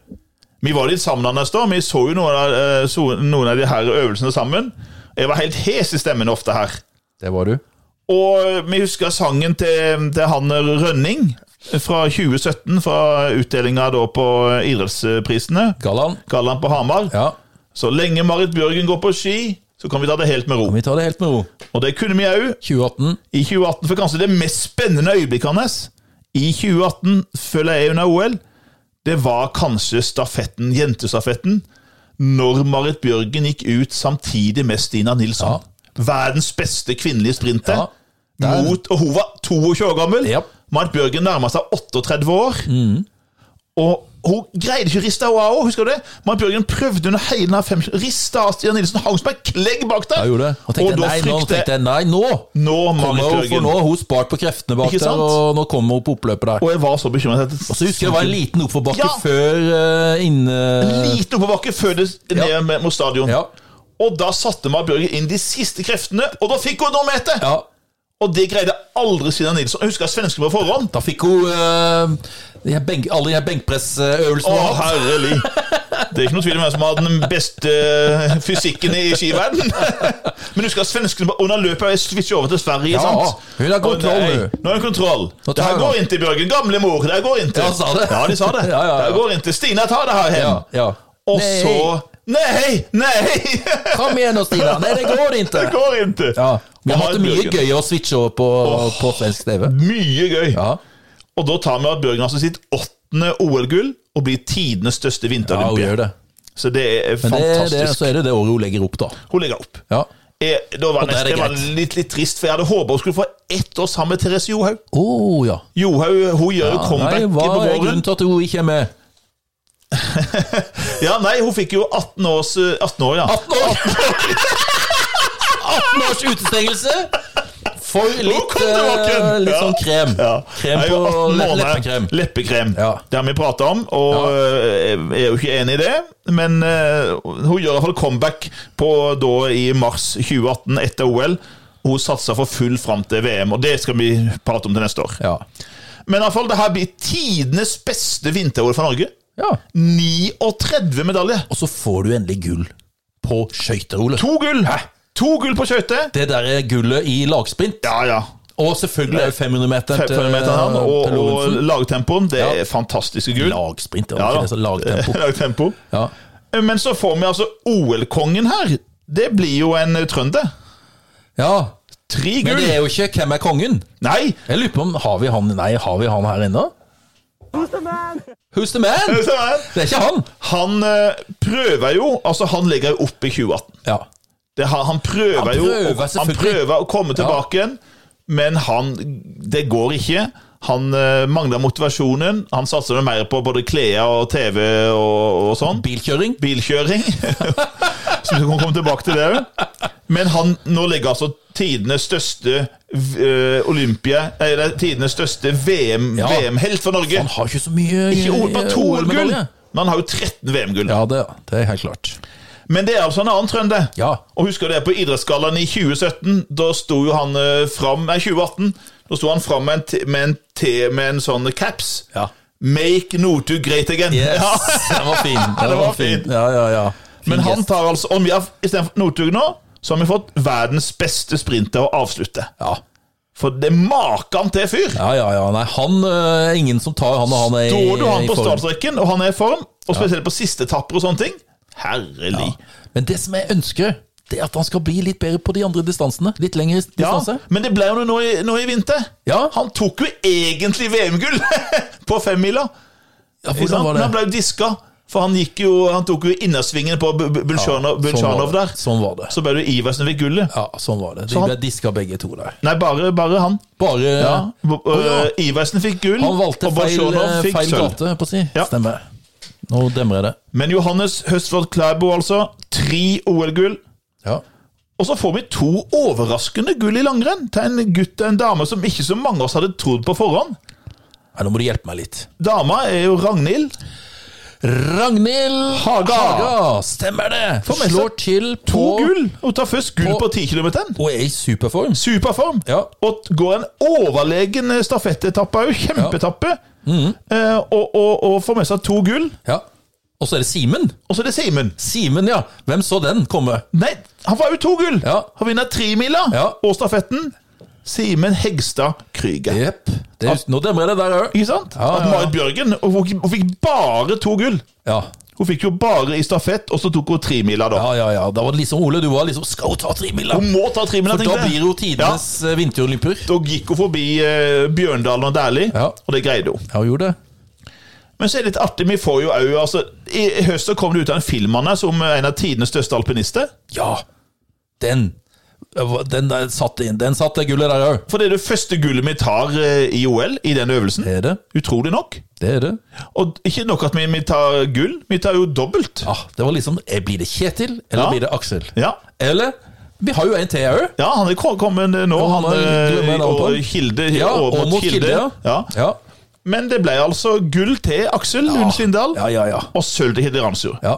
Speaker 2: Vi var litt sammen Anders da, vi så jo noen av, eh, så, noen av de her øvelsene sammen. Jeg var helt hes i stemmen ofte her.
Speaker 1: Det var du.
Speaker 2: Og vi husker sangen til, til han Rønning fra 2017, fra utdelinga da på idrettsprisene.
Speaker 1: Gallan.
Speaker 2: Gallan på Hamar.
Speaker 1: Ja.
Speaker 2: Så lenge Marit Bjørgen går på ski, så kan vi ta det helt med ro.
Speaker 1: Vi tar det helt med ro.
Speaker 2: Og det kunne vi òg
Speaker 1: 2018.
Speaker 2: i 2018, for kanskje det mest spennende øyeblikket hans i 2018, føler jeg, under OL, det var kanskje stafetten, jentestafetten, når Marit Bjørgen gikk ut samtidig med Stina Nilsson. Verdens beste kvinnelige sprinter.
Speaker 1: Ja. Der.
Speaker 2: Mot, og hun var 22 år gammel.
Speaker 1: Japp.
Speaker 2: Marit Bjørgen nærma seg 38 år.
Speaker 1: Mm.
Speaker 2: Og hun greide ikke å riste av henne òg, husker du det? Marit Bjørgen prøvde under hele den her fem... Rista av Stina Nilsen, hang som en klegg bak der!
Speaker 1: Jeg gjorde det. Og tenkte,
Speaker 2: og da
Speaker 1: nei, nå,
Speaker 2: frykter
Speaker 1: tenkte jeg nei, nå
Speaker 2: nå, Marit
Speaker 1: kommer hun, for
Speaker 2: Bjørgen.
Speaker 1: nå har hun spart på kreftene bak
Speaker 2: Ikke
Speaker 1: der,
Speaker 2: sant?
Speaker 1: og nå kommer hun på oppløpet der.
Speaker 2: Og jeg var så bekymret at
Speaker 1: Så husker jeg det var en liten oppforbakke
Speaker 2: Ja.
Speaker 1: før uh, inne...
Speaker 2: liten oppoverbakke før det ned
Speaker 1: Ja.
Speaker 2: med- mot stadion.
Speaker 1: Ja.
Speaker 2: Og da satte Marit Bjørgen inn de siste kreftene, og da fikk hun noe med etter!
Speaker 1: ja.
Speaker 2: Og det greide aldri Stina Nilsson. Jeg husker svensken på forhånd.
Speaker 1: Da fikk hun eh, de her benk, alle de her benkpressøvelsene.
Speaker 2: Å,
Speaker 1: hun har hatt.
Speaker 2: herrelig! Det er ikke noe tvil om hvem som har den beste eh, fysikken i skiverden. Men husker at svenskene bare- under løpet jeg switcher over til Sverige,
Speaker 1: Ja,
Speaker 2: sant?
Speaker 1: hun har
Speaker 2: Å,
Speaker 1: kontroll
Speaker 2: nei,
Speaker 1: nå.
Speaker 2: Nå har hun kontroll.
Speaker 1: Nå tar
Speaker 2: Det her
Speaker 1: hun
Speaker 2: går
Speaker 1: den.
Speaker 2: inn til Bjørgen. Gamle mor, det her går inn
Speaker 1: Ja,
Speaker 2: til.
Speaker 1: sa det.
Speaker 2: Ja, de sa det.
Speaker 1: Ja, ja, ja.
Speaker 2: Det her går inn til. Stina, ta det her
Speaker 1: Ja,
Speaker 2: hjem.
Speaker 1: ja.
Speaker 2: Og
Speaker 1: Nei,
Speaker 2: så Nei! Nei!
Speaker 1: Kom igjen nå, Stina. Nei, det går ikke.
Speaker 2: Det går ikke.
Speaker 1: Ja. Vi har
Speaker 2: Og
Speaker 1: hatt det mye
Speaker 2: Bjørgen.
Speaker 1: gøy å switche over på, på svensk TV.
Speaker 2: Mye gøy.
Speaker 1: Ja.
Speaker 2: Og da tar vi at Bjørgen altså sitt åttende OL-gull og blir tidenes største
Speaker 1: ja, hun
Speaker 2: vinterolympier.
Speaker 1: gjør det.
Speaker 2: så det er
Speaker 1: Det,
Speaker 2: fantastisk.
Speaker 1: det, så er det det året hun legger opp, da.
Speaker 2: Hun legger opp.
Speaker 1: Ja.
Speaker 2: Jeg, da var
Speaker 1: Og der er
Speaker 2: nesten,
Speaker 1: det
Speaker 2: jeg var
Speaker 1: greit.
Speaker 2: litt, litt trist, for jeg hadde håpet hun skulle få ett år sammen med Therese Johaug.
Speaker 1: Å ja.
Speaker 2: Johaug hun gjør jo
Speaker 1: ja. Nei,
Speaker 2: comeback
Speaker 1: hva er
Speaker 2: på våren.
Speaker 1: grunnen til at hun ikke er med?
Speaker 2: Ja, nei, hun fikk jo 18 års 18 år, ja.
Speaker 1: 18 år! 18 års utestengelse for litt,
Speaker 2: kom tilbake!
Speaker 1: eh, litt sånn krem.
Speaker 2: Ja.
Speaker 1: Krem
Speaker 2: Jeg er jo
Speaker 1: på sånn
Speaker 2: 18
Speaker 1: le-
Speaker 2: måneder.
Speaker 1: leppekrem.
Speaker 2: Leppekrem.
Speaker 1: Ja.
Speaker 2: Det har vi prata om, og eh, jeg er jo ikke enig i det. Men eh, hun gjør iallfall comeback på da i mars 2018 etter OL. Hun satser for full fram til VM, og det skal vi prate om til neste år.
Speaker 1: Ja.
Speaker 2: Men iallfall, det her blir tidenes beste vinter-OL for Norge.
Speaker 1: ja.
Speaker 2: 39 medaljer.
Speaker 1: Og så får du endelig gull på skøyter, Ole.
Speaker 2: To gull! To gull på skøyter.
Speaker 1: Det der er gullet i lagsprint.
Speaker 2: Ja, ja.
Speaker 1: Og selvfølgelig er 500-meteren
Speaker 2: 500 meter her,
Speaker 1: til
Speaker 2: og, og
Speaker 1: eh, Lorentzen.
Speaker 2: lagtempoen. Det
Speaker 1: Ja.
Speaker 2: er fantastiske gull.
Speaker 1: Lagsprint, det
Speaker 2: Ja
Speaker 1: var
Speaker 2: da.
Speaker 1: ikke det så lagtempo.
Speaker 2: Lagtempo.
Speaker 1: Ja.
Speaker 2: Men så får vi altså OL-kongen her. Det blir jo en trønder.
Speaker 1: ja.
Speaker 2: Tre
Speaker 1: Men
Speaker 2: gull!
Speaker 1: det er jo ikke 'Hvem er kongen'?
Speaker 2: Nei!
Speaker 1: Jeg lurer på om Har vi han Nei, har vi han her ennå? Who's the man?
Speaker 2: Se her.
Speaker 1: Det er ikke han!
Speaker 2: Han eh, prøver jo Altså, han legger jo opp i 2018.
Speaker 1: Ja.
Speaker 2: Det, har- han prøver,
Speaker 1: Han
Speaker 2: jo
Speaker 1: prøver,
Speaker 2: Han
Speaker 1: selvfølgelig.
Speaker 2: prøver å komme tilbake igjen, men han Det går ikke. Han eh, mangler motivasjonen. Han satser vel mer på både klær og TV og, og sånn.
Speaker 1: Bilkjøring.
Speaker 2: Bilkjøring. Så du kan komme tilbake til det òg. Men han nå ligger altså tidenes største eh, Olympia nei, det er tidenes største VM-helt
Speaker 1: Ja.
Speaker 2: for Norge.
Speaker 1: Han har ikke så mye
Speaker 2: Ikke OL, bare to OL-gull,
Speaker 1: OL-medalje.
Speaker 2: men han har jo 13 VM-gull.
Speaker 1: Ja, det, det er helt klart.
Speaker 2: Men det er altså en annen trønder.
Speaker 1: Ja.
Speaker 2: Og husker du det på idrettsgallaen i 2017? Da sto jo han eh, fram Nei, 2018. Da sto han fram med en, t med en, t med en sånn caps.
Speaker 1: Ja.
Speaker 2: Make Notu great again.
Speaker 1: Yes,
Speaker 2: Ja.
Speaker 1: den var fin. Den
Speaker 2: Det var
Speaker 1: var fin.
Speaker 2: fin.
Speaker 1: Ja, ja, ja. Fin
Speaker 2: Men han
Speaker 1: gest.
Speaker 2: tar altså Om vi har istedenfor Northug nå, så har vi fått verdens beste sprinter å avslutte.
Speaker 1: ja.
Speaker 2: For det er maken til fyr!
Speaker 1: ja, ja, ja. Nei, han øh, er ingen som tar han og han er i-
Speaker 2: Da har du han
Speaker 1: i
Speaker 2: på
Speaker 1: form.
Speaker 2: startstreken, og han er i form. Og spesielt på siste etapper og sånne ting. Herlig.
Speaker 1: Men det som jeg ønsker, det er at han skal bli litt bedre på de andre distansene. Litt sånn, lengre
Speaker 2: Ja,
Speaker 1: distanse.
Speaker 2: men det ble jo nå i, nå i vinter.
Speaker 1: Ja.
Speaker 2: Han tok jo egentlig VM-gull på femmila.
Speaker 1: Ja,
Speaker 2: Ikke sant?
Speaker 1: hvordan var
Speaker 2: Men han
Speaker 1: det?
Speaker 2: ble jo diska, for han, gikk jo, han tok jo innersvingene på Bu- Bu- Bulsjanov
Speaker 1: var
Speaker 2: Bulsjanov
Speaker 1: det.
Speaker 2: der.
Speaker 1: Sånn var det.
Speaker 2: Så ble det jo Iversen fikk gullet.
Speaker 1: Ja, sånn var det. De
Speaker 2: Så han-
Speaker 1: ble diska begge to der.
Speaker 2: Nei, bare, bare han.
Speaker 1: Bare
Speaker 2: Ja. B- øh, Iversen fikk gull,
Speaker 1: Han valgte
Speaker 2: og
Speaker 1: feil, eh,
Speaker 2: Bulsjanov fikk
Speaker 1: feil
Speaker 2: sølv.
Speaker 1: gate, på å si.
Speaker 2: Ja.
Speaker 1: Stemmer. Nå demrer jeg det.
Speaker 2: Men Johannes Høstvold Klæbo, altså. Tre OL-gull.
Speaker 1: Ja.
Speaker 2: Og så får vi to overraskende gull i langrenn til en gutt og en dame som ikke så mange av oss hadde trodd på forhånd.
Speaker 1: Nei, nå må du hjelpe meg litt.
Speaker 2: Dama er jo Ragnhild.
Speaker 1: Ragnhild
Speaker 2: Haga.
Speaker 1: Stemmer det!
Speaker 2: Får med seg
Speaker 1: Slår til på
Speaker 2: To gull! Hun tar først gull
Speaker 1: på-
Speaker 2: på 10 km.
Speaker 1: Og er i superform.
Speaker 2: Superform.
Speaker 1: Ja.
Speaker 2: Og t- går en overlegen eh, stafettetappe òg. Kjempeetappe.
Speaker 1: Mm.
Speaker 2: eh, og, og, og får med seg to gull.
Speaker 1: Ja. Og så er det Simen.
Speaker 2: Og så er det Simen.
Speaker 1: Simen, ja. Hvem så den komme?
Speaker 2: Nei, han var jo to gull!
Speaker 1: Ja.
Speaker 2: Han vinner tremila
Speaker 1: Ja.
Speaker 2: og stafetten. Simen Hegstad Krüger.
Speaker 1: Jepp. Det er- Ah, Nå demrer jeg det der òg.
Speaker 2: Ikke sant?
Speaker 1: Ja,
Speaker 2: At
Speaker 1: ja, ja.
Speaker 2: Marit Bjørgen hun, hun fikk bare to gull.
Speaker 1: Ja.
Speaker 2: Hun fikk jo bare i stafett, og så tok hun tremila, da.
Speaker 1: ja, ja, ja. Da var det liksom Ole, du var liksom Skal hun ta tremila?
Speaker 2: Hun må ta tremila,
Speaker 1: For da
Speaker 2: tenkte jeg.
Speaker 1: blir jo tidenes ja. vinterolympier.
Speaker 2: Da gikk hun forbi eh, Bjørndalen og Dæhlie,
Speaker 1: Ja.
Speaker 2: og det greide hun.
Speaker 1: Ja, hun gjorde det.
Speaker 2: Men så er det litt artig, vi får jo òg altså, I i høst så kom det ut av en film han er som en av tidenes største alpinister.
Speaker 1: Ja. Den. eh, Den der satt inn. Den satte gullet der òg.
Speaker 2: For det er det første gullet vi tar eh, i OL i den øvelsen.
Speaker 1: Det er det.
Speaker 2: Utrolig nok.
Speaker 1: Det er det.
Speaker 2: Og ikke nok at vi, vi tar gull, vi tar jo dobbelt.
Speaker 1: Ja, det var liksom eh, Blir det Kjetil, eller
Speaker 2: Ja.
Speaker 1: blir det Aksel?
Speaker 2: Ja,
Speaker 1: Eller Vi har jo en til òg.
Speaker 2: ja han er kom- kommet eh, nå.
Speaker 1: Ja, han
Speaker 2: Han,
Speaker 1: er- glemmer
Speaker 2: eh,
Speaker 1: jeg navnet på.
Speaker 2: og Kilde.
Speaker 1: Ja,
Speaker 2: og mot Kilde. Ja.
Speaker 1: Ja.
Speaker 2: Men det ble altså gull til Aksel Lund Svindal,
Speaker 1: Ja, ja, ja.
Speaker 2: og sølv til Hilde Ramsjord.
Speaker 1: ja.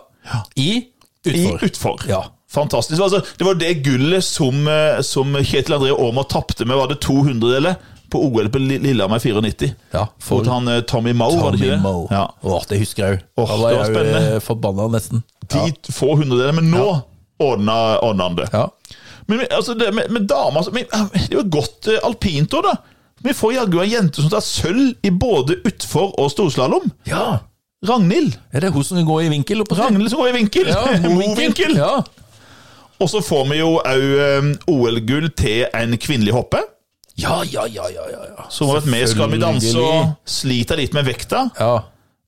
Speaker 1: I
Speaker 2: I
Speaker 1: utfor.
Speaker 2: utfor.
Speaker 1: Ja.
Speaker 2: Fantastisk. Altså, det var det gullet som, eh, som Kjetil André Aamodt tapte med, var det 200-deler på OL på Li- Lillehammer 94.
Speaker 1: Ja,
Speaker 2: For han eh, Tommy Moe, var det ikke
Speaker 1: Tommy
Speaker 2: det?
Speaker 1: Moe.
Speaker 2: Ja.
Speaker 1: Åh, det husker jeg òg.
Speaker 2: Åh,
Speaker 1: da var
Speaker 2: det var
Speaker 1: jeg jo
Speaker 2: spennende.
Speaker 1: eh, forbanna nesten.
Speaker 2: De få hundredeler, men nå ordna ordna han det.
Speaker 1: Ja.
Speaker 2: Men vi- altså, det med, med damer altså, men, eh, Det er jo et godt eh, alpint òg, da. Vi får jaggu ei jente som tar sølv i både utfor- og storslalåm.
Speaker 1: ja.
Speaker 2: Ragnhild.
Speaker 1: Er det hun som går i vinkel? oppe?
Speaker 2: Ragnhild som går i vinkel.
Speaker 1: Ja,
Speaker 2: Mo-vinkel.
Speaker 1: Ja.
Speaker 2: Og så får vi jo òg OL-gull til en kvinnelig hopper.
Speaker 1: Ja, ja, ja, ja, ja, ja.
Speaker 2: Som har vært med i Skal vi danse og
Speaker 1: Selvfølgelig.
Speaker 2: sliter litt med vekta.
Speaker 1: ja.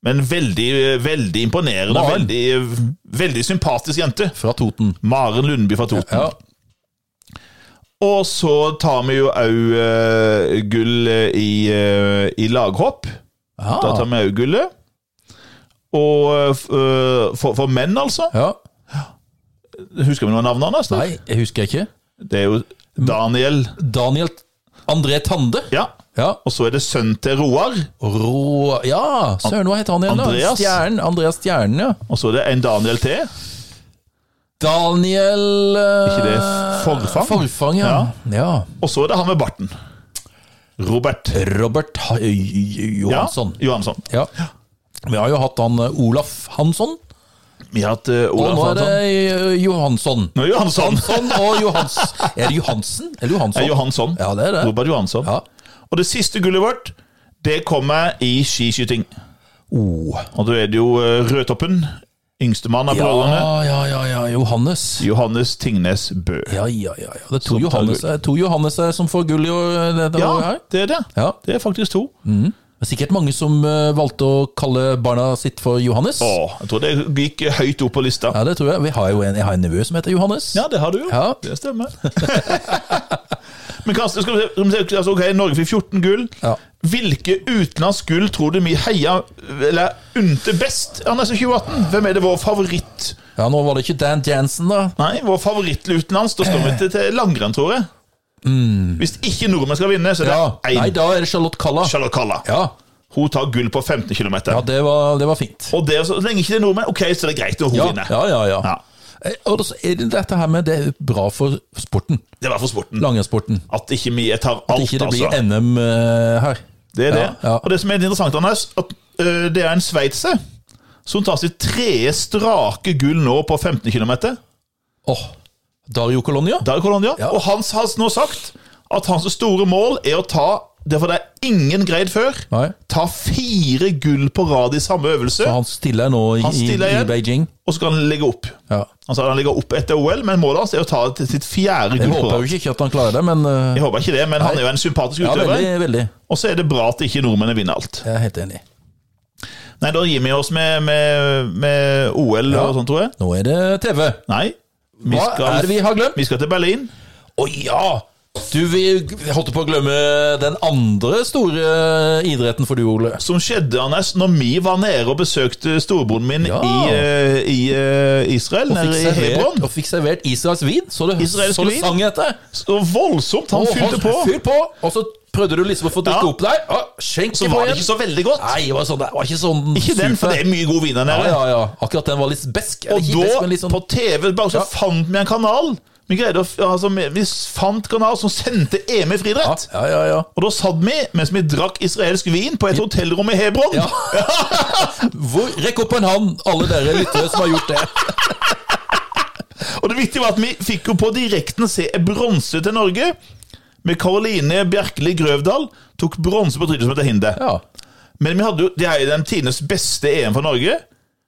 Speaker 2: Men veldig, eh, veldig imponerende.
Speaker 1: Maren.
Speaker 2: Veldig, eh, veldig sympatisk jente.
Speaker 1: Fra Toten.
Speaker 2: Maren Lundby fra Toten.
Speaker 1: Ja.
Speaker 2: Og så tar vi jo òg eh, gull i, eh, i laghopp. Da
Speaker 1: Ah.
Speaker 2: tar vi òg gullet. Og eh, f- eh, for, for menn, altså.
Speaker 1: ja.
Speaker 2: Husker vi noen navn hans? da?
Speaker 1: Nei, jeg husker ikke.
Speaker 2: Det er jo Daniel.
Speaker 1: Daniel André Tande.
Speaker 2: Ja.
Speaker 1: Ja.
Speaker 2: Og så er det sønnen til Roar.
Speaker 1: Rå... Ja, søren, hva heter han igjen? da?
Speaker 2: Andreas?
Speaker 1: Stjernen. Andreas Stjernen, ja.
Speaker 2: Og så er det en Daniel til.
Speaker 1: Daniel eh,
Speaker 2: Ikke det Forfang?
Speaker 1: Forfang, ja. ja.
Speaker 2: Og så er det han med barten. Robert
Speaker 1: Robert Ha- J- J- Johansson.
Speaker 2: Ja, Johansson.
Speaker 1: Ja. Vi har jo hatt han eh, Olaf Hansson,
Speaker 2: Vi har hatt eh,
Speaker 1: og
Speaker 2: Olav
Speaker 1: nå er det
Speaker 2: Hansson.
Speaker 1: eh, Johansson.
Speaker 2: Nå er det Johansson.
Speaker 1: Hansson og Johans... Er det Johansen? Eller
Speaker 2: Det
Speaker 1: Johansson?
Speaker 2: er Johansson.
Speaker 1: Ja, det er det.
Speaker 2: Robert Johansson.
Speaker 1: Ja.
Speaker 2: Og det siste gullet vårt, det kommer i skiskyting.
Speaker 1: Oh.
Speaker 2: Og da er det jo eh, Rødtoppen, yngstemann av
Speaker 1: Ja,
Speaker 2: brødrene,
Speaker 1: ja, ja, ja. Johannes.
Speaker 2: Johannes Tingnes Bø.
Speaker 1: Ja, ja, ja. ja. Det er to
Speaker 2: Som tar
Speaker 1: Johannes, to Johannes eh, som får gull i år. eh, dette
Speaker 2: Ja,
Speaker 1: året her.
Speaker 2: det er det.
Speaker 1: Ja.
Speaker 2: Det er faktisk to.
Speaker 1: Det er sikkert mange som eh, valgte å kalle barna sitt for Johannes.
Speaker 2: Å, jeg tror det gikk høyt opp på lista.
Speaker 1: Ja, det tror jeg. Vi har jo en, jeg har en nevø som heter Johannes.
Speaker 2: Ja, det har du jo.
Speaker 1: Ja.
Speaker 2: Det stemmer. Men Karsten, skal vi se, skal vi se altså, ok, Norge fikk 14 gull.
Speaker 1: Ja.
Speaker 2: Hvilke utenlandsk gull tror du vi heia eller unte best av nesten 2018? Hvem er det vår favoritt?
Speaker 1: Ja, nå var det ikke Dan Jansen, da.
Speaker 2: Nei, vår favoritt utenlands. Da står vi til, til langrenn, tror jeg. Hvis ikke nordmenn skal vinne, så er det
Speaker 1: Mm. Ja.
Speaker 2: én
Speaker 1: Nei, da er det Charlotte Kalla.
Speaker 2: Charlotte Kalla.
Speaker 1: Ja,
Speaker 2: Hun tar gull på 15 km.
Speaker 1: ja det, var, det var fint.
Speaker 2: Og det, er så så lenge ikke det er nordmenn, ok, så er det greit når hun
Speaker 1: Ja,
Speaker 2: vinner.
Speaker 1: ja, ja. ja.
Speaker 2: Ja.
Speaker 1: Eh, Og så er det dette her med det er bra for sporten.
Speaker 2: Det var for sporten.
Speaker 1: Langrennssporten.
Speaker 2: At ikke vi tar alt,
Speaker 1: Ikke det blir
Speaker 2: altså.
Speaker 1: NM eh, her.
Speaker 2: Det er
Speaker 1: Ja,
Speaker 2: det.
Speaker 1: ja.
Speaker 2: Og det som er litt interessant, Anders, at øh, det er en sveitser som tar sitt tredje strake gull nå på 15 km.
Speaker 1: Åh, Dario Colonia?
Speaker 2: Der er Colonia.
Speaker 1: Ja.
Speaker 2: Og han har nå sagt at hans store mål er å ta Derfor det er ingen greid før.
Speaker 1: Nei.
Speaker 2: Ta fire gull på rad i samme øvelse,
Speaker 1: Og han stiller nå i,
Speaker 2: Han stiller
Speaker 1: i,
Speaker 2: igjen.
Speaker 1: i Beijing.
Speaker 2: og så skal han legge opp.
Speaker 1: Ja.
Speaker 2: Han sa han ligger opp etter OL, men målet hans er å ta til sitt fjerde
Speaker 1: Jeg
Speaker 2: gull på
Speaker 1: håper
Speaker 2: rad.
Speaker 1: jo ikke at han klarer det, men eh,
Speaker 2: Jeg håper ikke det, men han er jo en sympatisk
Speaker 1: ja,
Speaker 2: utøver.
Speaker 1: veldig, veldig.
Speaker 2: og så er det bra at ikke nordmennene vinner alt.
Speaker 1: Jeg er helt enig.
Speaker 2: Nei, da gir vi oss med, med, med OL
Speaker 1: Ja.
Speaker 2: og sånt, tror jeg.
Speaker 1: Nå er det TV.
Speaker 2: Nei. Vi
Speaker 1: Hva
Speaker 2: skal,
Speaker 1: er det vi har glemt?
Speaker 2: vi skal til Berlin.
Speaker 1: Å ja! Du, vi holdt på å glemme den andre store eh, idretten for du, Ole.
Speaker 2: Som skjedde Anders, når vi var nede og besøkte storebroren min
Speaker 1: Ja.
Speaker 2: i, eh, i eh, Israel,
Speaker 1: Og fikk
Speaker 2: nede i
Speaker 1: servert,
Speaker 2: Hebron.
Speaker 1: og fikk servert Israels vin, så det,
Speaker 2: Israelsk
Speaker 1: så det
Speaker 2: vin?
Speaker 1: sang etter.
Speaker 2: Så voldsomt! Han
Speaker 1: Og
Speaker 2: fylte på.
Speaker 1: Fyll på, og så prøvde du liksom å få drikke
Speaker 2: Ja.
Speaker 1: opp deg. Å, skjenk
Speaker 2: Så
Speaker 1: på
Speaker 2: var det
Speaker 1: igjen.
Speaker 2: ikke så veldig godt.
Speaker 1: Nei, det var, sånn, det var ikke sånn
Speaker 2: Ikke den, for det er mye god vin
Speaker 1: Ja,
Speaker 2: der nede.
Speaker 1: ja, ja. Akkurat den var litt besk. Eller
Speaker 2: Og
Speaker 1: ikke besk,
Speaker 2: da,
Speaker 1: men litt sånn
Speaker 2: på TV, bare så
Speaker 1: Ja.
Speaker 2: fant vi en kanal. Vi greide å, f- altså, vi- vi fant kanal som sendte EM i
Speaker 1: ja,
Speaker 2: friidrett.
Speaker 1: ja, ja, ja.
Speaker 2: Og da satt vi mens vi drakk israelsk vin på et hotellrom i Hebron.
Speaker 1: Ja. Hvor, rekk opp en hånd, alle dere lyttere som har gjort det.
Speaker 2: Og det viktige var at vi fikk jo på direkten se en bronse til Norge. Med Karoline Bjerkeli Grøvdal tok bronse på tryllet som heter Hinde.
Speaker 1: Ja.
Speaker 2: Men vi hadde jo, det er jo den tidenes beste EM for Norge.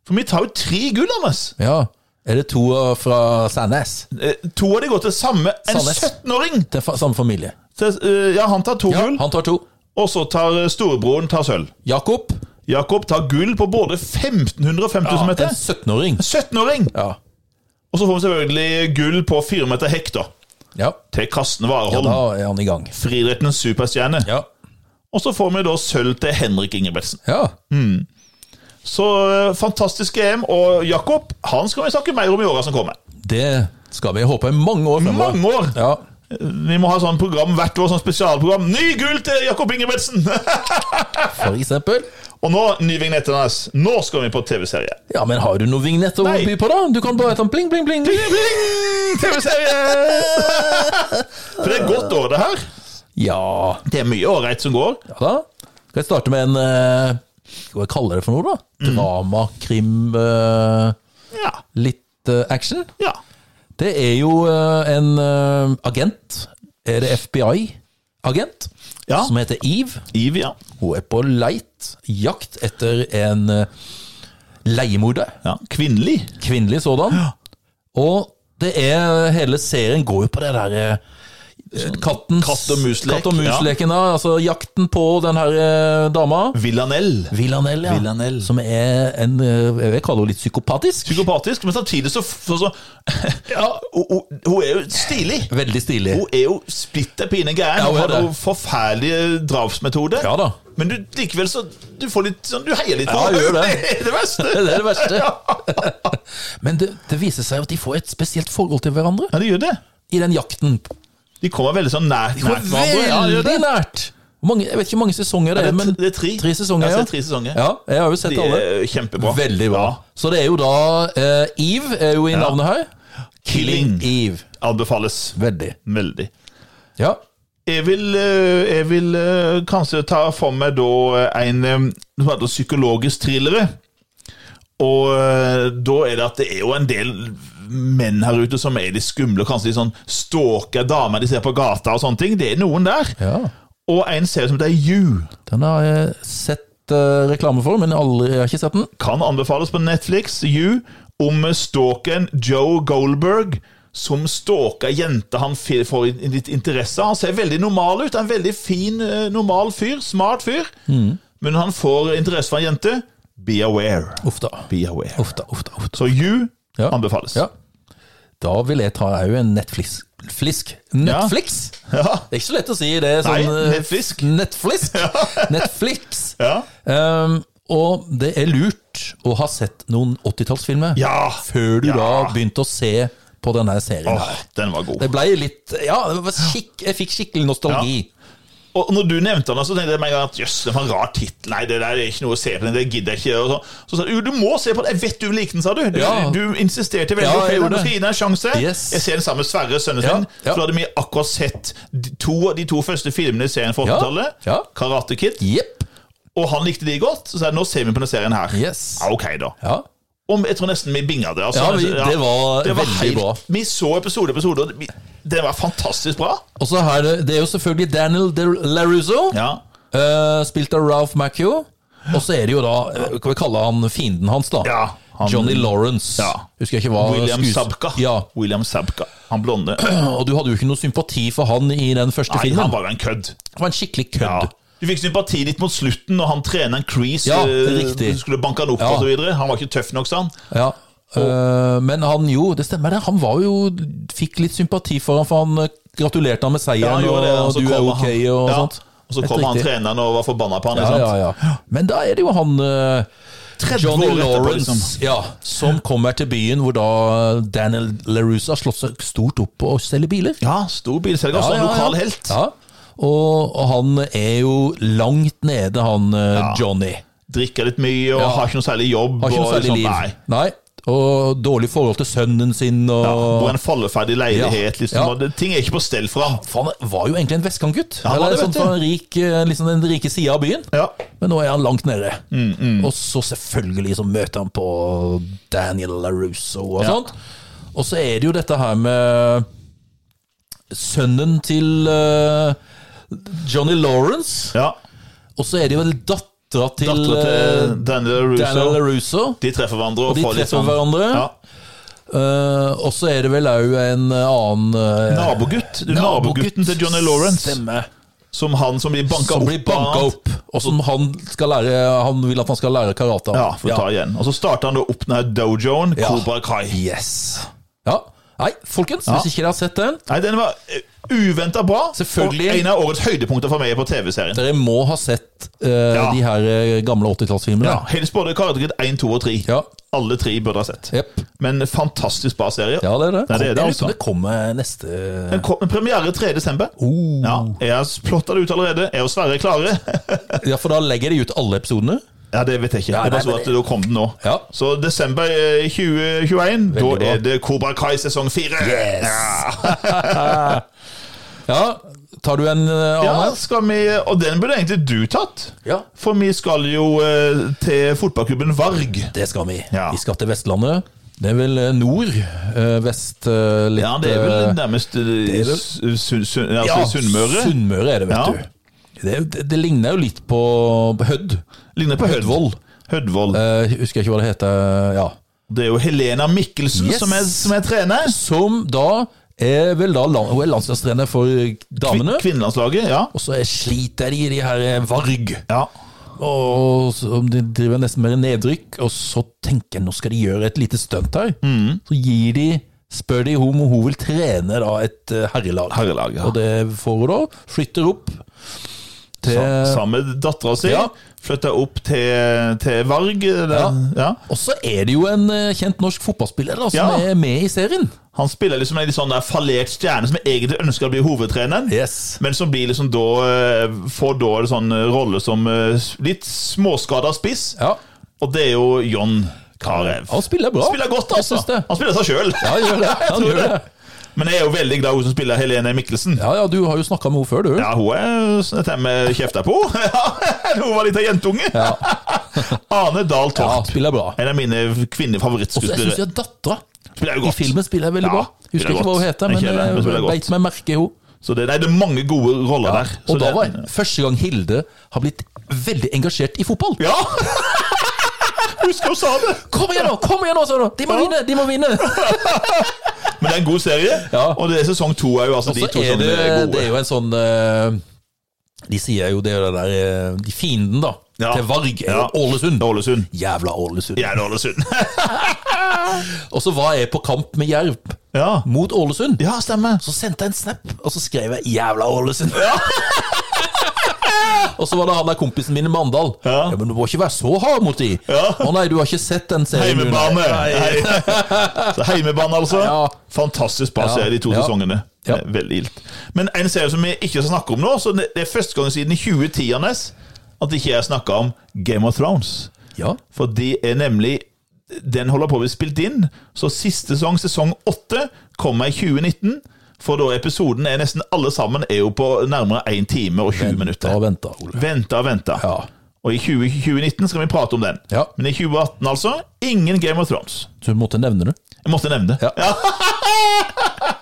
Speaker 2: For vi tar jo tre gull, Anders.
Speaker 1: ja. Er det to eh, fra Sandnes?
Speaker 2: Eh, To av de går til samme En
Speaker 1: Sandnes.
Speaker 2: 17-åring!
Speaker 1: Til fa samme familie.
Speaker 2: til- eh, Ja, han tar to
Speaker 1: Ja,
Speaker 2: gull,
Speaker 1: han tar to.
Speaker 2: og så tar eh, storebroren tar sølv.
Speaker 1: Jakob,
Speaker 2: Jakob tar gull på både 1500 og 5000
Speaker 1: ja,
Speaker 2: meter.
Speaker 1: en 17-åring.
Speaker 2: 17-åring!
Speaker 1: Ja.
Speaker 2: Og så får vi selvfølgelig gull på 4 meter hekk, da.
Speaker 1: ja,
Speaker 2: Til Karsten
Speaker 1: ja,
Speaker 2: Warholm.
Speaker 1: da er han i gang.
Speaker 2: friidrettens superstjerne.
Speaker 1: Ja.
Speaker 2: Og så får vi da sølv til Henrik Ingebrigtsen.
Speaker 1: ja.
Speaker 2: Så eh, fantastisk EM. Og Jakob han skal vi snakke mer om i åra som kommer.
Speaker 1: Det skal vi håpe i mange år fremover.
Speaker 2: Mange år!
Speaker 1: Ja.
Speaker 2: Vi må ha sånn program hvert år, sånn spesialprogram. Ny gull til Jakob Ingebrigtsen!
Speaker 1: For eksempel.
Speaker 2: og nå, ny vignett til hans. Nå skal vi på TV-serie.
Speaker 1: Ja, men har du noen vignetter å
Speaker 2: Nei.
Speaker 1: by på, da? Du kan bare ta en pling, pling, pling.
Speaker 2: Bling, bling, TV-serie! For det er godt år, det her.
Speaker 1: Ja,
Speaker 2: Det er mye ålreit som går.
Speaker 1: ja da. Skal jeg starte med en eh, Hva kaller jeg det for noe, da? Drama, krim, eh,
Speaker 2: Ja.
Speaker 1: litt eh, action.
Speaker 2: ja.
Speaker 1: Det er jo eh, en eh, agent. Er det FBI-agent?
Speaker 2: Ja.
Speaker 1: Som heter Eve.
Speaker 2: Iv, ja.
Speaker 1: Hun er på leit, jakt etter en eh, leiemorder.
Speaker 2: ja. Kvinnelig.
Speaker 1: Kvinnelig sådan. Og det er hele serien går jo på det der eh, kattens,
Speaker 2: Katt og muslek,
Speaker 1: katt og
Speaker 2: ja.
Speaker 1: musleken, da. Altså jakten på den her eh, dama.
Speaker 2: Villanelle.
Speaker 1: Villanelle, ja.
Speaker 2: Villanelle.
Speaker 1: Som er en eh, Jeg vil kalle henne litt psykopatisk.
Speaker 2: psykopatisk, men samtidig så, så, så hun, hun- hun er jo stilig.
Speaker 1: Veldig stilig.
Speaker 2: Hun er jo splitter pine gæren.
Speaker 1: Ja, hun
Speaker 2: hun
Speaker 1: er
Speaker 2: har
Speaker 1: det.
Speaker 2: noen forferdelige drapsmetoder.
Speaker 1: Ja da.
Speaker 2: Men du, likevel så Du får litt sånn, du heier litt på
Speaker 1: Ja,
Speaker 2: henne.
Speaker 1: gjør det.
Speaker 2: Det er det verste.
Speaker 1: Det er det verste. Men det, det viser seg at de får et spesielt forhold til hverandre
Speaker 2: Ja, de gjør det.
Speaker 1: i den jakten.
Speaker 2: De kommer veldig sånn nært
Speaker 1: Det var
Speaker 2: nært hverandre. Ja, de gjør
Speaker 1: veldig
Speaker 2: det.
Speaker 1: nært. Hvor Mange, jeg vet ikke hvor mange sesonger det
Speaker 2: Ja,
Speaker 1: er,
Speaker 2: det er
Speaker 1: men
Speaker 2: t- det er tre.
Speaker 1: sesonger. Ja,
Speaker 2: Ja, så det er tre sesonger.
Speaker 1: Ja, jeg har jo sett
Speaker 2: De
Speaker 1: alle.
Speaker 2: er kjempebra.
Speaker 1: Veldig bra.
Speaker 2: Ja.
Speaker 1: Så det er jo da eh, Eve er jo i navnet her.
Speaker 2: Killing.
Speaker 1: Eve.
Speaker 2: Anbefales
Speaker 1: Veldig.
Speaker 2: veldig.
Speaker 1: Ja.
Speaker 2: Jeg vil, eh, jeg vil eh, kanskje ta for meg da eh, en eh, som heter psykologisk thrillere. Og eh, da er det at det er jo en del menn her ute som er litt skumle, kanskje de sånn stalker damer de ser på gata og sånne ting. Det er noen der.
Speaker 1: ja.
Speaker 2: Og en serie som heter You.
Speaker 1: Den har jeg sett eh, reklame for, men aldri, jeg har ikke sett den.
Speaker 2: Kan anbefales på Netflix, You, om stalkeren Joe Goldberg. Som stalker jenter han fi- får i- i litt interesse av. Han ser veldig normal ut. En veldig fin, eh, normal fyr. Smart fyr.
Speaker 1: Mm.
Speaker 2: Men når han får interesse for en jente, be aware.
Speaker 1: Uff da.
Speaker 2: Be aware.
Speaker 1: Uff da, uff da, uff da.
Speaker 2: Så You
Speaker 1: Ja.
Speaker 2: anbefales.
Speaker 1: Ja. Da vil jeg ta òg en Netflix. Flisk. Netflix?
Speaker 2: Ja.
Speaker 1: Det er ikke så lett å si det. er Sånn,
Speaker 2: Nei,
Speaker 1: eh,
Speaker 2: Netflisk.
Speaker 1: Netflix. Netflix.
Speaker 2: Ja.
Speaker 1: Um, og det er lurt å ha sett noen 80-tallsfilmer
Speaker 2: Ja.
Speaker 1: før du
Speaker 2: Ja.
Speaker 1: da begynte å se på denne serien.
Speaker 2: Åh, den var god.
Speaker 1: Det ble litt Ja, det var skikk, jeg fikk skikkelig nostalgi.
Speaker 2: Og når du nevnte den, så tenkte jeg med en gang at jøss, det var en rar tittel. Nei, det der er ikke noe å se på. den, Det gidder jeg ikke. Og så, så sa du jo, du må se på den. Jeg vet du liker den, sa du. Du,
Speaker 1: Ja.
Speaker 2: du insisterte veldig.
Speaker 1: Ja,
Speaker 2: ok,
Speaker 1: jeg gjorde
Speaker 2: du
Speaker 1: det.
Speaker 2: skal gi den en sjanse.
Speaker 1: Yes.
Speaker 2: Jeg ser den sammen med Sverre, sønnen sin.
Speaker 1: Ja, ja.
Speaker 2: For da hadde vi akkurat sett de to, de to første filmene i serien fra
Speaker 1: Ja,
Speaker 2: 80-tallet.
Speaker 1: ja.
Speaker 2: Karate Kid.
Speaker 1: Jepp.
Speaker 2: Og han likte de godt. Så sa jeg nå ser vi på denne serien her.
Speaker 1: Yes.
Speaker 2: Ja, ok, da.
Speaker 1: Ja.
Speaker 2: Om, jeg tror nesten vi binga det. Altså,
Speaker 1: Ja, vi- det var veldig bra.
Speaker 2: Vi så episode episode, og det- vi- det var fantastisk bra.
Speaker 1: Og så her, det er jo selvfølgelig Daniel De- LaRusso,
Speaker 2: Ja.
Speaker 1: eh, spilt av Ralph Macchio. Og så er det jo da eh, Kan vi kalle han fienden hans, da?
Speaker 2: Ja, han-
Speaker 1: Johnny Lawrence.
Speaker 2: Ja.
Speaker 1: Husker jeg ikke hva
Speaker 2: William
Speaker 1: skues-
Speaker 2: Sabka.
Speaker 1: Ja.
Speaker 2: William Sabka. Han blonde.
Speaker 1: Og du hadde jo ikke noe sympati for han i den første
Speaker 2: Nei,
Speaker 1: filmen.
Speaker 2: han var jo en kødd.
Speaker 1: Han var en skikkelig kødd.
Speaker 2: Ja. Du fikk sympati litt mot slutten når han treneren Crease
Speaker 1: Ja, det er
Speaker 2: eh,
Speaker 1: riktig.
Speaker 2: skulle banke han opp
Speaker 1: Ja.
Speaker 2: og så videre. Han var ikke tøff nok, sa han.
Speaker 1: Ja. Eh, men han jo, det stemmer det, han var jo Fikk litt sympati for han, for han eh, gratulerte han med
Speaker 2: Ja,
Speaker 1: seieren,
Speaker 2: han gjorde
Speaker 1: og,
Speaker 2: det, og så
Speaker 1: du er
Speaker 2: kommer
Speaker 1: ok,
Speaker 2: han-
Speaker 1: og
Speaker 2: ja,
Speaker 1: sånt.
Speaker 2: Og så
Speaker 1: Helt
Speaker 2: kom han
Speaker 1: riktig.
Speaker 2: treneren og var forbanna på han.
Speaker 1: Ja,
Speaker 2: ikke sant?
Speaker 1: ja, ja. Men da er det jo han eh,
Speaker 2: 30
Speaker 1: Johnny
Speaker 2: år etterpå,
Speaker 1: Lawrence
Speaker 2: liksom.
Speaker 1: ja, som kommer til byen hvor da Daniel LaRusso har slått seg stort opp på å selge biler.
Speaker 2: Ja, stor bilselger, også en lokal helt.
Speaker 1: Ja. Og, og han er jo langt nede, han eh, Johnny.
Speaker 2: Drikker litt mye og
Speaker 1: Ja.
Speaker 2: har ikke noe særlig jobb.
Speaker 1: Har ikke noe
Speaker 2: og
Speaker 1: særlig
Speaker 2: liksom,
Speaker 1: liv.
Speaker 2: Nei.
Speaker 1: Og dårlig forhold til sønnen sin. Og,
Speaker 2: Bor i en falleferdig leilighet,
Speaker 1: Ja.
Speaker 2: liksom.
Speaker 1: Ja.
Speaker 2: og det- Ting er ikke på stell for ham.
Speaker 1: For han var jo egentlig en vestkantgutt.
Speaker 2: Ja, han var
Speaker 1: eller
Speaker 2: det,
Speaker 1: sånn
Speaker 2: vet
Speaker 1: fra en rik, eh, liksom den rike sida av byen.
Speaker 2: Ja.
Speaker 1: Men nå er han langt nede.
Speaker 2: Mm,
Speaker 1: Og så selvfølgelig så møter han på Daniel LaRusso og sånt. Og så er det jo dette her med sønnen til eh, Johnny Lawrence.
Speaker 2: ja.
Speaker 1: Og så er det jo dattera til,
Speaker 2: Dattera
Speaker 1: eh,
Speaker 2: til Daniel
Speaker 1: Daniel
Speaker 2: Russo.
Speaker 1: LaRusso.
Speaker 2: De treffer hverandre.
Speaker 1: Og de
Speaker 2: får litt
Speaker 1: treffer
Speaker 2: sånn-
Speaker 1: hverandre.
Speaker 2: Ja.
Speaker 1: Eh, og så er det vel òg en annen eh,
Speaker 2: Nabogutt. Du, nabogutten til Johnny Lawrence.
Speaker 1: Stemmer.
Speaker 2: Som han som blir banka
Speaker 1: Som
Speaker 2: opp.
Speaker 1: blir banka
Speaker 2: av.
Speaker 1: opp, og som han, skal lære, han vil at han skal lære karate av.
Speaker 2: Ja, for å ta igjen. Og så starter han da opp den her dojoen,
Speaker 1: Ja.
Speaker 2: Cobra Kai.
Speaker 1: Yes. Ja. Nei, folkens, hvis ikke dere har sett den,
Speaker 2: Nei, den var uventa bra.
Speaker 1: Selvfølgelig.
Speaker 2: Og en av årets høydepunkter for meg på TV-serien.
Speaker 1: dere må ha sett eh,
Speaker 2: Ja.
Speaker 1: de her eh, gamle 80-tallsfilmene.
Speaker 2: Ja, Helst både Karate Kid 1, 2 og 3.
Speaker 1: Ja.
Speaker 2: Alle tre burde ha sett.
Speaker 1: Jepp.
Speaker 2: Men fantastisk bra serie.
Speaker 1: ja, det er det.
Speaker 2: Nei, det er det,
Speaker 1: Jeg lurer
Speaker 2: altså.
Speaker 1: på om det kommer neste
Speaker 2: Den kom med premiere 3. desember.
Speaker 1: oh.
Speaker 2: Ja, jeg har plotta det ut allerede. Er og Sverre klare?
Speaker 1: Ja, for da legger de ut alle episodene.
Speaker 2: ja, det vet jeg ikke.
Speaker 1: Ja,
Speaker 2: jeg bare
Speaker 1: nei,
Speaker 2: så
Speaker 1: men
Speaker 2: at
Speaker 1: det-
Speaker 2: da kom den nå.
Speaker 1: Ja.
Speaker 2: Så desember eh, 2021, da
Speaker 1: Veldig bra.
Speaker 2: er det Cobra Kai sesong 4.
Speaker 1: Yes.
Speaker 2: Ja.
Speaker 1: Ja, tar du en eh,
Speaker 2: ja,
Speaker 1: annen?
Speaker 2: skal vi Og den burde egentlig du tatt.
Speaker 1: Ja.
Speaker 2: For vi skal jo eh, til fotballklubben Varg.
Speaker 1: Det skal vi.
Speaker 2: Ja.
Speaker 1: Vi skal til Vestlandet. Det er vel eh, nord, eh, vest eh, litt
Speaker 2: Ja, det er vel
Speaker 1: eh,
Speaker 2: nærmest eh,
Speaker 1: er vel-
Speaker 2: Su- Su- Su- altså, Sunnmøre.
Speaker 1: Sunnmøre er det, vet
Speaker 2: Ja.
Speaker 1: du. Det, det, det ligner jo litt på, på Hødd.
Speaker 2: Ligner på Hødvold. Hødvold.
Speaker 1: Eh, husker jeg ikke hva det heter. Ja.
Speaker 2: Det er jo Helena Mikkelsen
Speaker 1: Yes.
Speaker 2: som, er, som er trener.
Speaker 1: Som da er vel da land, hun er landslagstrener for damene.
Speaker 2: Kvin- Kvinnelandslaget, ja.
Speaker 1: Og så er- sliter de i de her eh, Varg.
Speaker 2: ja.
Speaker 1: Og så de driver nesten med nedrykk. Og så tenker jeg nå skal de gjøre et lite stunt her. Så gir de Spør de hun om hun vil trene da et eh, herrelag.
Speaker 2: Herrelag, ja.
Speaker 1: Og det får hun da. Flytter opp til
Speaker 2: Sa- Sammen med dattera si.
Speaker 1: Ja.
Speaker 2: Flytta opp til, til Varg. eller-
Speaker 1: Ja.
Speaker 2: Ja.
Speaker 1: Og så er det jo en eh, kjent norsk fotballspiller da, som
Speaker 2: Ja.
Speaker 1: er med i serien.
Speaker 2: Han spiller liksom en litt sånn der fallert stjerne som egentlig ønsker å bli hovedtreneren.
Speaker 1: Yes.
Speaker 2: Men som blir liksom da eh, Får da en sånn eh, rolle som eh, litt småskada spiss.
Speaker 1: Ja.
Speaker 2: Og det er jo John Carew.
Speaker 1: Han spiller bra.
Speaker 2: spiller godt,
Speaker 1: Jeg
Speaker 2: altså.
Speaker 1: synes det.
Speaker 2: Han spiller seg sjøl.
Speaker 1: Ja, han gjør det. Han gjør det.
Speaker 2: Men jeg er jo veldig glad i hun som spiller Helene Mikkelsen. Ja.
Speaker 1: Ja, ja, du har jo snakka med henne før, du.
Speaker 2: hun er sånn dette med kjefta på. Ja, hun var litt av jentunge. Ane Dahl
Speaker 1: Ja,
Speaker 2: Torp.
Speaker 1: spiller bra.
Speaker 2: En av mine
Speaker 1: Så jeg syns
Speaker 2: kvinnefavorittskutspillere.
Speaker 1: jeg dattera
Speaker 2: Spiller jo
Speaker 1: i
Speaker 2: godt.
Speaker 1: filmen spiller veldig
Speaker 2: Ja,
Speaker 1: bra. Husker
Speaker 2: spiller
Speaker 1: ikke hva
Speaker 2: godt.
Speaker 1: hun heter,
Speaker 2: Ikke
Speaker 1: men
Speaker 2: heller, men spiller
Speaker 1: jeg
Speaker 2: godt.
Speaker 1: beit meg merke i henne.
Speaker 2: Så det, nei, det er mange gode roller der. Så
Speaker 1: Og da
Speaker 2: det-
Speaker 1: var det første gang Hilde har blitt veldig engasjert i fotball.
Speaker 2: Ja! Husker hun sa det.
Speaker 1: Kom igjen nå! kom igjen nå, sa hun. De må vinne! de må vinne!
Speaker 2: Men det er en god serie,
Speaker 1: Ja.
Speaker 2: og det er sesong to òg. Altså, de
Speaker 1: Så
Speaker 2: to
Speaker 1: er
Speaker 2: som
Speaker 1: det,
Speaker 2: er
Speaker 1: det
Speaker 2: gode.
Speaker 1: er jo en sånn eh, De sier jo det er jo det der eh, De fienden, da,
Speaker 2: Ja.
Speaker 1: til Varg, er
Speaker 2: Ja.
Speaker 1: jo Ålesund.
Speaker 2: Ålesund.
Speaker 1: Jævla Ålesund.
Speaker 2: Gjerne Ålesund.
Speaker 1: Og så var jeg på kamp med Jerv
Speaker 2: ja.
Speaker 1: mot Ålesund.
Speaker 2: ja, stemmer.
Speaker 1: Så sendte jeg en snap, og så skrev jeg 'jævla Ålesund'. og så var det han der kompisen min i Mandal.
Speaker 2: Ja.
Speaker 1: Ja. men du må ikke være så hard mot de.
Speaker 2: Ja.
Speaker 1: Å nei, du har ikke sett den serien. du,
Speaker 2: Heimebane!
Speaker 1: nei.
Speaker 2: Hei. Så heimebane, altså.
Speaker 1: Ja.
Speaker 2: Fantastisk bra serie, de to
Speaker 1: Ja.
Speaker 2: sesongene.
Speaker 1: Ja.
Speaker 2: Eh, Veldig ilt. Men en serie som vi ikke skal snakke om nå, så det det er første gang siden i 2010 Anders, at ikke jeg snakker om Game of Thrones.
Speaker 1: Ja.
Speaker 2: For de er nemlig Den holder på å bli spilt inn, så siste sesong, sesong åtte, kommer i 2019. For da episoden er nesten alle sammen er jo på nærmere 1 time og 20
Speaker 1: Da
Speaker 2: minutter.
Speaker 1: venta Ole.
Speaker 2: Venta og venta.
Speaker 1: Ja.
Speaker 2: Og i 20, 2019 skal vi prate om den.
Speaker 1: Ja.
Speaker 2: Men i 2018, altså, ingen Game of Thrones.
Speaker 1: Så du måtte nevne det.
Speaker 2: Jeg måtte nevne det.
Speaker 1: Ja.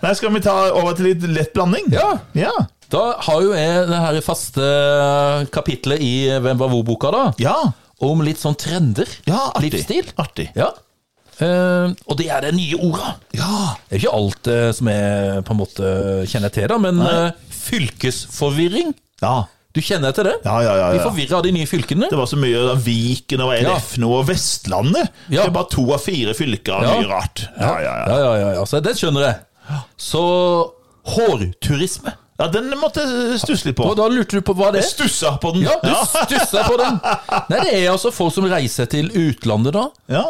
Speaker 2: Nei, skal vi ta over til litt lett blanding?
Speaker 1: Ja.
Speaker 2: Ja,
Speaker 1: Da har jo jeg det her faste eh, kapitlet i Hvem var hvor-boka, da.
Speaker 2: ja.
Speaker 1: Om litt sånn trender.
Speaker 2: ja artig.
Speaker 1: Livsstil.
Speaker 2: Artig.
Speaker 1: Ja. Eh, og det er det nye ordet.
Speaker 2: Ja!
Speaker 1: Det er ikke alt eh, som jeg på en måte kjenner til, da, men eh, fylkesforvirring.
Speaker 2: Ja,
Speaker 1: Du kjenner til det?
Speaker 2: ja, ja. ja,
Speaker 1: Vi
Speaker 2: ja.
Speaker 1: forvirrer av de nye fylkene.
Speaker 2: Det var så mye av Viken og LF nå, og Vestlandet.
Speaker 1: Ja.
Speaker 2: Det er bare to av fire fylker av
Speaker 1: Ja.
Speaker 2: mye rart. Ja, ja, ja.
Speaker 1: ja, ja, ja, ja. Så det skjønner jeg. Så hårturisme.
Speaker 2: ja Den måtte jeg stusse litt på.
Speaker 1: Og da lurte du på hva det er?
Speaker 2: Stussa på den!
Speaker 1: Ja, du stussa på den. Nei, det er altså folk som reiser til utlandet, da.
Speaker 2: ja.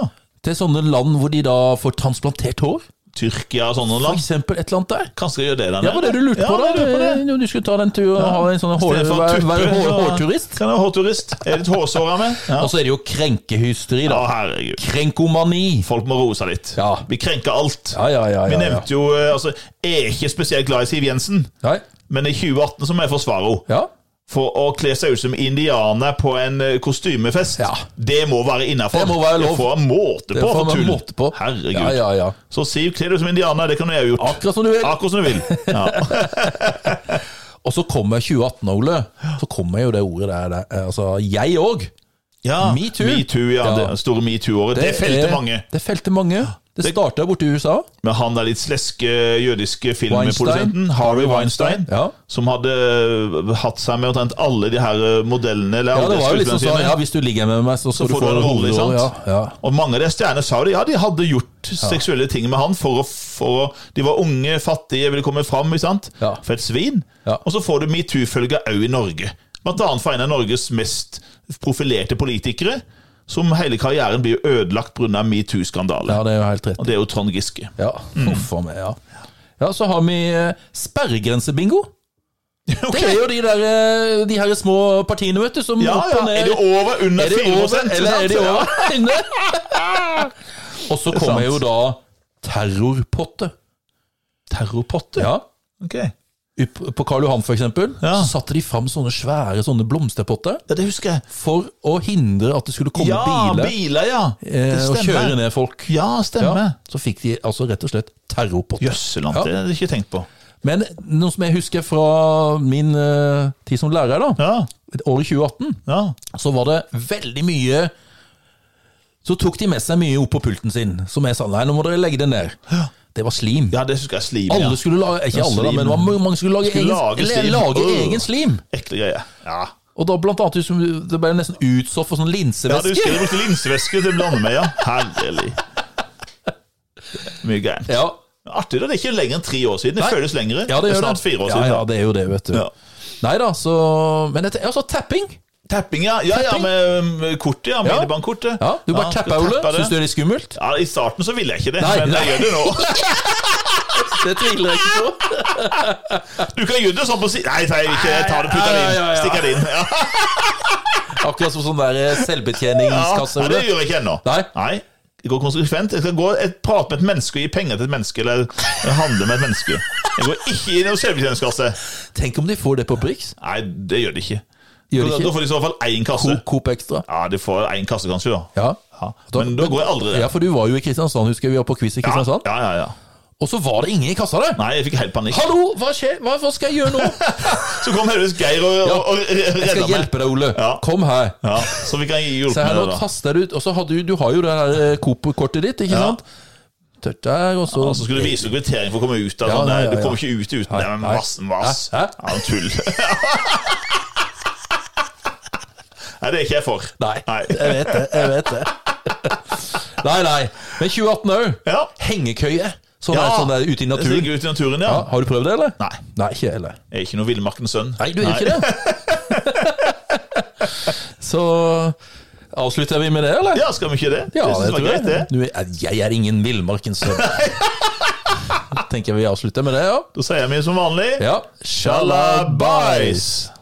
Speaker 1: Til sånne land hvor de da får transplantert hår.
Speaker 2: Tyrkia og sånne
Speaker 1: For
Speaker 2: land.
Speaker 1: eksempel et eller annet der.
Speaker 2: Kanskje jeg gjør det der
Speaker 1: Det var det du lurte
Speaker 2: ja,
Speaker 1: på, da.
Speaker 2: jeg lurer på det.
Speaker 1: Når du skulle ta den turen og ha en sånn hår,
Speaker 2: Istedenfor
Speaker 1: være,
Speaker 2: tupper,
Speaker 1: være hår,
Speaker 2: så-
Speaker 1: hårturist.
Speaker 2: Kan jeg være hårturist? Er litt hårsår av meg? Ja.
Speaker 1: Og så er det jo krenkehysteri,
Speaker 2: ja,
Speaker 1: da.
Speaker 2: herregud.
Speaker 1: Krenkomani.
Speaker 2: Folk må roe seg litt.
Speaker 1: Ja.
Speaker 2: Vi krenker alt.
Speaker 1: Ja, ja, ja.
Speaker 2: Vi
Speaker 1: ja, ja.
Speaker 2: nevnte jo eh, altså, Jeg er ikke spesielt glad i Siv Jensen,
Speaker 1: Nei.
Speaker 2: men i 2018 så må jeg forsvare henne.
Speaker 1: Ja.
Speaker 2: For å kle seg ut som indianer på en eh, kostymefest,
Speaker 1: Ja.
Speaker 2: det må være innafor.
Speaker 1: Det må være lov.
Speaker 2: Det får en måte
Speaker 1: Det
Speaker 2: på.
Speaker 1: får
Speaker 2: for
Speaker 1: man
Speaker 2: tull.
Speaker 1: måte på.
Speaker 2: Herregud.
Speaker 1: Ja, ja, ja.
Speaker 2: Så Siv, kle deg ut som indianer, det kan jeg ha gjort.
Speaker 1: Akkurat som du vil.
Speaker 2: Akkurat som du vil. Ja.
Speaker 1: Og så kommer 2018, Ole. Så kommer jo det ordet der. der. Altså, jeg òg.
Speaker 2: ja.
Speaker 1: Metoo.
Speaker 2: Metoo, ja.
Speaker 1: Ja.
Speaker 2: Det store metoo-året. Det, felte
Speaker 1: er-
Speaker 2: mange.
Speaker 1: Det felte mange. Det starta borte i USA.
Speaker 2: Men han der litt sleske jødiske
Speaker 1: Weinstein.
Speaker 2: filmprodusenten, Harry Weinstein,
Speaker 1: Ja.
Speaker 2: som hadde eh, hatt seg med omtrent alle de her eh, modellene eller
Speaker 1: Ja, det
Speaker 2: alle
Speaker 1: var jo liksom
Speaker 2: skuespillerne
Speaker 1: sånn
Speaker 2: sine.
Speaker 1: Ja, hvis du ligger med meg, så skal
Speaker 2: Så får du en rolle, sant?
Speaker 1: Ja, ja.
Speaker 2: Og mange av de stjernene sa det, ja, de hadde gjort seksuelle ting med han for å, for å De var unge, fattige, ville komme fram, ikke sant?
Speaker 1: Ja.
Speaker 2: For et svin.
Speaker 1: Ja.
Speaker 2: Og så får du metoo-følger òg i Norge. Blant annet fra en av Norges mest profilerte politikere, som hele karrieren blir ødelagt pga. metoo-skandalen.
Speaker 1: ja, det er jo helt rett.
Speaker 2: Og det er jo Trond Giske.
Speaker 1: Ja,
Speaker 2: Mm.
Speaker 1: Huff a meg, ja. Ja, så har vi eh, sperregrensebingo.
Speaker 2: Ok.
Speaker 1: Det er jo de der eh, De her små partiene, vet du, som
Speaker 2: Ja,
Speaker 1: opp
Speaker 2: ja.
Speaker 1: og ned
Speaker 2: eh, Er det over under
Speaker 1: Er det
Speaker 2: 4
Speaker 1: over, eller er det
Speaker 2: sant?
Speaker 1: over? Inne? Og så kommer
Speaker 2: sant.
Speaker 1: jo da terrorpotte.
Speaker 2: Terrorpotte?
Speaker 1: Ja.
Speaker 2: Ok. ja,
Speaker 1: Ut- På Karl Johan, for eksempel,
Speaker 2: Ja.
Speaker 1: så satte de fram sånne svære sånne blomsterpotter
Speaker 2: det husker jeg.
Speaker 1: for å hindre at det skulle komme
Speaker 2: Ja,
Speaker 1: biler
Speaker 2: biler, ja. Det
Speaker 1: eh, og kjøre
Speaker 2: stemmer.
Speaker 1: ned folk.
Speaker 2: Ja, stemmer.
Speaker 1: Så fikk de altså rett og slett terrorpotter.
Speaker 2: Jøsseland,
Speaker 1: Ja.
Speaker 2: det hadde jeg ikke tenkt på.
Speaker 1: Men noe som jeg husker fra min eh, tid som lærer, da,
Speaker 2: Ja,
Speaker 1: året 2018,
Speaker 2: ja.
Speaker 1: så var det veldig mye Så tok de med seg mye opp på pulten sin, som jeg sa nei, nå må dere legge det ned. Det var slim.
Speaker 2: ja det husker jeg. Slim,
Speaker 1: Alle
Speaker 2: ja.
Speaker 1: skulle lage, ikke
Speaker 2: Ja,
Speaker 1: alle da,
Speaker 2: slim.
Speaker 1: men det var mange mange skulle lage,
Speaker 2: Skulle
Speaker 1: egen,
Speaker 2: lage
Speaker 1: eller
Speaker 2: slim.
Speaker 1: Lage
Speaker 2: Øh.
Speaker 1: egen slim.
Speaker 2: Ekle greier. Ja.
Speaker 1: Og da blant annet liksom, det ble nesten utstoff og sånn
Speaker 2: ja, du
Speaker 1: linsevæske.
Speaker 2: husker jeg brukte linsevæske til å blande med, ja. Herlig. Mye gærent.
Speaker 1: Ja,
Speaker 2: Artig, da. Det er ikke lenger enn tre år siden. Det
Speaker 1: Nei.
Speaker 2: føles lengre.
Speaker 1: ja, det
Speaker 2: er
Speaker 1: gjør
Speaker 2: snart fire år
Speaker 1: ja,
Speaker 2: siden.
Speaker 1: ja, det er jo det, vet du.
Speaker 2: Ja.
Speaker 1: Nei da, så Men dette er altså tapping.
Speaker 2: Tapping, ja. Ja, ja,
Speaker 1: Tapping.
Speaker 2: med med kortet, ja. Minibankkortet.
Speaker 1: Ja, Du bare tapper,
Speaker 2: skal
Speaker 1: Ole.
Speaker 2: tappe det.
Speaker 1: Syns du det er litt skummelt?
Speaker 2: Ja, I starten så ville jeg ikke det,
Speaker 1: Nei,
Speaker 2: men
Speaker 1: nei.
Speaker 2: jeg gjør det nå.
Speaker 1: Det tviler jeg ikke på.
Speaker 2: Du kan gjøre det sånn på siden Nei, nei, ikke ta det, putt det
Speaker 1: Ja, ja,
Speaker 2: inn.
Speaker 1: ja, ja.
Speaker 2: Stikk det inn. Ja,
Speaker 1: Akkurat som sånn der eh,
Speaker 2: ja.
Speaker 1: selvbetjeningskasse.
Speaker 2: Nei, det gjør jeg ikke ennå.
Speaker 1: Nei.
Speaker 2: Det går konsekvent. Jeg skal gå et, prate med et menneske og gi penger til et menneske, eller handle med et menneske. Jeg går ikke inn i noen selvbetjeningskasse.
Speaker 1: Tenk om de får det på Prix.
Speaker 2: Nei, det gjør de ikke.
Speaker 1: Gjør de
Speaker 2: Da
Speaker 1: ikke?
Speaker 2: får de i så fall én kasse.
Speaker 1: Coop- Coop Extra.
Speaker 2: Ja, de får én kasse, kanskje, da.
Speaker 1: Ja.
Speaker 2: Ja. Men da går jeg aldri der.
Speaker 1: ja, for du var jo i Kristiansand, husker jeg vi var på quiz i
Speaker 2: Ja,
Speaker 1: Kristiansand.
Speaker 2: ja, ja, ja.
Speaker 1: Og så var det ingen i kassa der!
Speaker 2: Nei, jeg fikk helt panikk.
Speaker 1: Hallo, hva skjer? Hva, hva skal jeg gjøre nå?
Speaker 2: Så kom heldigvis Geir og, og, og
Speaker 1: Jeg
Speaker 2: redda
Speaker 1: skal
Speaker 2: meg.
Speaker 1: hjelpe deg, Ole.
Speaker 2: Ja.
Speaker 1: Kom her.
Speaker 2: Ja, så fikk han
Speaker 1: Se
Speaker 2: hjulpet
Speaker 1: her,
Speaker 2: meg.
Speaker 1: nå
Speaker 2: da.
Speaker 1: taster du ut. Og så har du, du har jo det her eh, Coop-kortet ditt, ikke sant? Tørt der, og så
Speaker 2: Og så skulle du vise deg kvittering for å komme ut
Speaker 1: Ja,
Speaker 2: av sånn.
Speaker 1: ja, ja,
Speaker 2: Du
Speaker 1: ja.
Speaker 2: kommer ikke ut uten
Speaker 1: Nei,
Speaker 2: det. Men
Speaker 1: nei.
Speaker 2: mass, mass.
Speaker 1: Hæ?
Speaker 2: Ja,
Speaker 1: Hæ?
Speaker 2: tull. nei, det er ikke jeg for.
Speaker 1: Nei, jeg vet det. Jeg vet det. Nei, nei. Men 2018 òg.
Speaker 2: Ja.
Speaker 1: Hengekøye. Sånn,
Speaker 2: Ja.
Speaker 1: der, sånn der ute i
Speaker 2: Jeg
Speaker 1: naturen.
Speaker 2: stikker ut i naturen, ja.
Speaker 1: Ja, har du prøvd det, eller?
Speaker 2: Nei.
Speaker 1: Nei, ikke jeg heller.
Speaker 2: Jeg er ikke noe villmarkens sønn.
Speaker 1: Nei, du er ikke det. så avslutter vi med det, eller?
Speaker 2: Ja, skal vi ikke det? synes var greit, det.
Speaker 1: Du er, jeg er ingen villmarkens sønn. Tenker jeg vi avslutter med det, ja.
Speaker 2: Da sier vi som vanlig
Speaker 1: ja. Shalabais!